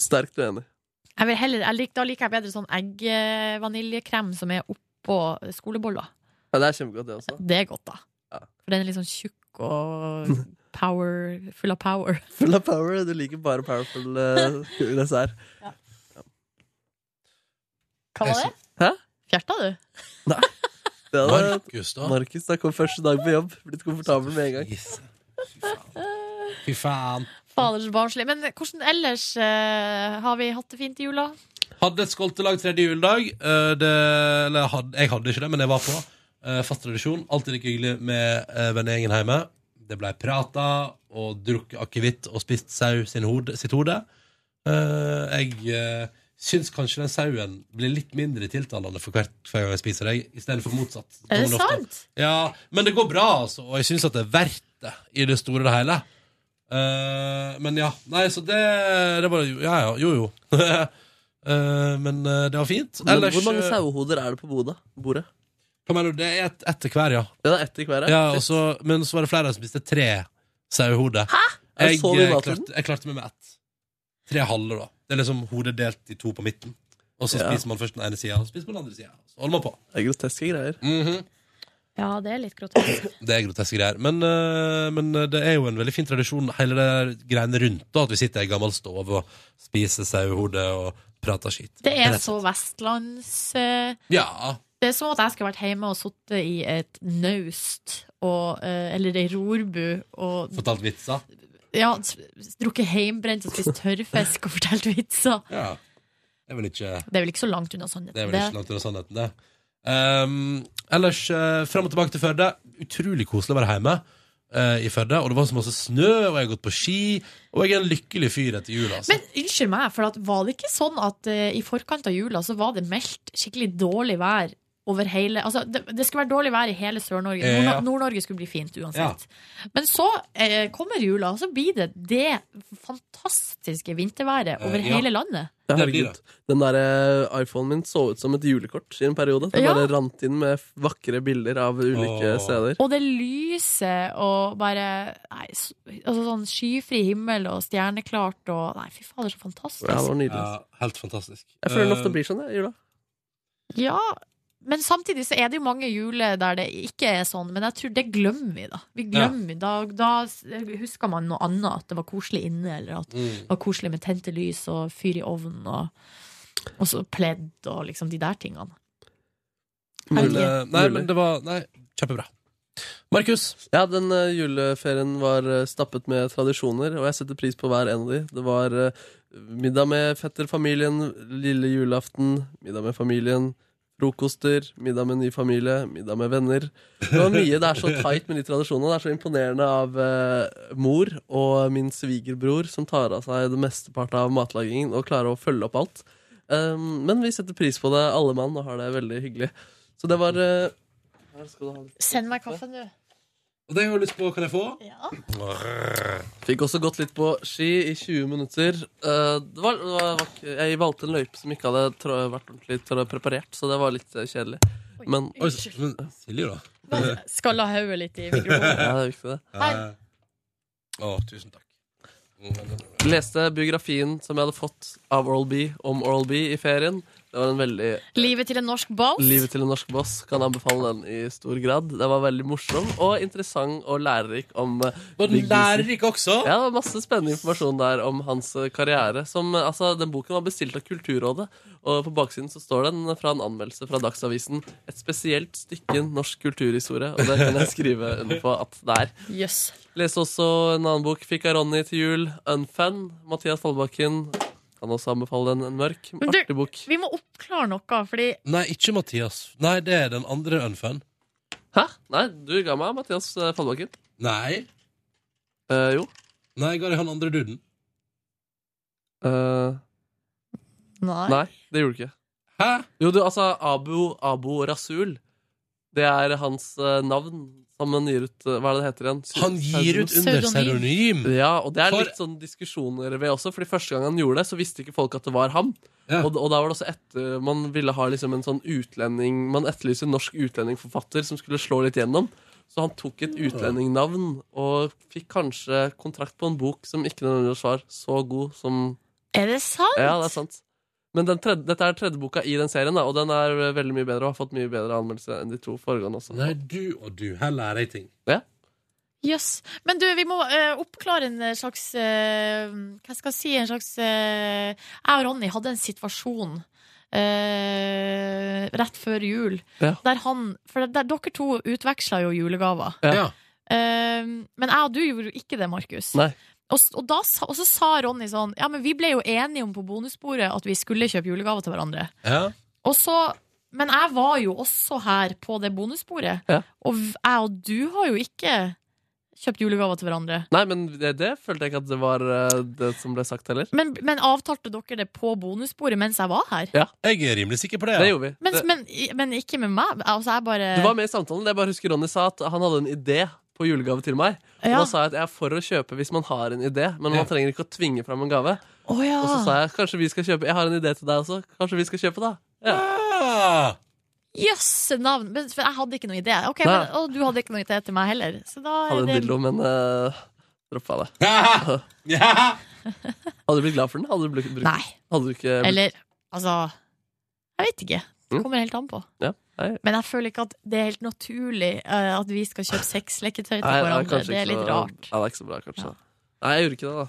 Sterkt uenig. Jeg vil heller, jeg lik, da liker jeg bedre sånn egg-vaniljekrem som er oppå skoleboller. Ja, det er kjempegodt, det også. Det er godt, da. For den er litt sånn tjukk og power, full av power. Full av power. Du liker bare powerful eh, dessert. Hva var det? Hæ? Fjerta du? Det hadde, Markus, da? Markus, da kom første dag på jobb. Blitt komfortabel med en gang. Fy faen. Faders barnslig. Men hvordan ellers eh, har vi hatt det fint i jula? Hadde et skoltelag tredje juledag. Eh, Det, eller hadde, jeg hadde ikke det, men jeg var på. Eh, Fast tradisjon. Alltid like hyggelig med eh, vennegjengen hjemme. Det blei prata og drukket akevitt og spist sau sin hode, sitt hode. Eh, Jeg eh, syns kanskje den sauen blir litt mindre tiltalende for hvert hver gang jeg spiser deg, istedenfor motsatt. Er det Kommer ofte. sant? Ja, men det går bra, altså. Og jeg syns at det er verdt det i det store og det hele. Eh, men ja. Nei, så det, det var jo Ja, ja. Jo, jo. Eh, men eh, det var fint. Men hvor mange eh, sauehoder er det på boda? bordet? Hva mener du? Det er et, etter hver, ja. Ja, det er ett i hver. ja og så- men så var det flere som spiste tre sauehoder. Er det Jeg, så mye eh, mat i den? klarte, jeg klarte meg med ett. Tre halve, da. Det er liksom hodet delt i to på midten. Og så Ja. spiser man først den ene sida, og så spiser man den andre sida. Så holder man på. Det er groteske greier. Ja, det er litt grotesk. Det er groteske greier. Men, eh, men eh, det er jo en veldig fin tradisjon, hele det der greiene rundt, da, at vi sitter i ei gammel stove og spiser sauehode og prater skit. Det Rett er og så vestlands... eh, slett. Ja. Det er som at jeg skulle vært hjemme og sittet i et naust og, eh, eller ei rorbu og Fortalt vitser. ja, s- s- drukket heimbrent og spist tørrfisk og fortalt vitser. Ja. Det er vel ikke Det er vel ikke så langt unna sannheten. Det er vel ikke langt unna sannheten, det. Ehm, ellers, uh, fram og tilbake til Førde. Utrolig koselig å være hjemme eh, i Førde. Og det var så masse snø, og jeg har gått på ski, og jeg er en lykkelig fyr etter jul, altså. Men unnskyld meg, for at var det ikke sånn at eh, i forkant av jula så var det meldt skikkelig dårlig vær over hele Altså, det, det skulle være dårlig vær i hele Sør-Norge. Eh, Nord- ja. Nord-Norge skulle bli fint uansett. Men så eh, kommer jula, og så blir det det fantastiske vinterværet over Eh, ja. hele landet. Ja, herregud. Den der eh, iPhonen min så ut som et julekort i en periode. Den Ja. bare rant inn med f- vakre bilder av ulike steder. Og det lyset og bare nei, s- altså sånn skyfri himmel og stjerneklart og Nei, fy fader, så fantastisk. Ja, det var nydelig. Ja, helt fantastisk. Jeg føler den Eh, ofte blir sånn, jeg, i jula. Ja, men samtidig så er det jo mange juler der det ikke er sånn, men jeg tror det glemmer vi, da. Vi glemmer, da, da husker man noe annet, at det var koselig inne, eller at Mm. det var koselig med tente lys og fyr i ovnen, og, og så pledd og liksom de der tingene. Men, Herregud. eh, nei, men det var Nei, kjempebra. Markus? Ja, den eh, juleferien var eh, stappet med tradisjoner, og jeg setter pris på hver en av de. Det var eh, middag med fetterfamilien lille julaften, middag med familien, frokoster, middag med ny familie, middag med venner. Det var mye. Det er så tight med de tradisjonene. Det er så imponerende av eh, mor og min svigerbror, som tar av seg det mesteparten av matlagingen og klarer å følge opp alt. Um, men vi setter pris på det, alle mann, og har det veldig hyggelig. Så det var eh, her skal du ha litt Send meg kaffen, du. Og det har jeg lyst på, kan jeg få? Ja. Fikk også gått litt på ski i 20 minutter. Eh, det var, det var, var ikke- jeg valgte en løype som ikke hadde trå, vært ordentlig trå, preparert, så det var litt eh, kjedelig. Men Oi, unnskyld. Silje, da? Skalla hodet litt i ja, mikrofonen. det er viktig, det. Hei. Å, tusen takk. Leste biografien som jeg hadde fått av Oral B om Oral B i ferien. Det var en veldig Livet til en norsk boss. Livet til en norsk boss kan anbefale den i stor grad. Det var veldig morsom og interessant og lærerik om eh, Var den Big Easy. lærerik også? Ja, det var masse spennende informasjon der om hans eh, karriere. Som, eh, altså, den boken var bestilt av Kulturrådet, og på baksiden så står den fra en anmeldelse fra Dagsavisen. Et spesielt stykke norsk kulturhistorie, og det kan jeg skrive under på at det er. Jøss. Leste også en annen bok, fikk av Ronny til jul, Unfan, Mathias Fallbakken. Kan også anbefale den, en mørk, Men du, artig bok. vi må oppklare noe, fordi Nei, ikke Mathias. Nei, det er den andre unfun. Hæ? Nei, du ga meg Mathias eh, Fallbakken. Eh, Nei. jo. Nei, jeg ga deg han andre duden. Eh, Nei. Nei, det gjorde du ikke. Hæ? Jo, du, altså Abu, Abu Rasul. Det er hans eh, navn som han gir ut eh, Hva er det det heter igjen? Han gir ut under Pseudonym. pseudonym. Ja, og det er For- litt sånn diskusjoner ved også, Fordi første gang han gjorde det, så visste ikke folk at det var ham. Og, og da var det også etter Man ville ha liksom en sånn utlending Man etterlyste en norsk utlendingforfatter som skulle slå litt gjennom. Så han tok et utlendingnavn og fikk kanskje kontrakt på en bok som ikke nødvendigvis var så god som Er det sant? Ja, det er sant. Men den tredje, dette er tredje boka i den serien, da, og den er eh, veldig mye bedre og har fått mye bedre anmeldelser enn de to foregående også. Nei, du og du. Her lærer jeg ting. Ja. Jøss. Men du, vi må eh, oppklare en slags eh, Hva skal jeg si? En slags eh, Jeg og Ronny hadde en situasjon eh, rett før jul Ja. der han For der, dere to utveksla jo julegaver. Ja. Ja. Eh, men jeg og du gjorde jo ikke det, Markus. Nei. Og, s- og, da, sa- og så sa Ronny sånn Ja, men vi ble jo enige om på bonusbordet at vi skulle kjøpe julegaver til hverandre. Ja. Og så, men jeg var jo også her på det bonusbordet. Ja. Og v- jeg og du har jo ikke kjøpt julegaver til hverandre. Nei, men det, det følte jeg ikke at det var eh, det som ble sagt heller. Men, men avtalte dere det på bonusbordet mens jeg var her? Ja. Jeg er rimelig sikker på det. Det gjorde vi. Mens, det, men, men ikke med meg? Altså, jeg bare Du var med i samtalen. Jeg bare husker Ronny sa at han hadde en idé på julegave til meg. Og Ja. Da sa jeg at jeg er for å kjøpe hvis man har en idé, men man Ja. trenger ikke å tvinge fram en gave. Å ja. Og så sa jeg kanskje vi skal kjøpe. Jeg har en idé til deg også. Kanskje vi skal kjøpe, da. Ja. Jøsse navn! Men, for jeg hadde ikke noe idé. Ok, Nei. men, og du hadde ikke noe idé til meg heller. Så da er Hadde en det- dildo, men uh, droppa det. hadde du blitt glad for den? Hadde du blitt, brukt- Nei. Hadde du ikke Eller altså Jeg vet ikke. Det Mm. kommer helt an på. ja. Nei. Men jeg føler ikke at det er helt naturlig eh, at vi skal kjøpe sexleketøy til Nei, nei, hverandre. kanskje Det er ikke litt så- rart. Ja, det er ikke så bra, kanskje. Nei, jeg gjorde ikke det, da.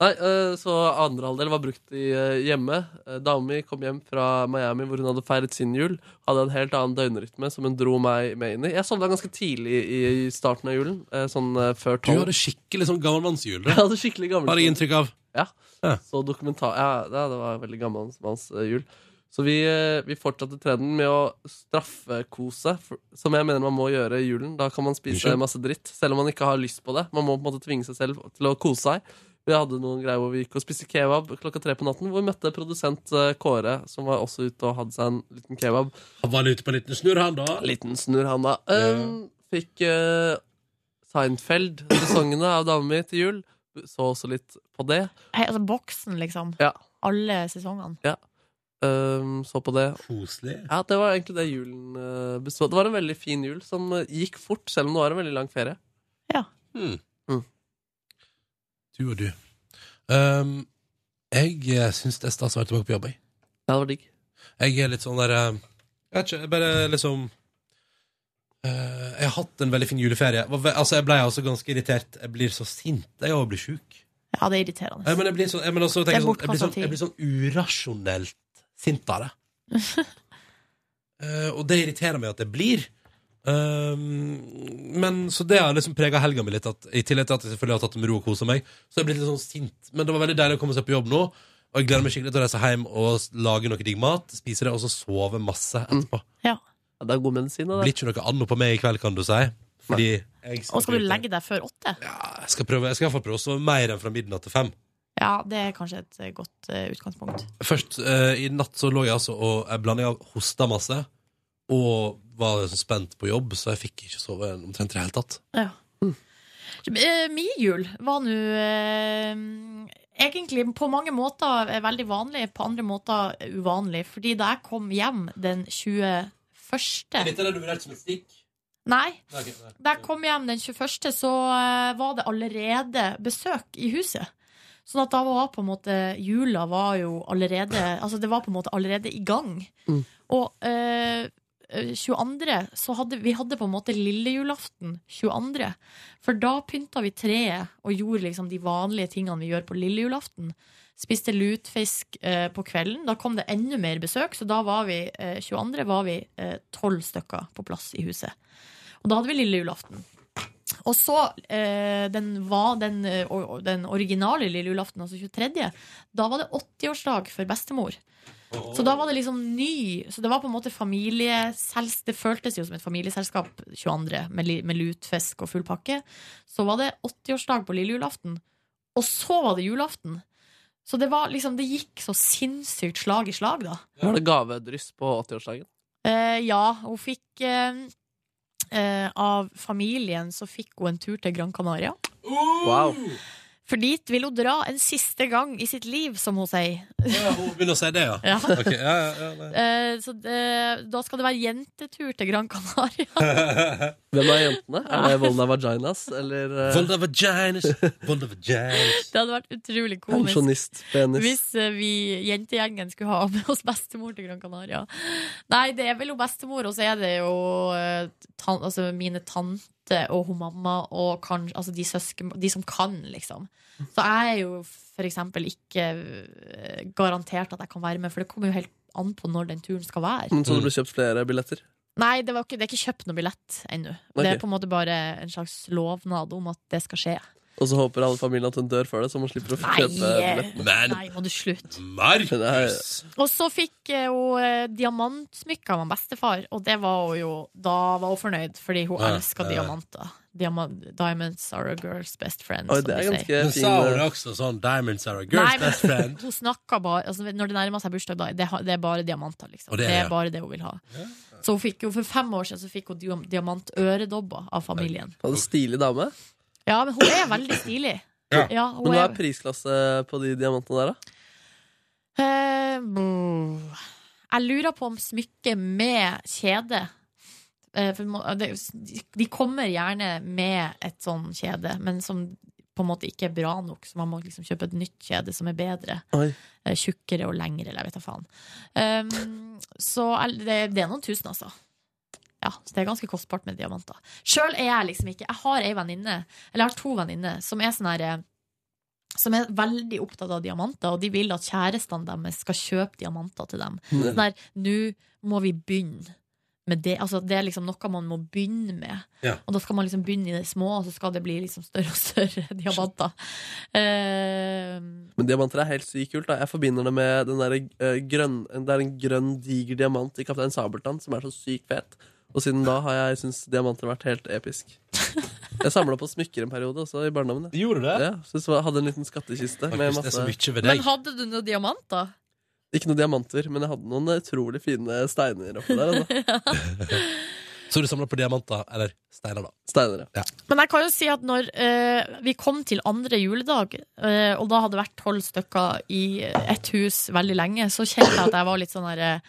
Nei, eh, Så andre halvdel var brukt i eh, hjemme. Eh, Dama mi kom hjem fra Miami hvor hun hadde feiret sin jul. Hadde en helt annen døgnrytme som hun dro meg med inn i. Jeg sovna ganske tidlig i i starten av julen, eh, sånn eh, før Du tolv. hadde skikkelig sånn gammelmannsjul. Jeg hadde skikkelig gammel Har jeg inntrykk av. Ja. Så dokumentar Ja, det, det var veldig gammel manns eh, jul. Så vi, eh, vi fortsatte trenden med å straffekose, for- som jeg mener man må gjøre i julen. Da kan man spise Unnskyld? masse dritt, selv om man ikke har lyst på det. Man må på en måte tvinge seg selv til å kose seg. Vi hadde noen greier hvor vi gikk og spiste kebab klokka tre på natten. Hvor vi møtte produsent eh, Kåre, som var også ute og hadde seg en liten kebab. Han var ute på en liten snurr, han da? Liten snurr, han da. Um, Fikk eh, Seinfeld-sesongene av dama mi til jul. Så også litt på det. Hei, altså boksen, liksom. Ja. Alle sesongene. Ja. Ehm, så på det. Koselig. Ja, det var egentlig det julen eh, bestod. Det var en veldig fin jul som eh, gikk fort, selv om det var en veldig lang ferie. Du og du. Ehm, jeg eh, syns det er stas å være tilbake på jobb. Jeg. Det var digg. Jeg er litt sånn der eh, Jeg vet ikke, jeg bare liksom eh, Jeg har hatt en veldig fin juleferie. Var ve- Altså, jeg ble også ganske irritert. Jeg blir så sint. Jeg òg blir sjuk. Ja, det er irriterende. Eh, Men jeg blir sånn, jeg, men også, Det er tenker, jeg sånn, jeg, blir sånn, bortkastet jeg blir sånn urasjonelt sint av det. Eh, og det irriterer meg at jeg blir. Um, men Så det har liksom prega helga mi litt. At, I tillegg til at jeg selvfølgelig har tatt det med ro og kosa meg. Så jeg er blitt litt sånn sint Men det var veldig deilig å komme seg på jobb nå. Og jeg gleder meg skikkelig til å reise hjem og s- lage noe digg mat, spise det og så sove Mm. masse etterpå. Ja. Ja, det er god medisin, det. Blir ikke noe anno på meg i kveld, kan du si. Fordi jeg Og skal, skal du legge deg før åtte? Ja, jeg skal, prøve, jeg skal i hvert fall prøve å sove mer enn fra midnatt til fem. det er kanskje et eh, godt eh, utgangspunkt. Først eh, i natt så lå jeg altså og jeg blanding av hosta masse og var liksom spent på jobb, så jeg fikk ikke sove omtrent i det hele tatt. Ja. Eh, Min jul var nå eh, egentlig på mange måter eh, veldig vanlig, på andre måter eh, uvanlig. Fordi da jeg kom hjem den 21. Dette er det du vurderte som et stikk? Nei, Nei, ok, nei. Da jeg kom hjem den 21., så eh, var det allerede besøk i huset. Sånn at da var på en måte Jula var jo allerede Altså, det var på en måte allerede i gang. Mm. Og eh, 22. så hadde vi hadde på en måte lille julaften 22. For da pynta vi treet og gjorde liksom de vanlige tingene vi gjør på lille julaften. Spiste lutfisk eh, på kvelden. Da kom det enda mer besøk, så da var vi eh, 22. var vi eh, tolv stykker på plass i huset. Og da hadde vi lille julaften. Og så eh, den, var den, eh, o- o- den originale lille julaften, altså 23., da var det 80-årsdag for bestemor. Så da var det liksom ny Så det var på en måte familiesels... Det føltes jo som et familieselskap 22. med, li- med lutfisk og full pakke. Så var det 80-årsdag på lille julaften. Og så var det julaften. Så det var liksom Det gikk så sinnssykt slag i slag, da. Var det gavedryss på 80-årsdagen? Eh, ja, hun fikk eh, eh, Av familien så fikk hun en tur til Gran Canaria. Wow. For dit vil hun dra en siste gang i sitt liv, som hun sier. Ja, hun begynner å si det, ja. Ja. Ok, ja, ja, ja, Eh, så det, da skal det være jentetur til Gran Canaria. Hvem er jentene? Er det Volda Vaginas, eller eh, Volda Vaginas. Volda Vaginas. Det hadde vært utrolig komisk. Pensjonistpenis. Hvis eh, vi jentegjengen skulle ha med oss bestemor til Gran Canaria. Nei, det er vel jo bestemor, og så er det jo eh, tan altså mine tante og hun mamma og kanskje, altså de, søsken, de som kan, liksom. Så jeg er jo for eksempel ikke eh, garantert at jeg kan være med, for det kommer jo helt an på når den turen skal være. Så det ble kjøpt flere billetter? Nei, det, var ikke, det er ikke kjøpt noe billett ennå. Det Ok. er på en måte bare en slags lovnad om at det skal skje. Og så håper alle familien at hun dør før det, så man slipper å Nei, kjøpe billetten. nei må du slutte. Markus! Og så fikk eh, hun eh, diamantsmykker av han bestefar, og det var hun jo Da var hun fornøyd, fordi hun Ja, elsker ja. diamanter. Diama- diamonds are a girl's best friend. som de sier. Men sa eh, hun det også sånn Diamonds are a girl's Nei, men best friend. Hun snakker bare altså, Når det nærmer seg bursdag, da, det, har- det er bare diamanter. Liksom. Og Det, det er- er bare det hun vil ha. Så hun fikk jo for fem år siden Så fikk hun diam- diamantøredobber av familien. Og en stilig dame. Ja, men hun er veldig stilig. Ja. Ja, hun Men hva er- er prisklasse på de diamantene der, da? Eh, brr. jeg lurer på om smykket med kjede eh, for må- det, De kommer gjerne med et sånn kjede, men som på en måte ikke er bra nok, så man må liksom kjøpe et nytt kjede som er bedre. Oi. Eh, Tjukkere og lengre, eller jeg vet da faen. Um, så er- det, det er noen tusen, altså. Ja, så det er ganske kostbart med diamanter. Sjøl er jeg liksom ikke Jeg har ei venninne, eller jeg har to venninner, som er sånn herre som er veldig opptatt av diamanter, og de vil at kjærestene deres skal kjøpe diamanter til dem. Mm. Sånn der, nå må vi begynne med det. Altså, det er liksom noe man må begynne med. Ja. Og da skal man liksom begynne i det små, og så skal det bli liksom større og større diamanter. Eh, Men diamanter er helt sykt kult. da Jeg forbinder det med den der, eh, grønn, Det er en grønn, diger diamant i Kaptein Sabeltann som er så sykt fet. Og siden da har jeg syntes diamanter har vært helt episk. Jeg samla på smykker en periode også i barndommen. jeg. Ja, synes jeg hadde en liten skattkiste. Med Markus, det er så masse, mye ved men hadde du noen diamanter? ikke noen diamanter, men jeg hadde noen utrolig fine steiner oppi der. Altså. Så du samler på diamanter, eller steiner, da? Steiner, ja. Men jeg kan jo si at når eh, vi kom til andre juledag, eh, og da hadde det vært tolv stykker i et hus veldig lenge, så kjente jeg at jeg var litt sånn derre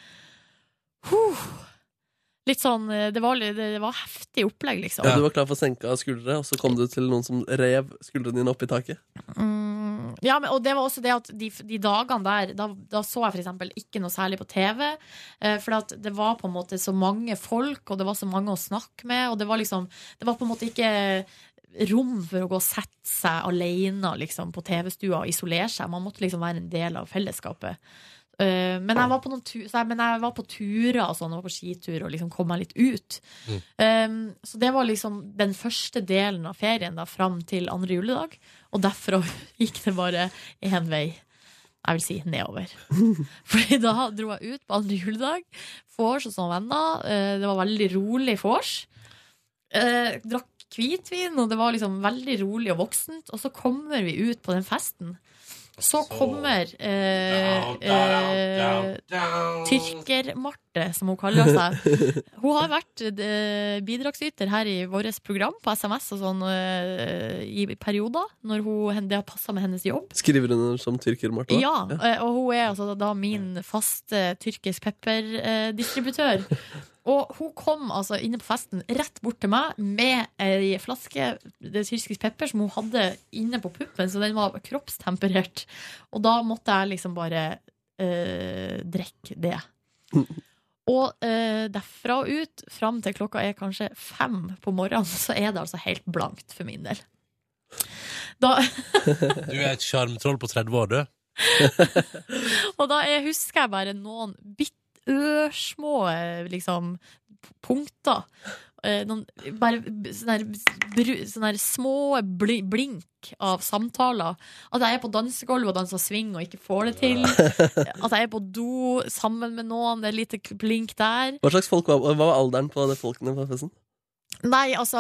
Litt sånn eh, Det var, litt- det var heftig opplegg, liksom. Og du var klar for senka skuldre, og så kom du til noen som rev skuldrene dine opp i taket. Mm, ja, men, og det var også det at de, de dagene der, da, da så jeg for eksempel ikke noe særlig på TV. Eh, for at det var på en måte så mange folk, og det var så mange å snakke med. Og det var liksom Det var på en måte ikke rom for å gå og sette seg alene liksom, på TV-stua og isolere seg. Man måtte liksom være en del av fellesskapet. Eh, men, jeg var på noen tu så jeg, men jeg var på turer og sånn, og var på skitur og liksom kom meg litt ut. Mm. Um, så det var liksom den første delen av ferien da, fram til andre juledag. Og derfra gikk det bare én vei. Jeg vil si nedover. Fordi da dro jeg ut på andre juledag. Vors og sånne venner. Eh, Det var veldig rolig vors. Eh, Drakk hvitvin, og det var liksom veldig rolig og voksent. Og så kommer vi ut på den festen. Så kommer eh, eh, Tyrker-Marte, som hun kaller seg. Hun har vært eh, bidragsyter her i vårt program på SMS og sånn eh, i perioder, når hun, det har passa med hennes jobb. Skriver hun som tyrker, Martha? Ja, eh, og hun er altså da min faste tyrkisk pepperdistributør. Og hun kom altså inne på festen rett bort til meg med ei flaske det tyrkisk pepper som hun hadde inne på puppen, så den var kroppstemperert. Og da måtte jeg liksom bare eh, drikke det. Og eh, derfra og ut, fram til klokka er kanskje fem på morgenen, så er det altså helt blankt for min del. Da Du er et sjarmtroll på 30 år, du. Og da er, husker jeg bare noen bitt ørsmå eh, liksom, p- punkter. Eh, Noen bare b- sånne, her bru- sånne her små bli, blink av samtaler. At jeg er på dansegulvet og danser swing og ikke får det til. At jeg er på do sammen med noen, det er lite k- blink der. Hva slags folk var, hva var alderen på de folkene på festen? Nei, altså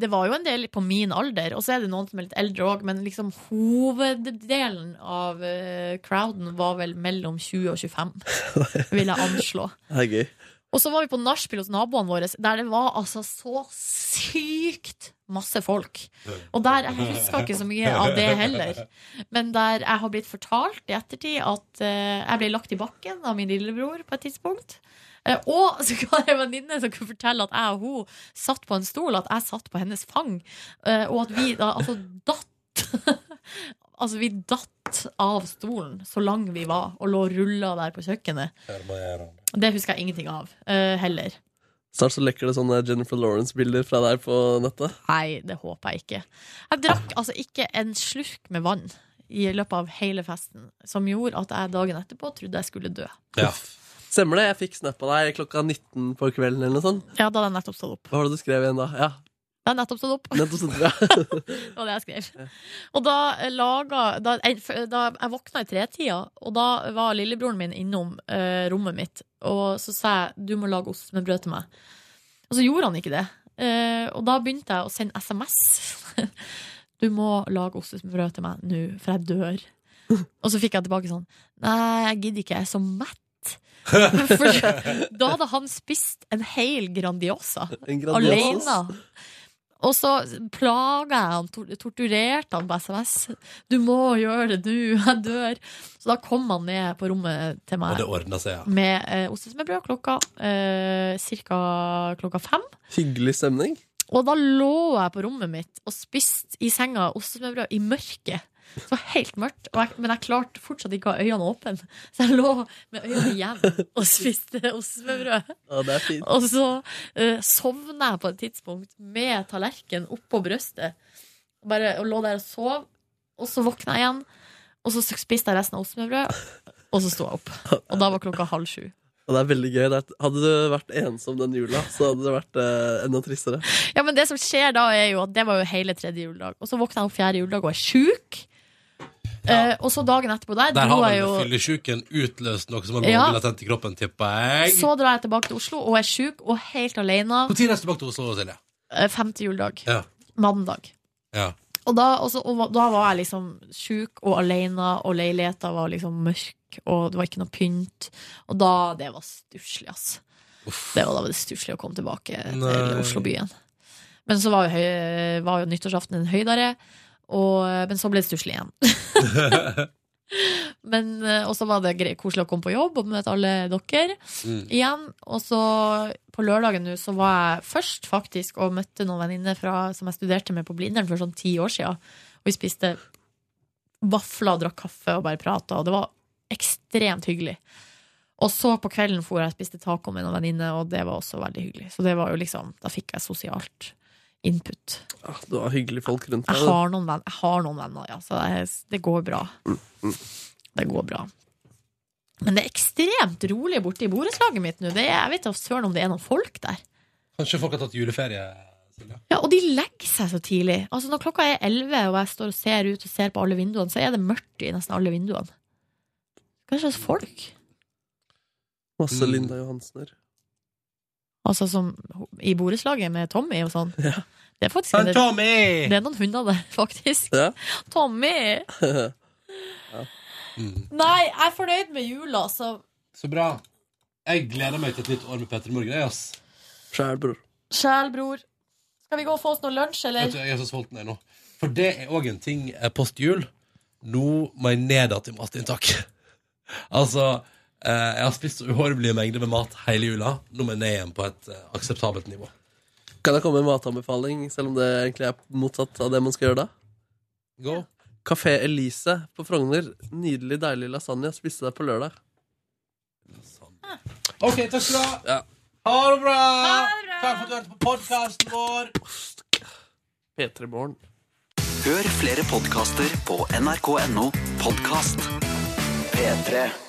Det var jo en del på min alder, og så er det noen som er litt eldre òg, men liksom hoveddelen av øh, eh, crowden var vel mellom 20 og 25, vil jeg anslå. Det er gøy. Og så var vi på nachspiel hos naboene våre, der det var altså så sykt masse folk. Og der, jeg husker ikke så mye av det heller, men der jeg har blitt fortalt i ettertid at eh, jeg ble lagt i bakken av min lillebror på et tidspunkt. Eh, og så var det en venninne som kunne fortelle at jeg og hun satt på en stol, at jeg satt på hennes fang, eh, og at vi da altså datt Altså, vi datt av stolen så lang vi var, og lå og rulla der på kjøkkenet. Det husker jeg ingenting av eh, heller. Snart så lekker det sånne Jennifer Lawrence-bilder fra deg på nettet. Nei, det håper jeg ikke. Jeg drakk altså ikke en slurk med vann i løpet av hele festen, som gjorde at jeg dagen etterpå trodde jeg skulle dø. Stemmer det? Jeg fikk snap av deg klokka 19 på kvelden eller noe sånt. Ja, da hadde jeg nettopp stått opp. Hva var det du skrev igjen da? Ja, Da hadde jeg nettopp stått opp. nettopp sånt, ja. Det var det jeg skrev. Og da eh, laga da, en- f- da Jeg våkna i tretida, og da var lillebroren min innom eh, rommet mitt. Og så sa jeg du må lage ost med brød til meg. Og så gjorde han ikke det. Eh, og da begynte jeg å sende SMS. Du må lage ost med brød til meg nå, for jeg dør. Og så fikk jeg tilbake sånn Nei, jeg gidder ikke, jeg er så mett. For da hadde han spist en hel Grandiosa, En alene Grandiosa? sånn og så plaga jeg han, tor- torturerte han på SMS. 'Du må gjøre det nå, jeg dør.' Så da kom han ned på rommet til meg Og det ordna seg, ja. med eh, ostesmørbrød klokka eh, cirka klokka fem. Hyggelig stemning. Og da lå jeg på rommet mitt og spiste i senga ostesmørbrød i mørket. Det var helt mørkt, og jeg, men jeg klarte fortsatt ikke å ha øynene åpne. Så jeg lå med øynene igjen og spiste ostesmørbrød. Ja, det er fint. Og så uh, sovna jeg på et tidspunkt med tallerken oppå brøstet. Bare, og lå der og sov. Og så våkna jeg igjen, og så spiste jeg resten av ostesmørbrødet. Og så sto jeg opp. Og da var klokka halv sju. Og det er veldig gøy. Det er- Hadde du vært ensom den jula, så hadde det vært eh, enda tristere. Ja, men det som skjer da, er jo at det var jo hele tredje juledag. Og så våkna jeg opp fjerde juledag og er sjuk. Eh, og så dagen etterpå der, Der dro har vel jeg jo fyllesjuken utløst noe som har Ja. vært latent i kroppen, tipper jeg. Så drar jeg tilbake til Oslo og er sjuk og helt alene. Når reiste du tilbake til Oslo, Silje? Eh, Femte juledag. Ja. Mandag. ja. Og da, og så- og da var jeg liksom sjuk og alene, og leiligheta var liksom mørk, og det var ikke noe pynt. Og da Det var stusslig, ass. Det var da var det stusslig å komme tilbake Nei. til Oslo-byen. Men så var jo, høy, var jo nyttårsaften en høydere, og, men så ble det stusslig igjen. Men, eh, og så var det grei- koselig å komme på jobb og møte alle dere Mm. igjen. Og så på lørdagen nå så var jeg først faktisk og møtte noen venninner fra- som jeg studerte med på Blindern for sånn ti år siden. Og vi spiste vafler og drakk kaffe og bare prata, og det var ekstremt hyggelig. Og så på kvelden for jeg og spiste taco med noen venninner, og det var også veldig hyggelig. Så det var jo liksom, da fikk jeg sosialt input. Ah, Du har hyggelige folk rundt Jeg deg. da. har noen venner, jeg har noen venner ja, så det, det går bra. Det går bra. Men det er ekstremt rolig borte i borettslaget mitt nå. Det er, jeg vet da søren om det er noen folk der. Kanskje folk har tatt juleferie? Ja, Og de legger seg så tidlig. Altså Når klokka er elleve, og jeg står og ser ut og ser på alle vinduene, så er det mørkt i nesten alle vinduene. Hva slags folk? Masse Linda Johansener. Altså som I borettslaget med Tommy og sånn. Det er faktisk en Han del- Tommy! Det er noen hunder der, faktisk. Ja. Tommy! Nei, jeg er fornøyd med jula, altså. Så bra. Jeg gleder meg til et nytt år med Petter Morgen. Jeg, ass. Sjæl, bror. Sjæl, bror. Skal vi gå og få oss noe lunsj, eller? Vet du, jeg er så sulten jeg nå. For det er òg en ting eh, post jul. Nå må jeg ned igjen i matinntak. altså, eh, jeg har spist så uhorvelige mengder med mat hele jula. Nå må jeg ned igjen på et eh, akseptabelt nivå. Kan jeg komme med en matanbefaling, selv om det egentlig er motsatt av det man skal gjøre da? Gå. Kafé Elise på Frogner. Nydelig, deilig lasagne. Spiste deg på lørdag. OK, takk skal du ha. Ja. Ha det bra! Takk for at du hørte på podkasten vår. P3 Morgen. Hør flere podkaster på nrk.no podkast. P3.